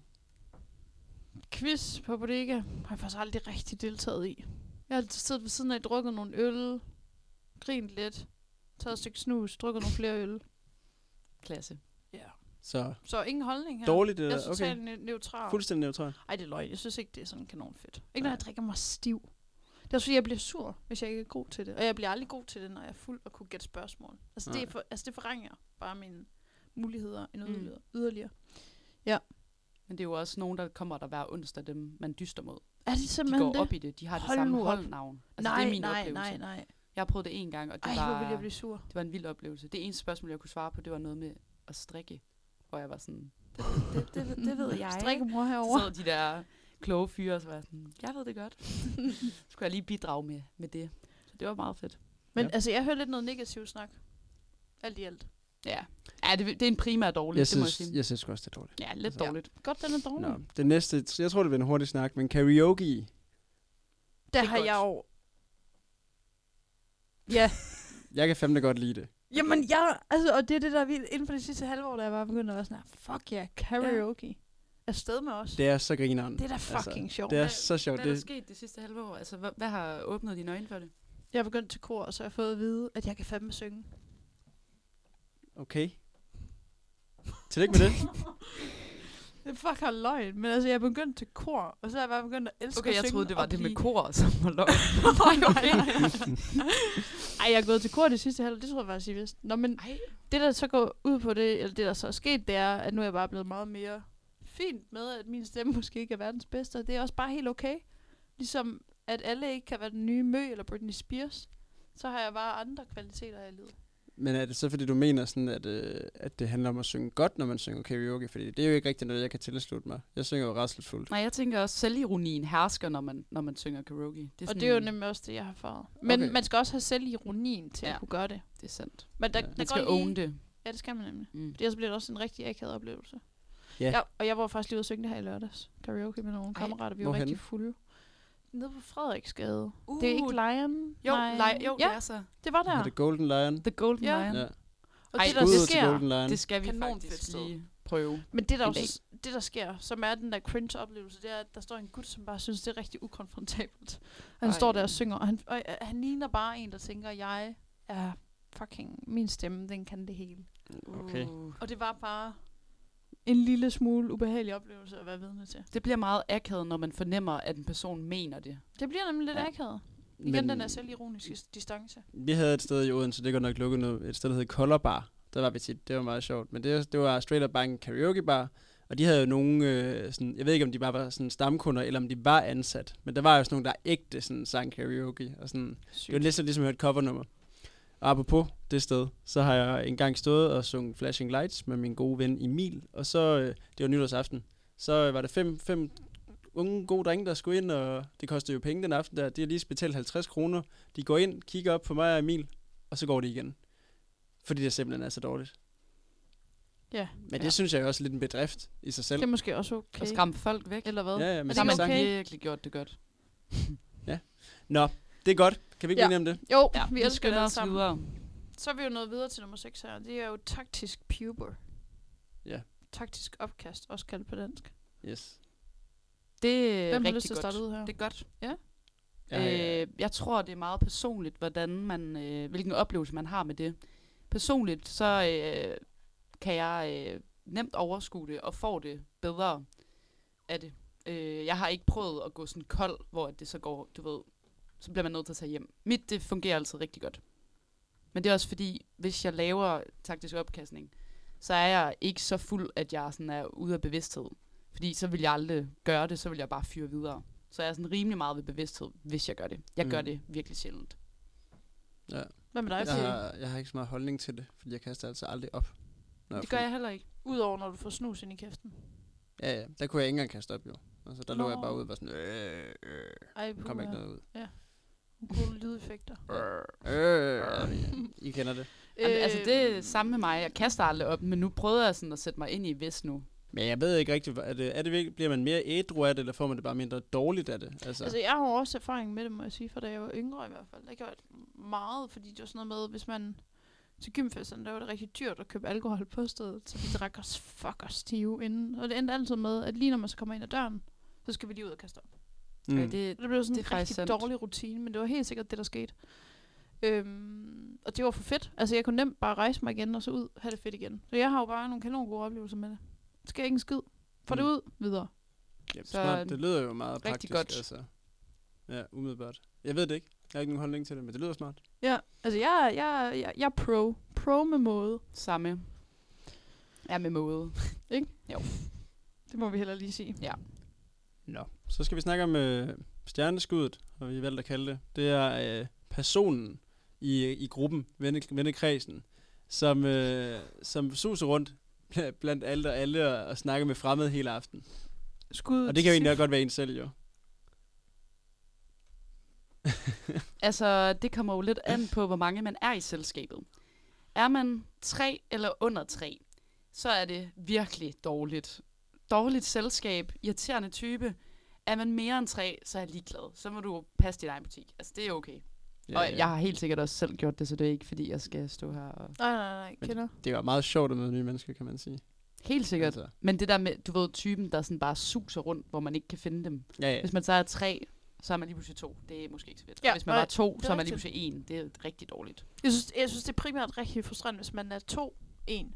Speaker 3: Quiz på bodega har jeg faktisk aldrig rigtig deltaget i. Jeg har altid siddet ved siden af, drukket nogle øl, grint lidt, taget et stykke snus, drukket nogle flere øl.
Speaker 4: klasse.
Speaker 2: Så
Speaker 3: Så ingen holdning her.
Speaker 2: dårligt
Speaker 3: Jeg
Speaker 4: øh,
Speaker 2: eller
Speaker 3: er totalt
Speaker 2: okay.
Speaker 3: ne- neutral.
Speaker 2: Fuldstændig neutral.
Speaker 3: Ej, det er løgn. Jeg synes ikke, det er sådan kanon fedt. Ikke når
Speaker 2: Nej.
Speaker 3: jeg drikker mig stiv. Det er også fordi, jeg bliver sur, hvis jeg ikke er god til det. Og jeg bliver aldrig god til det, når jeg er fuld og kunne gætte spørgsmål. Altså, det, er
Speaker 2: Nej.
Speaker 3: for, altså det forringer bare mine muligheder end
Speaker 4: Mm.
Speaker 3: yderligere. yderligere.
Speaker 4: Men det er jo også nogen, der kommer der hver onsdag, dem man dyster mod.
Speaker 3: Er det
Speaker 4: De
Speaker 3: simpelthen
Speaker 4: går
Speaker 3: det?
Speaker 4: op i det, de har det
Speaker 3: Hold
Speaker 4: samme
Speaker 3: nu op.
Speaker 4: holdnavn. Altså,
Speaker 3: nej,
Speaker 4: det er min
Speaker 3: nej,
Speaker 4: oplevelse.
Speaker 3: nej, nej.
Speaker 4: Jeg har prøvet det en gang, og det,
Speaker 3: Ej, hvor
Speaker 4: var,
Speaker 3: vil jeg blive sur.
Speaker 4: det var en vild oplevelse. Det eneste spørgsmål, jeg kunne svare på, det var noget med at strikke. Og jeg var sådan, det, det, det, det ved jeg. ikke.
Speaker 3: Strikkemor
Speaker 4: Så
Speaker 3: herovre.
Speaker 4: sad de der kloge fyre, og så var jeg sådan, jeg ved det godt. Så skulle jeg lige bidrage med, med det. Så det var meget fedt.
Speaker 3: Men
Speaker 2: Ja.
Speaker 3: altså, jeg hører lidt noget negativt snak. Alt i alt.
Speaker 4: Ja, ja det, det er en primær dårlig,
Speaker 2: Jeg
Speaker 4: det må jeg
Speaker 2: synes,
Speaker 4: sige.
Speaker 2: jeg synes sgu også, det er dårligt.
Speaker 4: Ja, lidt
Speaker 2: altså-
Speaker 4: dårligt.
Speaker 3: Godt, den er dårlig.
Speaker 2: Nå, det næste, jeg tror, det bliver en hurtig snak, men karaoke,
Speaker 3: Der
Speaker 4: er
Speaker 3: har
Speaker 4: godt.
Speaker 3: jeg jo... Ja,
Speaker 2: jeg kan fandme godt lide det.
Speaker 3: Jamen, jeg, altså, og det er det, der er vildt. Inden for det sidste halve år, da jeg bare begyndte at være sådan, her, fuck ja, yeah, karaoke. Afsted med os. Det,
Speaker 2: Det er så grineren.
Speaker 3: det er da fucking altså, sjovt.
Speaker 2: det er
Speaker 4: Hvad-
Speaker 2: så sjovt.
Speaker 4: Hvad er der
Speaker 2: Det,
Speaker 4: sket det sidste halve år? Altså, hvad, hvad har åbnet dine øjne for det?
Speaker 3: Jeg er begyndt til kor, og så har jeg fået at vide, at jeg kan fandme synge.
Speaker 2: okay. Tillykke med det.
Speaker 3: Det er fucking løgn, men altså, jeg er begyndt til kor, og så har jeg bare begyndt at elske
Speaker 4: Okay,
Speaker 3: at
Speaker 4: jeg
Speaker 3: synge
Speaker 4: troede, det var
Speaker 3: og
Speaker 4: det med
Speaker 3: blive-
Speaker 4: kor, som var lov.
Speaker 3: nej, nej, nej. Ej, jeg er gået til kor det sidste halvår, det tror jeg faktisk, I vidste. Nå, men
Speaker 4: Ej,
Speaker 3: det, der så går ud på det, eller det, der så er sket, det er, at nu er jeg bare blevet meget mere fint med, at min stemme måske ikke er verdens bedste, og det er også bare helt okay. Ligesom, at alle ikke kan være den nye Mø eller Britney Spears, så har jeg bare andre kvaliteter i livet.
Speaker 2: Men er det så, fordi du mener, sådan, at, øh, at det handler om at synge godt, når man synger karaoke? Fordi det er jo ikke rigtig noget, jeg kan tilslutte mig. Jeg synger jo rasselfuldt.
Speaker 4: nej, jeg tænker også, selvironien hersker, når man, når man synger karaoke. Det
Speaker 3: Og det er jo nemlig også det, jeg har erfaret. Men
Speaker 2: Okay.
Speaker 3: okay. man skal også have selvironien til ja.
Speaker 4: Ja.
Speaker 3: at kunne gøre det.
Speaker 4: Det er sandt.
Speaker 3: Men der,
Speaker 2: Ja.
Speaker 3: ja. der
Speaker 4: Man
Speaker 3: går
Speaker 4: skal
Speaker 3: lige-
Speaker 4: own det.
Speaker 3: Ja, det skal man nemlig.
Speaker 4: Mm.
Speaker 3: For ellers bliver det også en rigtig akavet oplevelse.
Speaker 2: Ja.
Speaker 3: Jeg, og jeg var faktisk lige ude og synge det her i lørdags. Karaoke med nogle
Speaker 4: Ej,
Speaker 3: kammerater. Vi var
Speaker 2: hvorhenne?
Speaker 3: rigtig fulde. Nede på Frederiksgade. Uh, det er ikke Lion?
Speaker 4: Jo,
Speaker 3: Nej.
Speaker 4: li- jo ja.
Speaker 3: ja,
Speaker 4: det er så.
Speaker 3: det var
Speaker 2: Ja.
Speaker 3: der.
Speaker 2: Det Golden Lion.
Speaker 4: The Golden
Speaker 3: Ja.
Speaker 4: Lion.
Speaker 2: Ja.
Speaker 3: Og
Speaker 4: Ej,
Speaker 3: det,
Speaker 2: Skud
Speaker 3: der
Speaker 2: til
Speaker 3: sker,
Speaker 2: Golden Lion.
Speaker 4: Det skal vi
Speaker 3: Kanonfedt
Speaker 4: faktisk
Speaker 3: sted.
Speaker 4: lige prøve.
Speaker 3: men det der,
Speaker 4: en
Speaker 3: også,
Speaker 4: dag.
Speaker 3: det, der sker, som er den der cringe-oplevelse, det er, at der står en gut, som bare synes, det er rigtig ukonfrontabelt. Han
Speaker 4: Ej.
Speaker 3: Ej. står der og synger, og han, og, øh, han ligner bare en, der tænker, jeg er fucking min stemme, den kan det hele.
Speaker 2: Okay.
Speaker 4: Uh.
Speaker 3: Og det var bare en lille smule ubehagelig oplevelse at være vidne til.
Speaker 4: Det bliver meget akavet, når man fornemmer, at en person mener det.
Speaker 3: Det bliver nemlig lidt
Speaker 4: Ja.
Speaker 3: ja. akavet. Igen
Speaker 2: Men-
Speaker 3: Men, den der selvironiske s- distance.
Speaker 2: Vi havde et sted i Odense, det går nok lukket nu, et sted, der hed Color Bar. Der var vi tit, det var meget sjovt. Men det, det var straight up bare en karaoke bar, og de havde jo nogle, øh, sådan, jeg ved ikke om de bare var sådan stamkunder, eller om de var ansat, men der var jo sådan nogle, der ægte sådan, sang karaoke, og sådan, Det var næsten ligesom at høre et covernummer. Og apropos det sted, så har jeg engang stået og sunget Flashing Lights med min gode ven Emil, og så, øh, det var nytårsaften, så øh, var der fem, fem unge gode drenge, der skulle ind, og det kostede jo penge den aften der. De har lige betalt 50 kroner. De går ind, kigger op på mig og Emil, og så går de igen. Fordi det simpelthen er så dårligt.
Speaker 3: Ja,
Speaker 2: Men det synes jeg jo også er lidt en bedrift i sig selv.
Speaker 3: det er måske også okay.
Speaker 4: Okay. Og skræmme folk væk.
Speaker 3: Eller hvad?
Speaker 2: Ja, ja, men
Speaker 3: er
Speaker 4: Så
Speaker 3: det
Speaker 4: har man
Speaker 3: ikke okay?
Speaker 4: virkelig gjort det godt.
Speaker 2: Nå, det er godt. Kan vi ikke
Speaker 3: Ja.
Speaker 2: ja. blive enige om det?
Speaker 3: Jo,
Speaker 4: Ja,
Speaker 3: ja, vi elsker det
Speaker 4: skynder
Speaker 3: alle
Speaker 4: os
Speaker 3: sammen.
Speaker 4: videre.
Speaker 3: Så er vi jo nået videre til nummer 6 her. Det er jo taktisk puber.
Speaker 2: Ja.
Speaker 3: Taktisk opkast, også kaldt på dansk.
Speaker 2: Yes.
Speaker 4: Det er
Speaker 3: Hvem har
Speaker 4: Øh, rigtig
Speaker 3: lyst til at
Speaker 4: godt.
Speaker 3: starte ud her?
Speaker 4: Det er godt.
Speaker 2: Jeg, har-
Speaker 4: Øh, jeg tror, det er meget personligt, hvordan man, øh, hvilken oplevelse man har med det. Personligt, så øh, kan jeg øh, nemt overskue det og får det bedre af det. Øh, jeg har ikke prøvet at gå sådan kold, hvor det så går, du ved, så bliver man nødt til at tage hjem. Mit, det fungerer altid rigtig godt. Men det er også fordi, hvis jeg laver taktisk opkastning, så er jeg ikke så fuld, at jeg sådan er ude af bevidsthed. Fordi så vil jeg aldrig gøre det, så vil jeg bare fyre videre. Så jeg er sådan rimelig meget ved bevidsthed, hvis jeg gør det. Jeg mm. gør
Speaker 2: Mm.
Speaker 4: det virkelig sjældent.
Speaker 3: Hvad med dig,
Speaker 2: jeg,
Speaker 3: ja.
Speaker 2: har, jeg har ikke så meget holdning til det, fordi jeg kaster altså aldrig op. Når
Speaker 4: Det gør jeg heller ikke.
Speaker 3: Udover når du får snus ind i kæften.
Speaker 2: Ja, ja. Der kunne jeg ikke engang kaste op, jo. Altså, der Nå. lå jeg
Speaker 3: Nå.
Speaker 2: bare ude og var sådan, øh, øh,
Speaker 3: Ej,
Speaker 2: der kom
Speaker 3: puha.
Speaker 2: ikke noget ud.
Speaker 3: Gode lydeffekter.
Speaker 2: Øh, ja, I kender det.
Speaker 4: Jamen, altså, det er
Speaker 3: Øhm,
Speaker 4: samme med mig. Jeg kaster aldrig op, men nu prøvede jeg sådan at sætte mig ind i hvis nu.
Speaker 2: Men jeg ved ikke rigtigt, hvor- er det, er det virkelig, bliver man mere ædru af det, eller får man det bare mindre dårligt af det? Altså,
Speaker 3: Altså, jeg har jo også erfaring med det, må jeg sige, for da jeg var yngre i hvert fald. Der gjorde jeg meget, fordi det var sådan noget med, hvis man til gymfesterne, der var det rigtig dyrt at købe alkohol på stedet, så vi drak os fuck os stive inden. Og det endte altid med, at lige når man så kommer ind ad døren, så skal vi lige ud og kaste op.
Speaker 4: Mm.
Speaker 2: mm.
Speaker 4: Ja,
Speaker 2: det,
Speaker 4: det,
Speaker 3: Og det blev sådan
Speaker 4: Det er
Speaker 3: en
Speaker 4: faktisk
Speaker 3: rigtig
Speaker 4: sandt.
Speaker 3: dårlig rutine, men det var helt sikkert det, der skete. Øhm, og det var for fedt. Altså, jeg kunne nemt bare rejse mig igen, og så ud, have det fedt igen. Så jeg har jo bare nogle kanon gode oplevelser med det. Det sker ikke en skid. Få det
Speaker 2: Mm.
Speaker 3: ud, videre.
Speaker 2: ja,
Speaker 4: så
Speaker 2: smart. det lyder jo meget
Speaker 4: rigtig
Speaker 2: praktisk.
Speaker 4: godt.
Speaker 2: Altså. Ja, umiddelbart. Jeg ved det ikke. Jeg har ikke nogen holdning til det, men det lyder smart.
Speaker 3: Ja, altså, jeg, jeg, jeg, jeg er pro. Pro med måde.
Speaker 4: samme. Ja, med måde.
Speaker 3: Det må vi heller lige sige.
Speaker 2: Nå. Så skal vi snakke om øh, stjerneskuddet, og vi valgte at kalde det. Det er øh, personen i, i gruppen, venne, vennekredsen, som, øh, som suser rundt bl- blandt alle og alle og, og snakker med fremmede hele aften.
Speaker 3: Skud
Speaker 2: Og det kan jo
Speaker 3: til
Speaker 2: egentlig
Speaker 3: Sif.
Speaker 2: også godt være en selv, jo.
Speaker 4: Altså, det kommer jo lidt an på, hvor mange man er i selskabet. Er man tre eller under tre, så er det virkelig dårligt. Dårligt selskab, irriterende type. Er man mere end tre, så er jeg ligeglad. Så må du passe din egen butik. Altså, det er okay. Ja, og jeg har helt sikkert også selv gjort det, så det er ikke, fordi jeg skal stå her. Og...
Speaker 3: Nej, nej, nej,
Speaker 2: Men-
Speaker 3: kender.
Speaker 2: Det var meget sjovt at møde nye mennesker, kan man sige.
Speaker 4: Helt sikkert.
Speaker 2: Altså,
Speaker 4: Men det der med, du ved, typen, der sådan bare suser rundt, hvor man ikke kan finde dem.
Speaker 2: ja, ja.
Speaker 4: Hvis man så er tre, så er man lige pludselig to. Det er måske ikke så fedt.
Speaker 3: Ja,
Speaker 4: Ja, Hvis man
Speaker 3: nej,
Speaker 4: var to,
Speaker 3: er
Speaker 4: så er man lige
Speaker 3: rigtigt.
Speaker 4: pludselig en. Det er rigtig dårligt.
Speaker 3: Jeg synes, jeg synes, det er primært rigtig frustrerende, hvis man er to, en.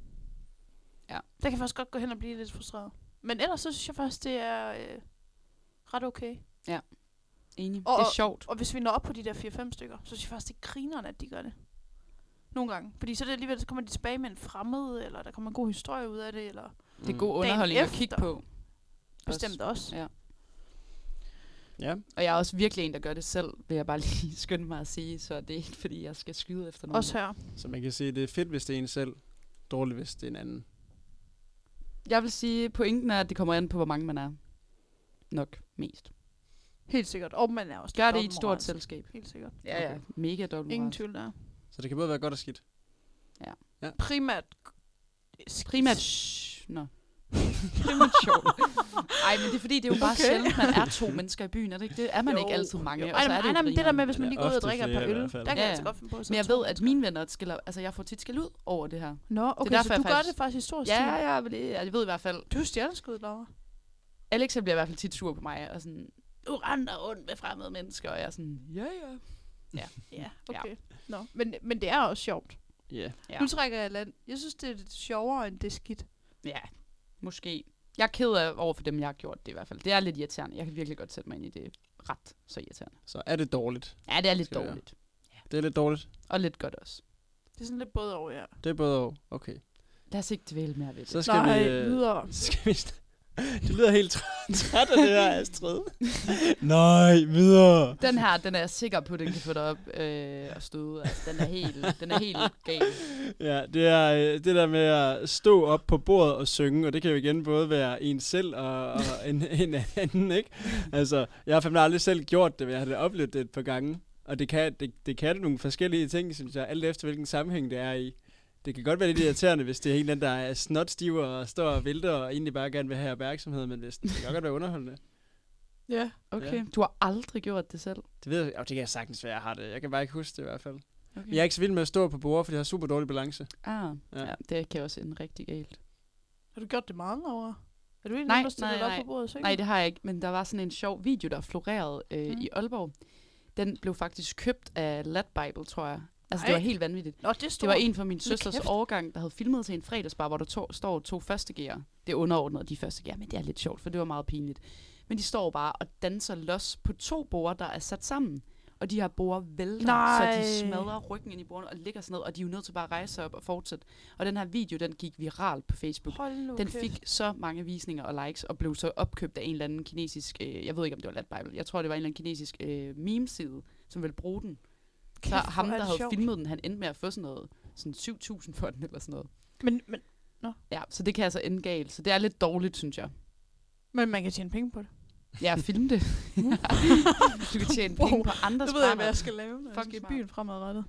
Speaker 4: Ja.
Speaker 3: Der kan jeg faktisk godt gå hen og blive lidt frustreret. Men ellers så synes jeg faktisk, det er øh, ret okay.
Speaker 4: Enig.
Speaker 3: Og-
Speaker 4: det er sjovt.
Speaker 3: Og hvis vi når op på de der 4-5 stykker, så synes jeg faktisk, det er grinerne, at de gør det. Nogle gange. Fordi så er det alligevel, så kommer de tilbage med en fremmed, eller der kommer en god historie ud af det, eller
Speaker 4: Det er
Speaker 2: Mm.
Speaker 4: god
Speaker 3: Dagen
Speaker 4: underholdning at
Speaker 3: efter.
Speaker 4: kigge på.
Speaker 3: bestemt også.
Speaker 4: Ja.
Speaker 2: Ja,
Speaker 4: Og jeg er også virkelig en, der gør det selv, vil jeg bare lige skynde mig at sige. Så det er ikke, fordi jeg skal skyde efter nogen.
Speaker 3: Også her.
Speaker 2: så man kan sige, det er fedt, hvis det er en selv. Dårligt, hvis det er en anden.
Speaker 4: Jeg vil sige, pointen er, at det kommer an på, hvor mange man er. Nok mest.
Speaker 3: Helt sikkert. Og man er også
Speaker 4: Gør
Speaker 3: lidt
Speaker 4: det i et stort
Speaker 3: dobbeltmoralsk.
Speaker 4: selskab.
Speaker 3: Helt sikkert.
Speaker 4: Ja, ja. Mega dobbelt.
Speaker 3: Ingen tvivl der.
Speaker 2: Så det kan både være godt og skidt.
Speaker 3: Primært.
Speaker 4: Primært... Shh, nå. Primært sjovt. Ej, men det er fordi, det er jo bare
Speaker 3: Okay.
Speaker 4: okay. sjældent, man er to mennesker i byen, er det ikke det? Er man jo. ikke altid mange,
Speaker 3: Jo.
Speaker 4: og
Speaker 3: Ej,
Speaker 4: så er
Speaker 3: nej,
Speaker 4: det jo
Speaker 3: nej, men det der med, hvis man
Speaker 2: Eller
Speaker 3: lige går ud og
Speaker 2: ofte
Speaker 3: drikker et par
Speaker 2: flere i
Speaker 3: øl,
Speaker 2: hvert fald.
Speaker 3: der kan
Speaker 4: Ja,
Speaker 3: jeg
Speaker 4: ja.
Speaker 3: altså godt finde på at
Speaker 4: Men jeg ved, at mine venner skiller... Altså, jeg får tit skæld ud over det her.
Speaker 3: Nå, okay,
Speaker 4: derfor,
Speaker 3: så du
Speaker 4: jeg
Speaker 3: gør
Speaker 4: faktisk-
Speaker 3: det faktisk i stor stil.
Speaker 4: Ja, ja, men det, jeg ved i hvert fald...
Speaker 3: Du er stjerneskud, Laura.
Speaker 4: Alex han bliver i hvert fald tit sur på mig, og sådan... Du render rundt med fremmede mennesker, og jeg er sådan... Ja, ja.
Speaker 3: Ja,
Speaker 4: Ja.
Speaker 3: okay. Nå, men, men det er også sjovt.
Speaker 2: Ja.
Speaker 4: Ja.
Speaker 3: Nu trækker jeg i land. Jeg synes, det er lidt sjovere, end det er skidt.
Speaker 4: Ja, måske. Jeg er ked af over for dem, jeg har gjort det i hvert fald. Det er lidt irriterende. Jeg kan virkelig godt sætte mig ind i det. Ret så irriterende.
Speaker 2: Så er det dårligt.
Speaker 4: Ja, det er lidt
Speaker 2: Skal det være?
Speaker 4: dårligt.
Speaker 2: Det er lidt dårligt.
Speaker 4: Og lidt godt også.
Speaker 3: Det er sådan lidt både over, ja.
Speaker 2: Det er både og. Okay.
Speaker 4: Lad os ikke dvæle mere ved det.
Speaker 2: Så skal
Speaker 3: Nej,
Speaker 2: vi... øh,
Speaker 3: videre.
Speaker 2: så skal vi... sn- Det lyder helt træ- træt af det her, Astrid. Nej, videre.
Speaker 4: Den her, den er jeg sikker på, den kan få dig op øh, og støde. Altså, den er helt, den er helt gal.
Speaker 2: Ja, det er øh, det der med at stå op på bordet og synge, og det kan jo igen både være en selv og, og en, en anden, ikke? Altså, jeg har fandme aldrig selv gjort det, men jeg har da oplevet det et par gange. Og det kan, det, det kan nogle forskellige ting, synes jeg, alt efter hvilken sammenhæng det er i. Det kan godt være lidt irriterende, hvis det er en eller anden, der er snotstiver og står og vælter og egentlig bare gerne vil have opmærksomhed, men hvis, det kan godt være underholdende.
Speaker 3: Ja.
Speaker 4: Okay. Ja. Du har aldrig gjort det selv.
Speaker 2: Det ved jeg, oh, det kan jeg sagtens være, jeg har det. Jeg kan bare ikke huske det i hvert fald.
Speaker 4: Okay.
Speaker 2: Jeg er ikke så vild med at stå på bordet, fordi jeg har super dårlig balance.
Speaker 4: Ah,
Speaker 2: Ja.
Speaker 4: ja. ja. det kan også ende rigtig galt.
Speaker 3: Har du gjort det meget, Laura? Er du egentlig
Speaker 4: Nej,
Speaker 3: nej, der stiller
Speaker 4: nej,
Speaker 3: dig op
Speaker 4: nej.
Speaker 3: på bordet og synger?
Speaker 4: Nej, det har jeg ikke, men der var sådan en sjov video, der florerede øh,
Speaker 3: Mm.
Speaker 4: mm. i Aalborg. Den blev faktisk købt af Lad Bible, tror jeg. Altså, det
Speaker 3: Nej.
Speaker 4: var helt vanvittigt.
Speaker 3: Nå, det er
Speaker 4: Det
Speaker 3: stort.
Speaker 4: var en fra min søsters
Speaker 3: kæft.
Speaker 4: årgang, der havde filmet til en fredagsbar, hvor der to, står to første gear. Det er underordnet, de første gear, men det er lidt sjovt, for det var meget pinligt. Men de står bare og danser los på to borer, der er sat sammen. Og de her borer vælter, så
Speaker 3: Nej.
Speaker 4: de smadrer ryggen ind i bordene og ligger sådan ned, og de er jo nødt til bare at rejse sig op og fortsætte. Og den her video, den gik viralt på Facebook.
Speaker 3: Hold nu
Speaker 4: Den
Speaker 3: kæft.
Speaker 4: fik så mange visninger og likes, og blev så opkøbt af en eller anden kinesisk, øh, jeg ved ikke om det var Lat Bible, jeg tror det var en eller anden kinesisk øh, meme-side, som ville bruge den.
Speaker 3: Kæft,
Speaker 4: Så
Speaker 3: hvor
Speaker 4: ham,
Speaker 3: er
Speaker 4: der
Speaker 3: det
Speaker 4: havde
Speaker 3: sjovt.
Speaker 4: filmet den, han endte med at få sådan noget, sådan 7.000 for den eller sådan noget.
Speaker 3: Men, men,
Speaker 4: Ja, så det kan altså ende galt. Så det er lidt dårligt, synes jeg.
Speaker 3: men man kan tjene penge på det.
Speaker 4: Ja, film det. du kan tjene
Speaker 3: Wow.
Speaker 4: penge på andres
Speaker 3: Det ved jeg, hvad
Speaker 4: brænder.
Speaker 3: jeg skal lave, når jeg
Speaker 4: Fucking
Speaker 3: skal i
Speaker 4: smart.
Speaker 3: byen fremadrettet.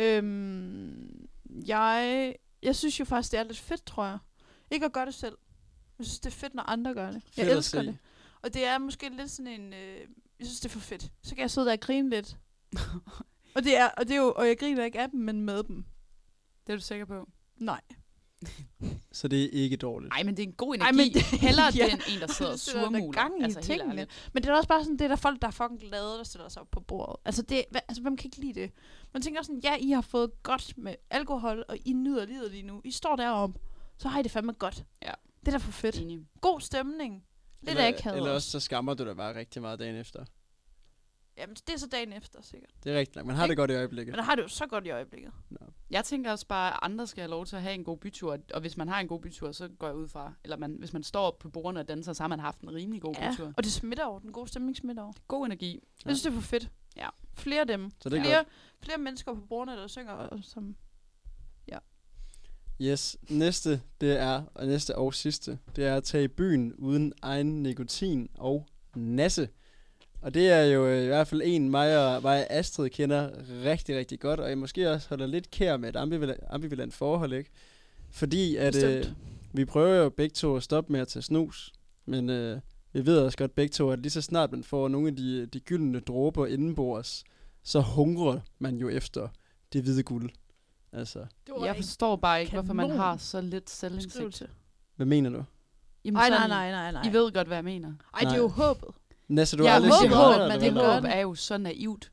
Speaker 3: øhm, jeg, jeg synes jo faktisk, det er lidt fedt, tror jeg. Ikke at gøre det selv. Jeg synes, det er fedt, når andre gør det. Jeg
Speaker 2: Fedt at
Speaker 3: elsker
Speaker 2: se.
Speaker 3: det. Og det er måske lidt sådan en... Øh, jeg synes, det er for fedt. Så kan jeg sidde der og grine lidt. og, det er, og, det er jo, og jeg griner ikke af dem, men med dem.
Speaker 4: Det er du sikker på?
Speaker 3: Nej.
Speaker 2: Så det er ikke dårligt.
Speaker 4: Nej, men det er en god
Speaker 3: Ej,
Speaker 4: energi.
Speaker 3: men
Speaker 4: men
Speaker 3: det-
Speaker 4: det, Hellere
Speaker 3: ja.
Speaker 4: det end en, der sidder og
Speaker 3: Det sætter da
Speaker 4: surmuler. Altså,
Speaker 3: gang i
Speaker 2: Altså,
Speaker 3: tingene.
Speaker 4: ærligt.
Speaker 3: Men det er da også bare sådan, det er der folk, der er fucking glade, der stiller sig op på bordet. Altså, det, hva, altså hvem kan ikke lide det? Man tænker sådan, ja, I har fået godt med alkohol, og I nyder livet lige nu. I står derom, så har I det fandme godt.
Speaker 4: Ja.
Speaker 3: Det er da for fedt.
Speaker 4: Enig.
Speaker 3: God stemning. Lidt
Speaker 2: eller,
Speaker 3: akavet
Speaker 2: eller også
Speaker 3: også.
Speaker 2: så skammer du dig bare rigtig meget dagen efter.
Speaker 3: Jamen, det er så dagen efter, sikkert.
Speaker 2: Det er rigtigt nok. Man har det godt i øjeblikket.
Speaker 3: Men der har det jo så godt i øjeblikket.
Speaker 4: Jeg tænker også bare, at andre skal have lov til at have en god bytur. Og hvis man har en god bytur, så går jeg ud fra. Eller man, hvis man står op på bordene og danser, så har man haft en rimelig god ja. bytur.
Speaker 3: og det smitter over. Den gode stemning smitter over.
Speaker 4: God energi.
Speaker 2: Ja.
Speaker 3: Jeg synes, det er for fedt.
Speaker 4: Ja.
Speaker 3: Flere af dem.
Speaker 2: Så det er
Speaker 3: flere, flere mennesker på bordene, der synger, og som
Speaker 2: Yes. Næste, det er, og næste og sidste, det er at tage i byen uden egen nikotin og nasse. Og det er jo øh, i hvert fald en, mig og, mig og Astrid kender rigtig, rigtig godt, og jeg måske også holder lidt kær med et ambivalent, ambivalent forhold, ikke? Fordi at øh,
Speaker 3: Bestemt.
Speaker 2: vi prøver jo begge to at stoppe med at tage snus, men øh, vi ved også godt begge to, at lige så snart man får nogle af de, de gyldne dråber indenbords, så hungrer man jo efter det hvide guld. Altså,
Speaker 3: Det var
Speaker 4: Jeg
Speaker 3: en
Speaker 4: forstår bare ikke, hvorfor man
Speaker 3: kanon
Speaker 4: har så lidt selvindsigt.
Speaker 3: beskrivelse.
Speaker 2: hvad mener du?
Speaker 4: Jamen,
Speaker 3: Ej, nej,
Speaker 4: sådan-
Speaker 3: nej, nej, nej.
Speaker 4: I ved godt, hvad jeg mener.
Speaker 3: Ej, det er jo håbet.
Speaker 2: Næste, du
Speaker 4: jeg
Speaker 2: har aldrig
Speaker 3: håber,
Speaker 2: cigaretter,
Speaker 3: at
Speaker 2: eller
Speaker 3: man-
Speaker 2: hvad
Speaker 4: det
Speaker 3: det
Speaker 2: laver
Speaker 3: håber
Speaker 4: håb
Speaker 2: du?
Speaker 3: den.
Speaker 4: er jo så naivt.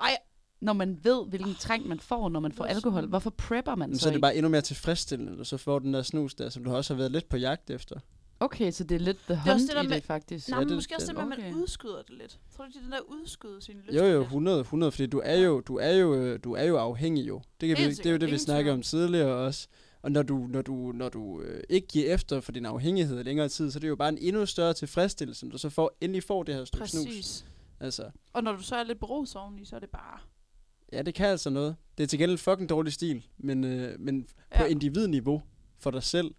Speaker 3: Ej.
Speaker 4: Når man ved, hvilken trang man får, når man får
Speaker 3: Det er
Speaker 4: alkohol.
Speaker 3: sådan-
Speaker 4: Hvorfor prepper man
Speaker 2: Men
Speaker 4: så,
Speaker 2: så er det
Speaker 4: ikke?
Speaker 2: bare endnu mere tilfredsstillende, og så får du den der snus der, som du også har været lidt på jagt efter.
Speaker 4: Okay, så det er lidt the
Speaker 3: er også
Speaker 4: hunt
Speaker 3: det der
Speaker 4: i
Speaker 3: med-
Speaker 4: det, faktisk.
Speaker 3: Nej,
Speaker 2: Ja,
Speaker 3: men
Speaker 2: det-
Speaker 3: måske også
Speaker 2: den-
Speaker 3: det med, at
Speaker 4: okay.
Speaker 3: man udskyder det lidt. Tror du, det er den der udskyde sine lyster
Speaker 2: Jo jo,
Speaker 3: lidt?
Speaker 2: 100, 100, fordi du er jo, du er jo, øh, du er jo afhængig jo. Det, kan vi, det
Speaker 3: Helt
Speaker 2: er jo
Speaker 3: sikkert,
Speaker 2: det, vi
Speaker 3: ingen
Speaker 2: snakkede
Speaker 3: tvivl.
Speaker 2: om tidligere også. Og når du, når du, når du øh, ikke giver efter for din afhængighed i længere tid, så er det jo bare en endnu større tilfredsstillelse, når du så får, endelig får det her stykke snus.
Speaker 3: Præcis.
Speaker 2: Altså,
Speaker 3: Og når du så er lidt beruset oveni, så er det bare...
Speaker 2: ja, det kan altså noget. Det er til gengæld fucking dårlig stil, men, øh, men ja. på
Speaker 3: Ja.
Speaker 2: individniveau for dig selv,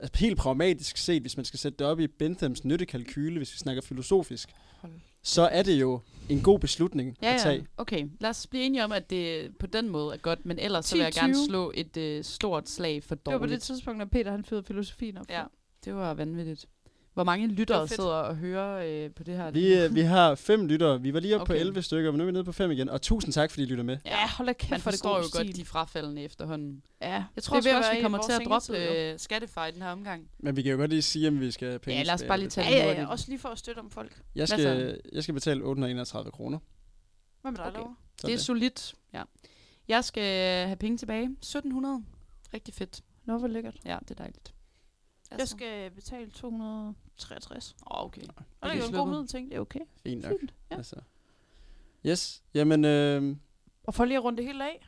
Speaker 2: altså helt pragmatisk set, hvis man skal sætte det op i Benthams nyttekalkyle, hvis vi snakker filosofisk,
Speaker 4: Hold
Speaker 2: så er det jo en god beslutning
Speaker 4: Ja,
Speaker 2: at tage.
Speaker 4: ja. Okay, lad os blive enige om, at det på den måde er godt, men ellers så vil jeg
Speaker 3: 10-20.
Speaker 4: gerne slå et øh, stort slag for
Speaker 3: Det var på
Speaker 4: dårligt.
Speaker 3: det tidspunkt, når Peter han fyrede filosofien op.
Speaker 4: Ja, det var vanvittigt. Hvor mange
Speaker 3: Det
Speaker 4: lyttere
Speaker 3: var fedt.
Speaker 4: sidder og hører øh, på det her?
Speaker 2: Vi, øh, vi har fem lyttere. Vi var lige oppe okay. på
Speaker 4: Okay.
Speaker 2: 11 stykker, men nu er vi nede på fem igen. Og tusind tak, fordi I lytter med.
Speaker 3: Ja, hold da kæft,
Speaker 4: Man
Speaker 3: for det
Speaker 4: forstår
Speaker 3: god
Speaker 4: jo
Speaker 3: stil.
Speaker 4: godt, de er frafaldende efterhånden.
Speaker 3: Ja,
Speaker 4: Jeg tror
Speaker 3: det er ved
Speaker 4: også,
Speaker 3: at være
Speaker 4: vi
Speaker 3: i
Speaker 4: kommer
Speaker 3: vores
Speaker 4: til at
Speaker 3: sengetid, jo.
Speaker 4: droppe øh, Skattefej i den her omgang.
Speaker 2: Men vi kan jo godt lige sige, om vi skal have penge.
Speaker 4: Ja, lad os
Speaker 2: tilbage
Speaker 4: bare
Speaker 2: eller
Speaker 4: lige tage
Speaker 3: Ja,
Speaker 4: den
Speaker 3: ja, ja.
Speaker 4: hurtigt.
Speaker 3: Også lige for at støtte om folk.
Speaker 2: lidt. Jeg
Speaker 4: Hvad
Speaker 2: skal, jeg skal betale 831 kroner.
Speaker 3: Hvad med dig,
Speaker 4: Okay.
Speaker 3: Laura?
Speaker 2: Sådan
Speaker 4: Det er solidt, ja. Jeg skal øh, have penge tilbage. 1700. Rigtig fedt.
Speaker 3: Nå, hvor lækkert.
Speaker 4: Ja, det er dejligt.
Speaker 3: Jeg skal betale 263.
Speaker 4: Oh, okay.
Speaker 3: Og det er jo
Speaker 4: lige
Speaker 3: en god
Speaker 4: sluppet.
Speaker 3: middelting, det er okay.
Speaker 2: Fint nok.
Speaker 3: Fint. Ja.
Speaker 2: Altså. Yes, jamen, øh,
Speaker 3: Og for lige at runde det hele af.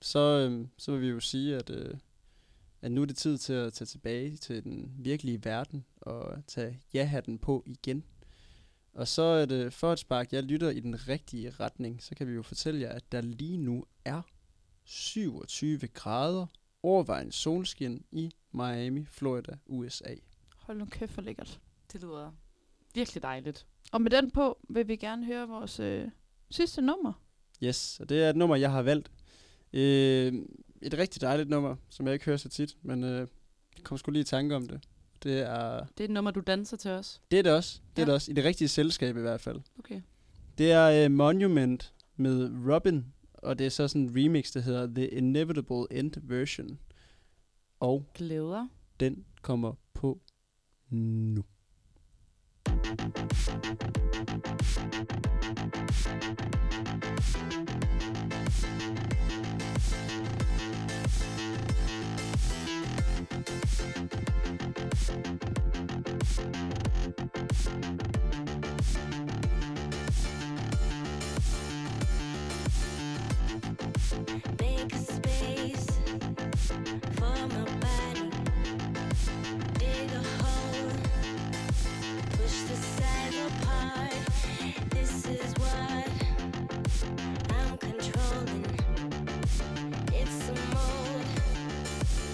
Speaker 2: så, øh, så vil vi jo sige, at, øh, at nu er det tid til at tage tilbage til den virkelige verden og tage ja-hatten på igen. Og så er det for at sparke, jeg lytter i den rigtige retning, så kan vi jo fortælle jer, at der lige nu er 27 grader overvejende solskin i Miami, Florida, USA.
Speaker 3: Hold nu kæft, for lækkert.
Speaker 4: Det lyder virkelig dejligt.
Speaker 3: Og med den på, vil vi gerne høre vores øh, sidste nummer.
Speaker 2: Yes, og det er et nummer, jeg har valgt. Øh, et rigtig dejligt nummer, som jeg ikke hører så tit, men øh, jeg kom sgu lige i tanke om det. Det er
Speaker 4: Det er et nummer, du danser til os.
Speaker 2: det, er det også. Det er
Speaker 4: Ja.
Speaker 2: det også. I det rigtige selskab i hvert fald.
Speaker 4: Okay.
Speaker 2: Det er øh, Monument med Robin, og det er så sådan en remix, der hedder The Inevitable End Version. Og
Speaker 4: Glæder.
Speaker 2: den kommer på nu.
Speaker 8: Make a space for my body. Dig a hole, push the sides apart. This is what I'm controlling. It's a mold,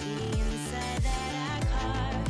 Speaker 8: the inside that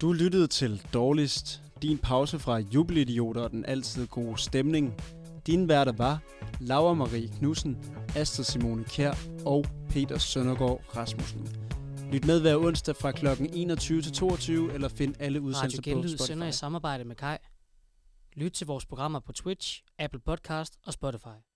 Speaker 2: Du lyttede til Dårligst, din pause fra jubelidioter og den altid gode stemning. Dine værter var Laura Marie Knudsen, Astrid Simone Kjær og Peter Søndergaard Rasmussen. Lyt med hver onsdag fra kl. 21 til 22, eller find alle udsendelser
Speaker 1: Radio Genlyd
Speaker 2: på
Speaker 1: sender i
Speaker 2: Spotify.
Speaker 1: samarbejde med Kai. Lyt til vores programmer på Twitch, Apple Podcast og Spotify.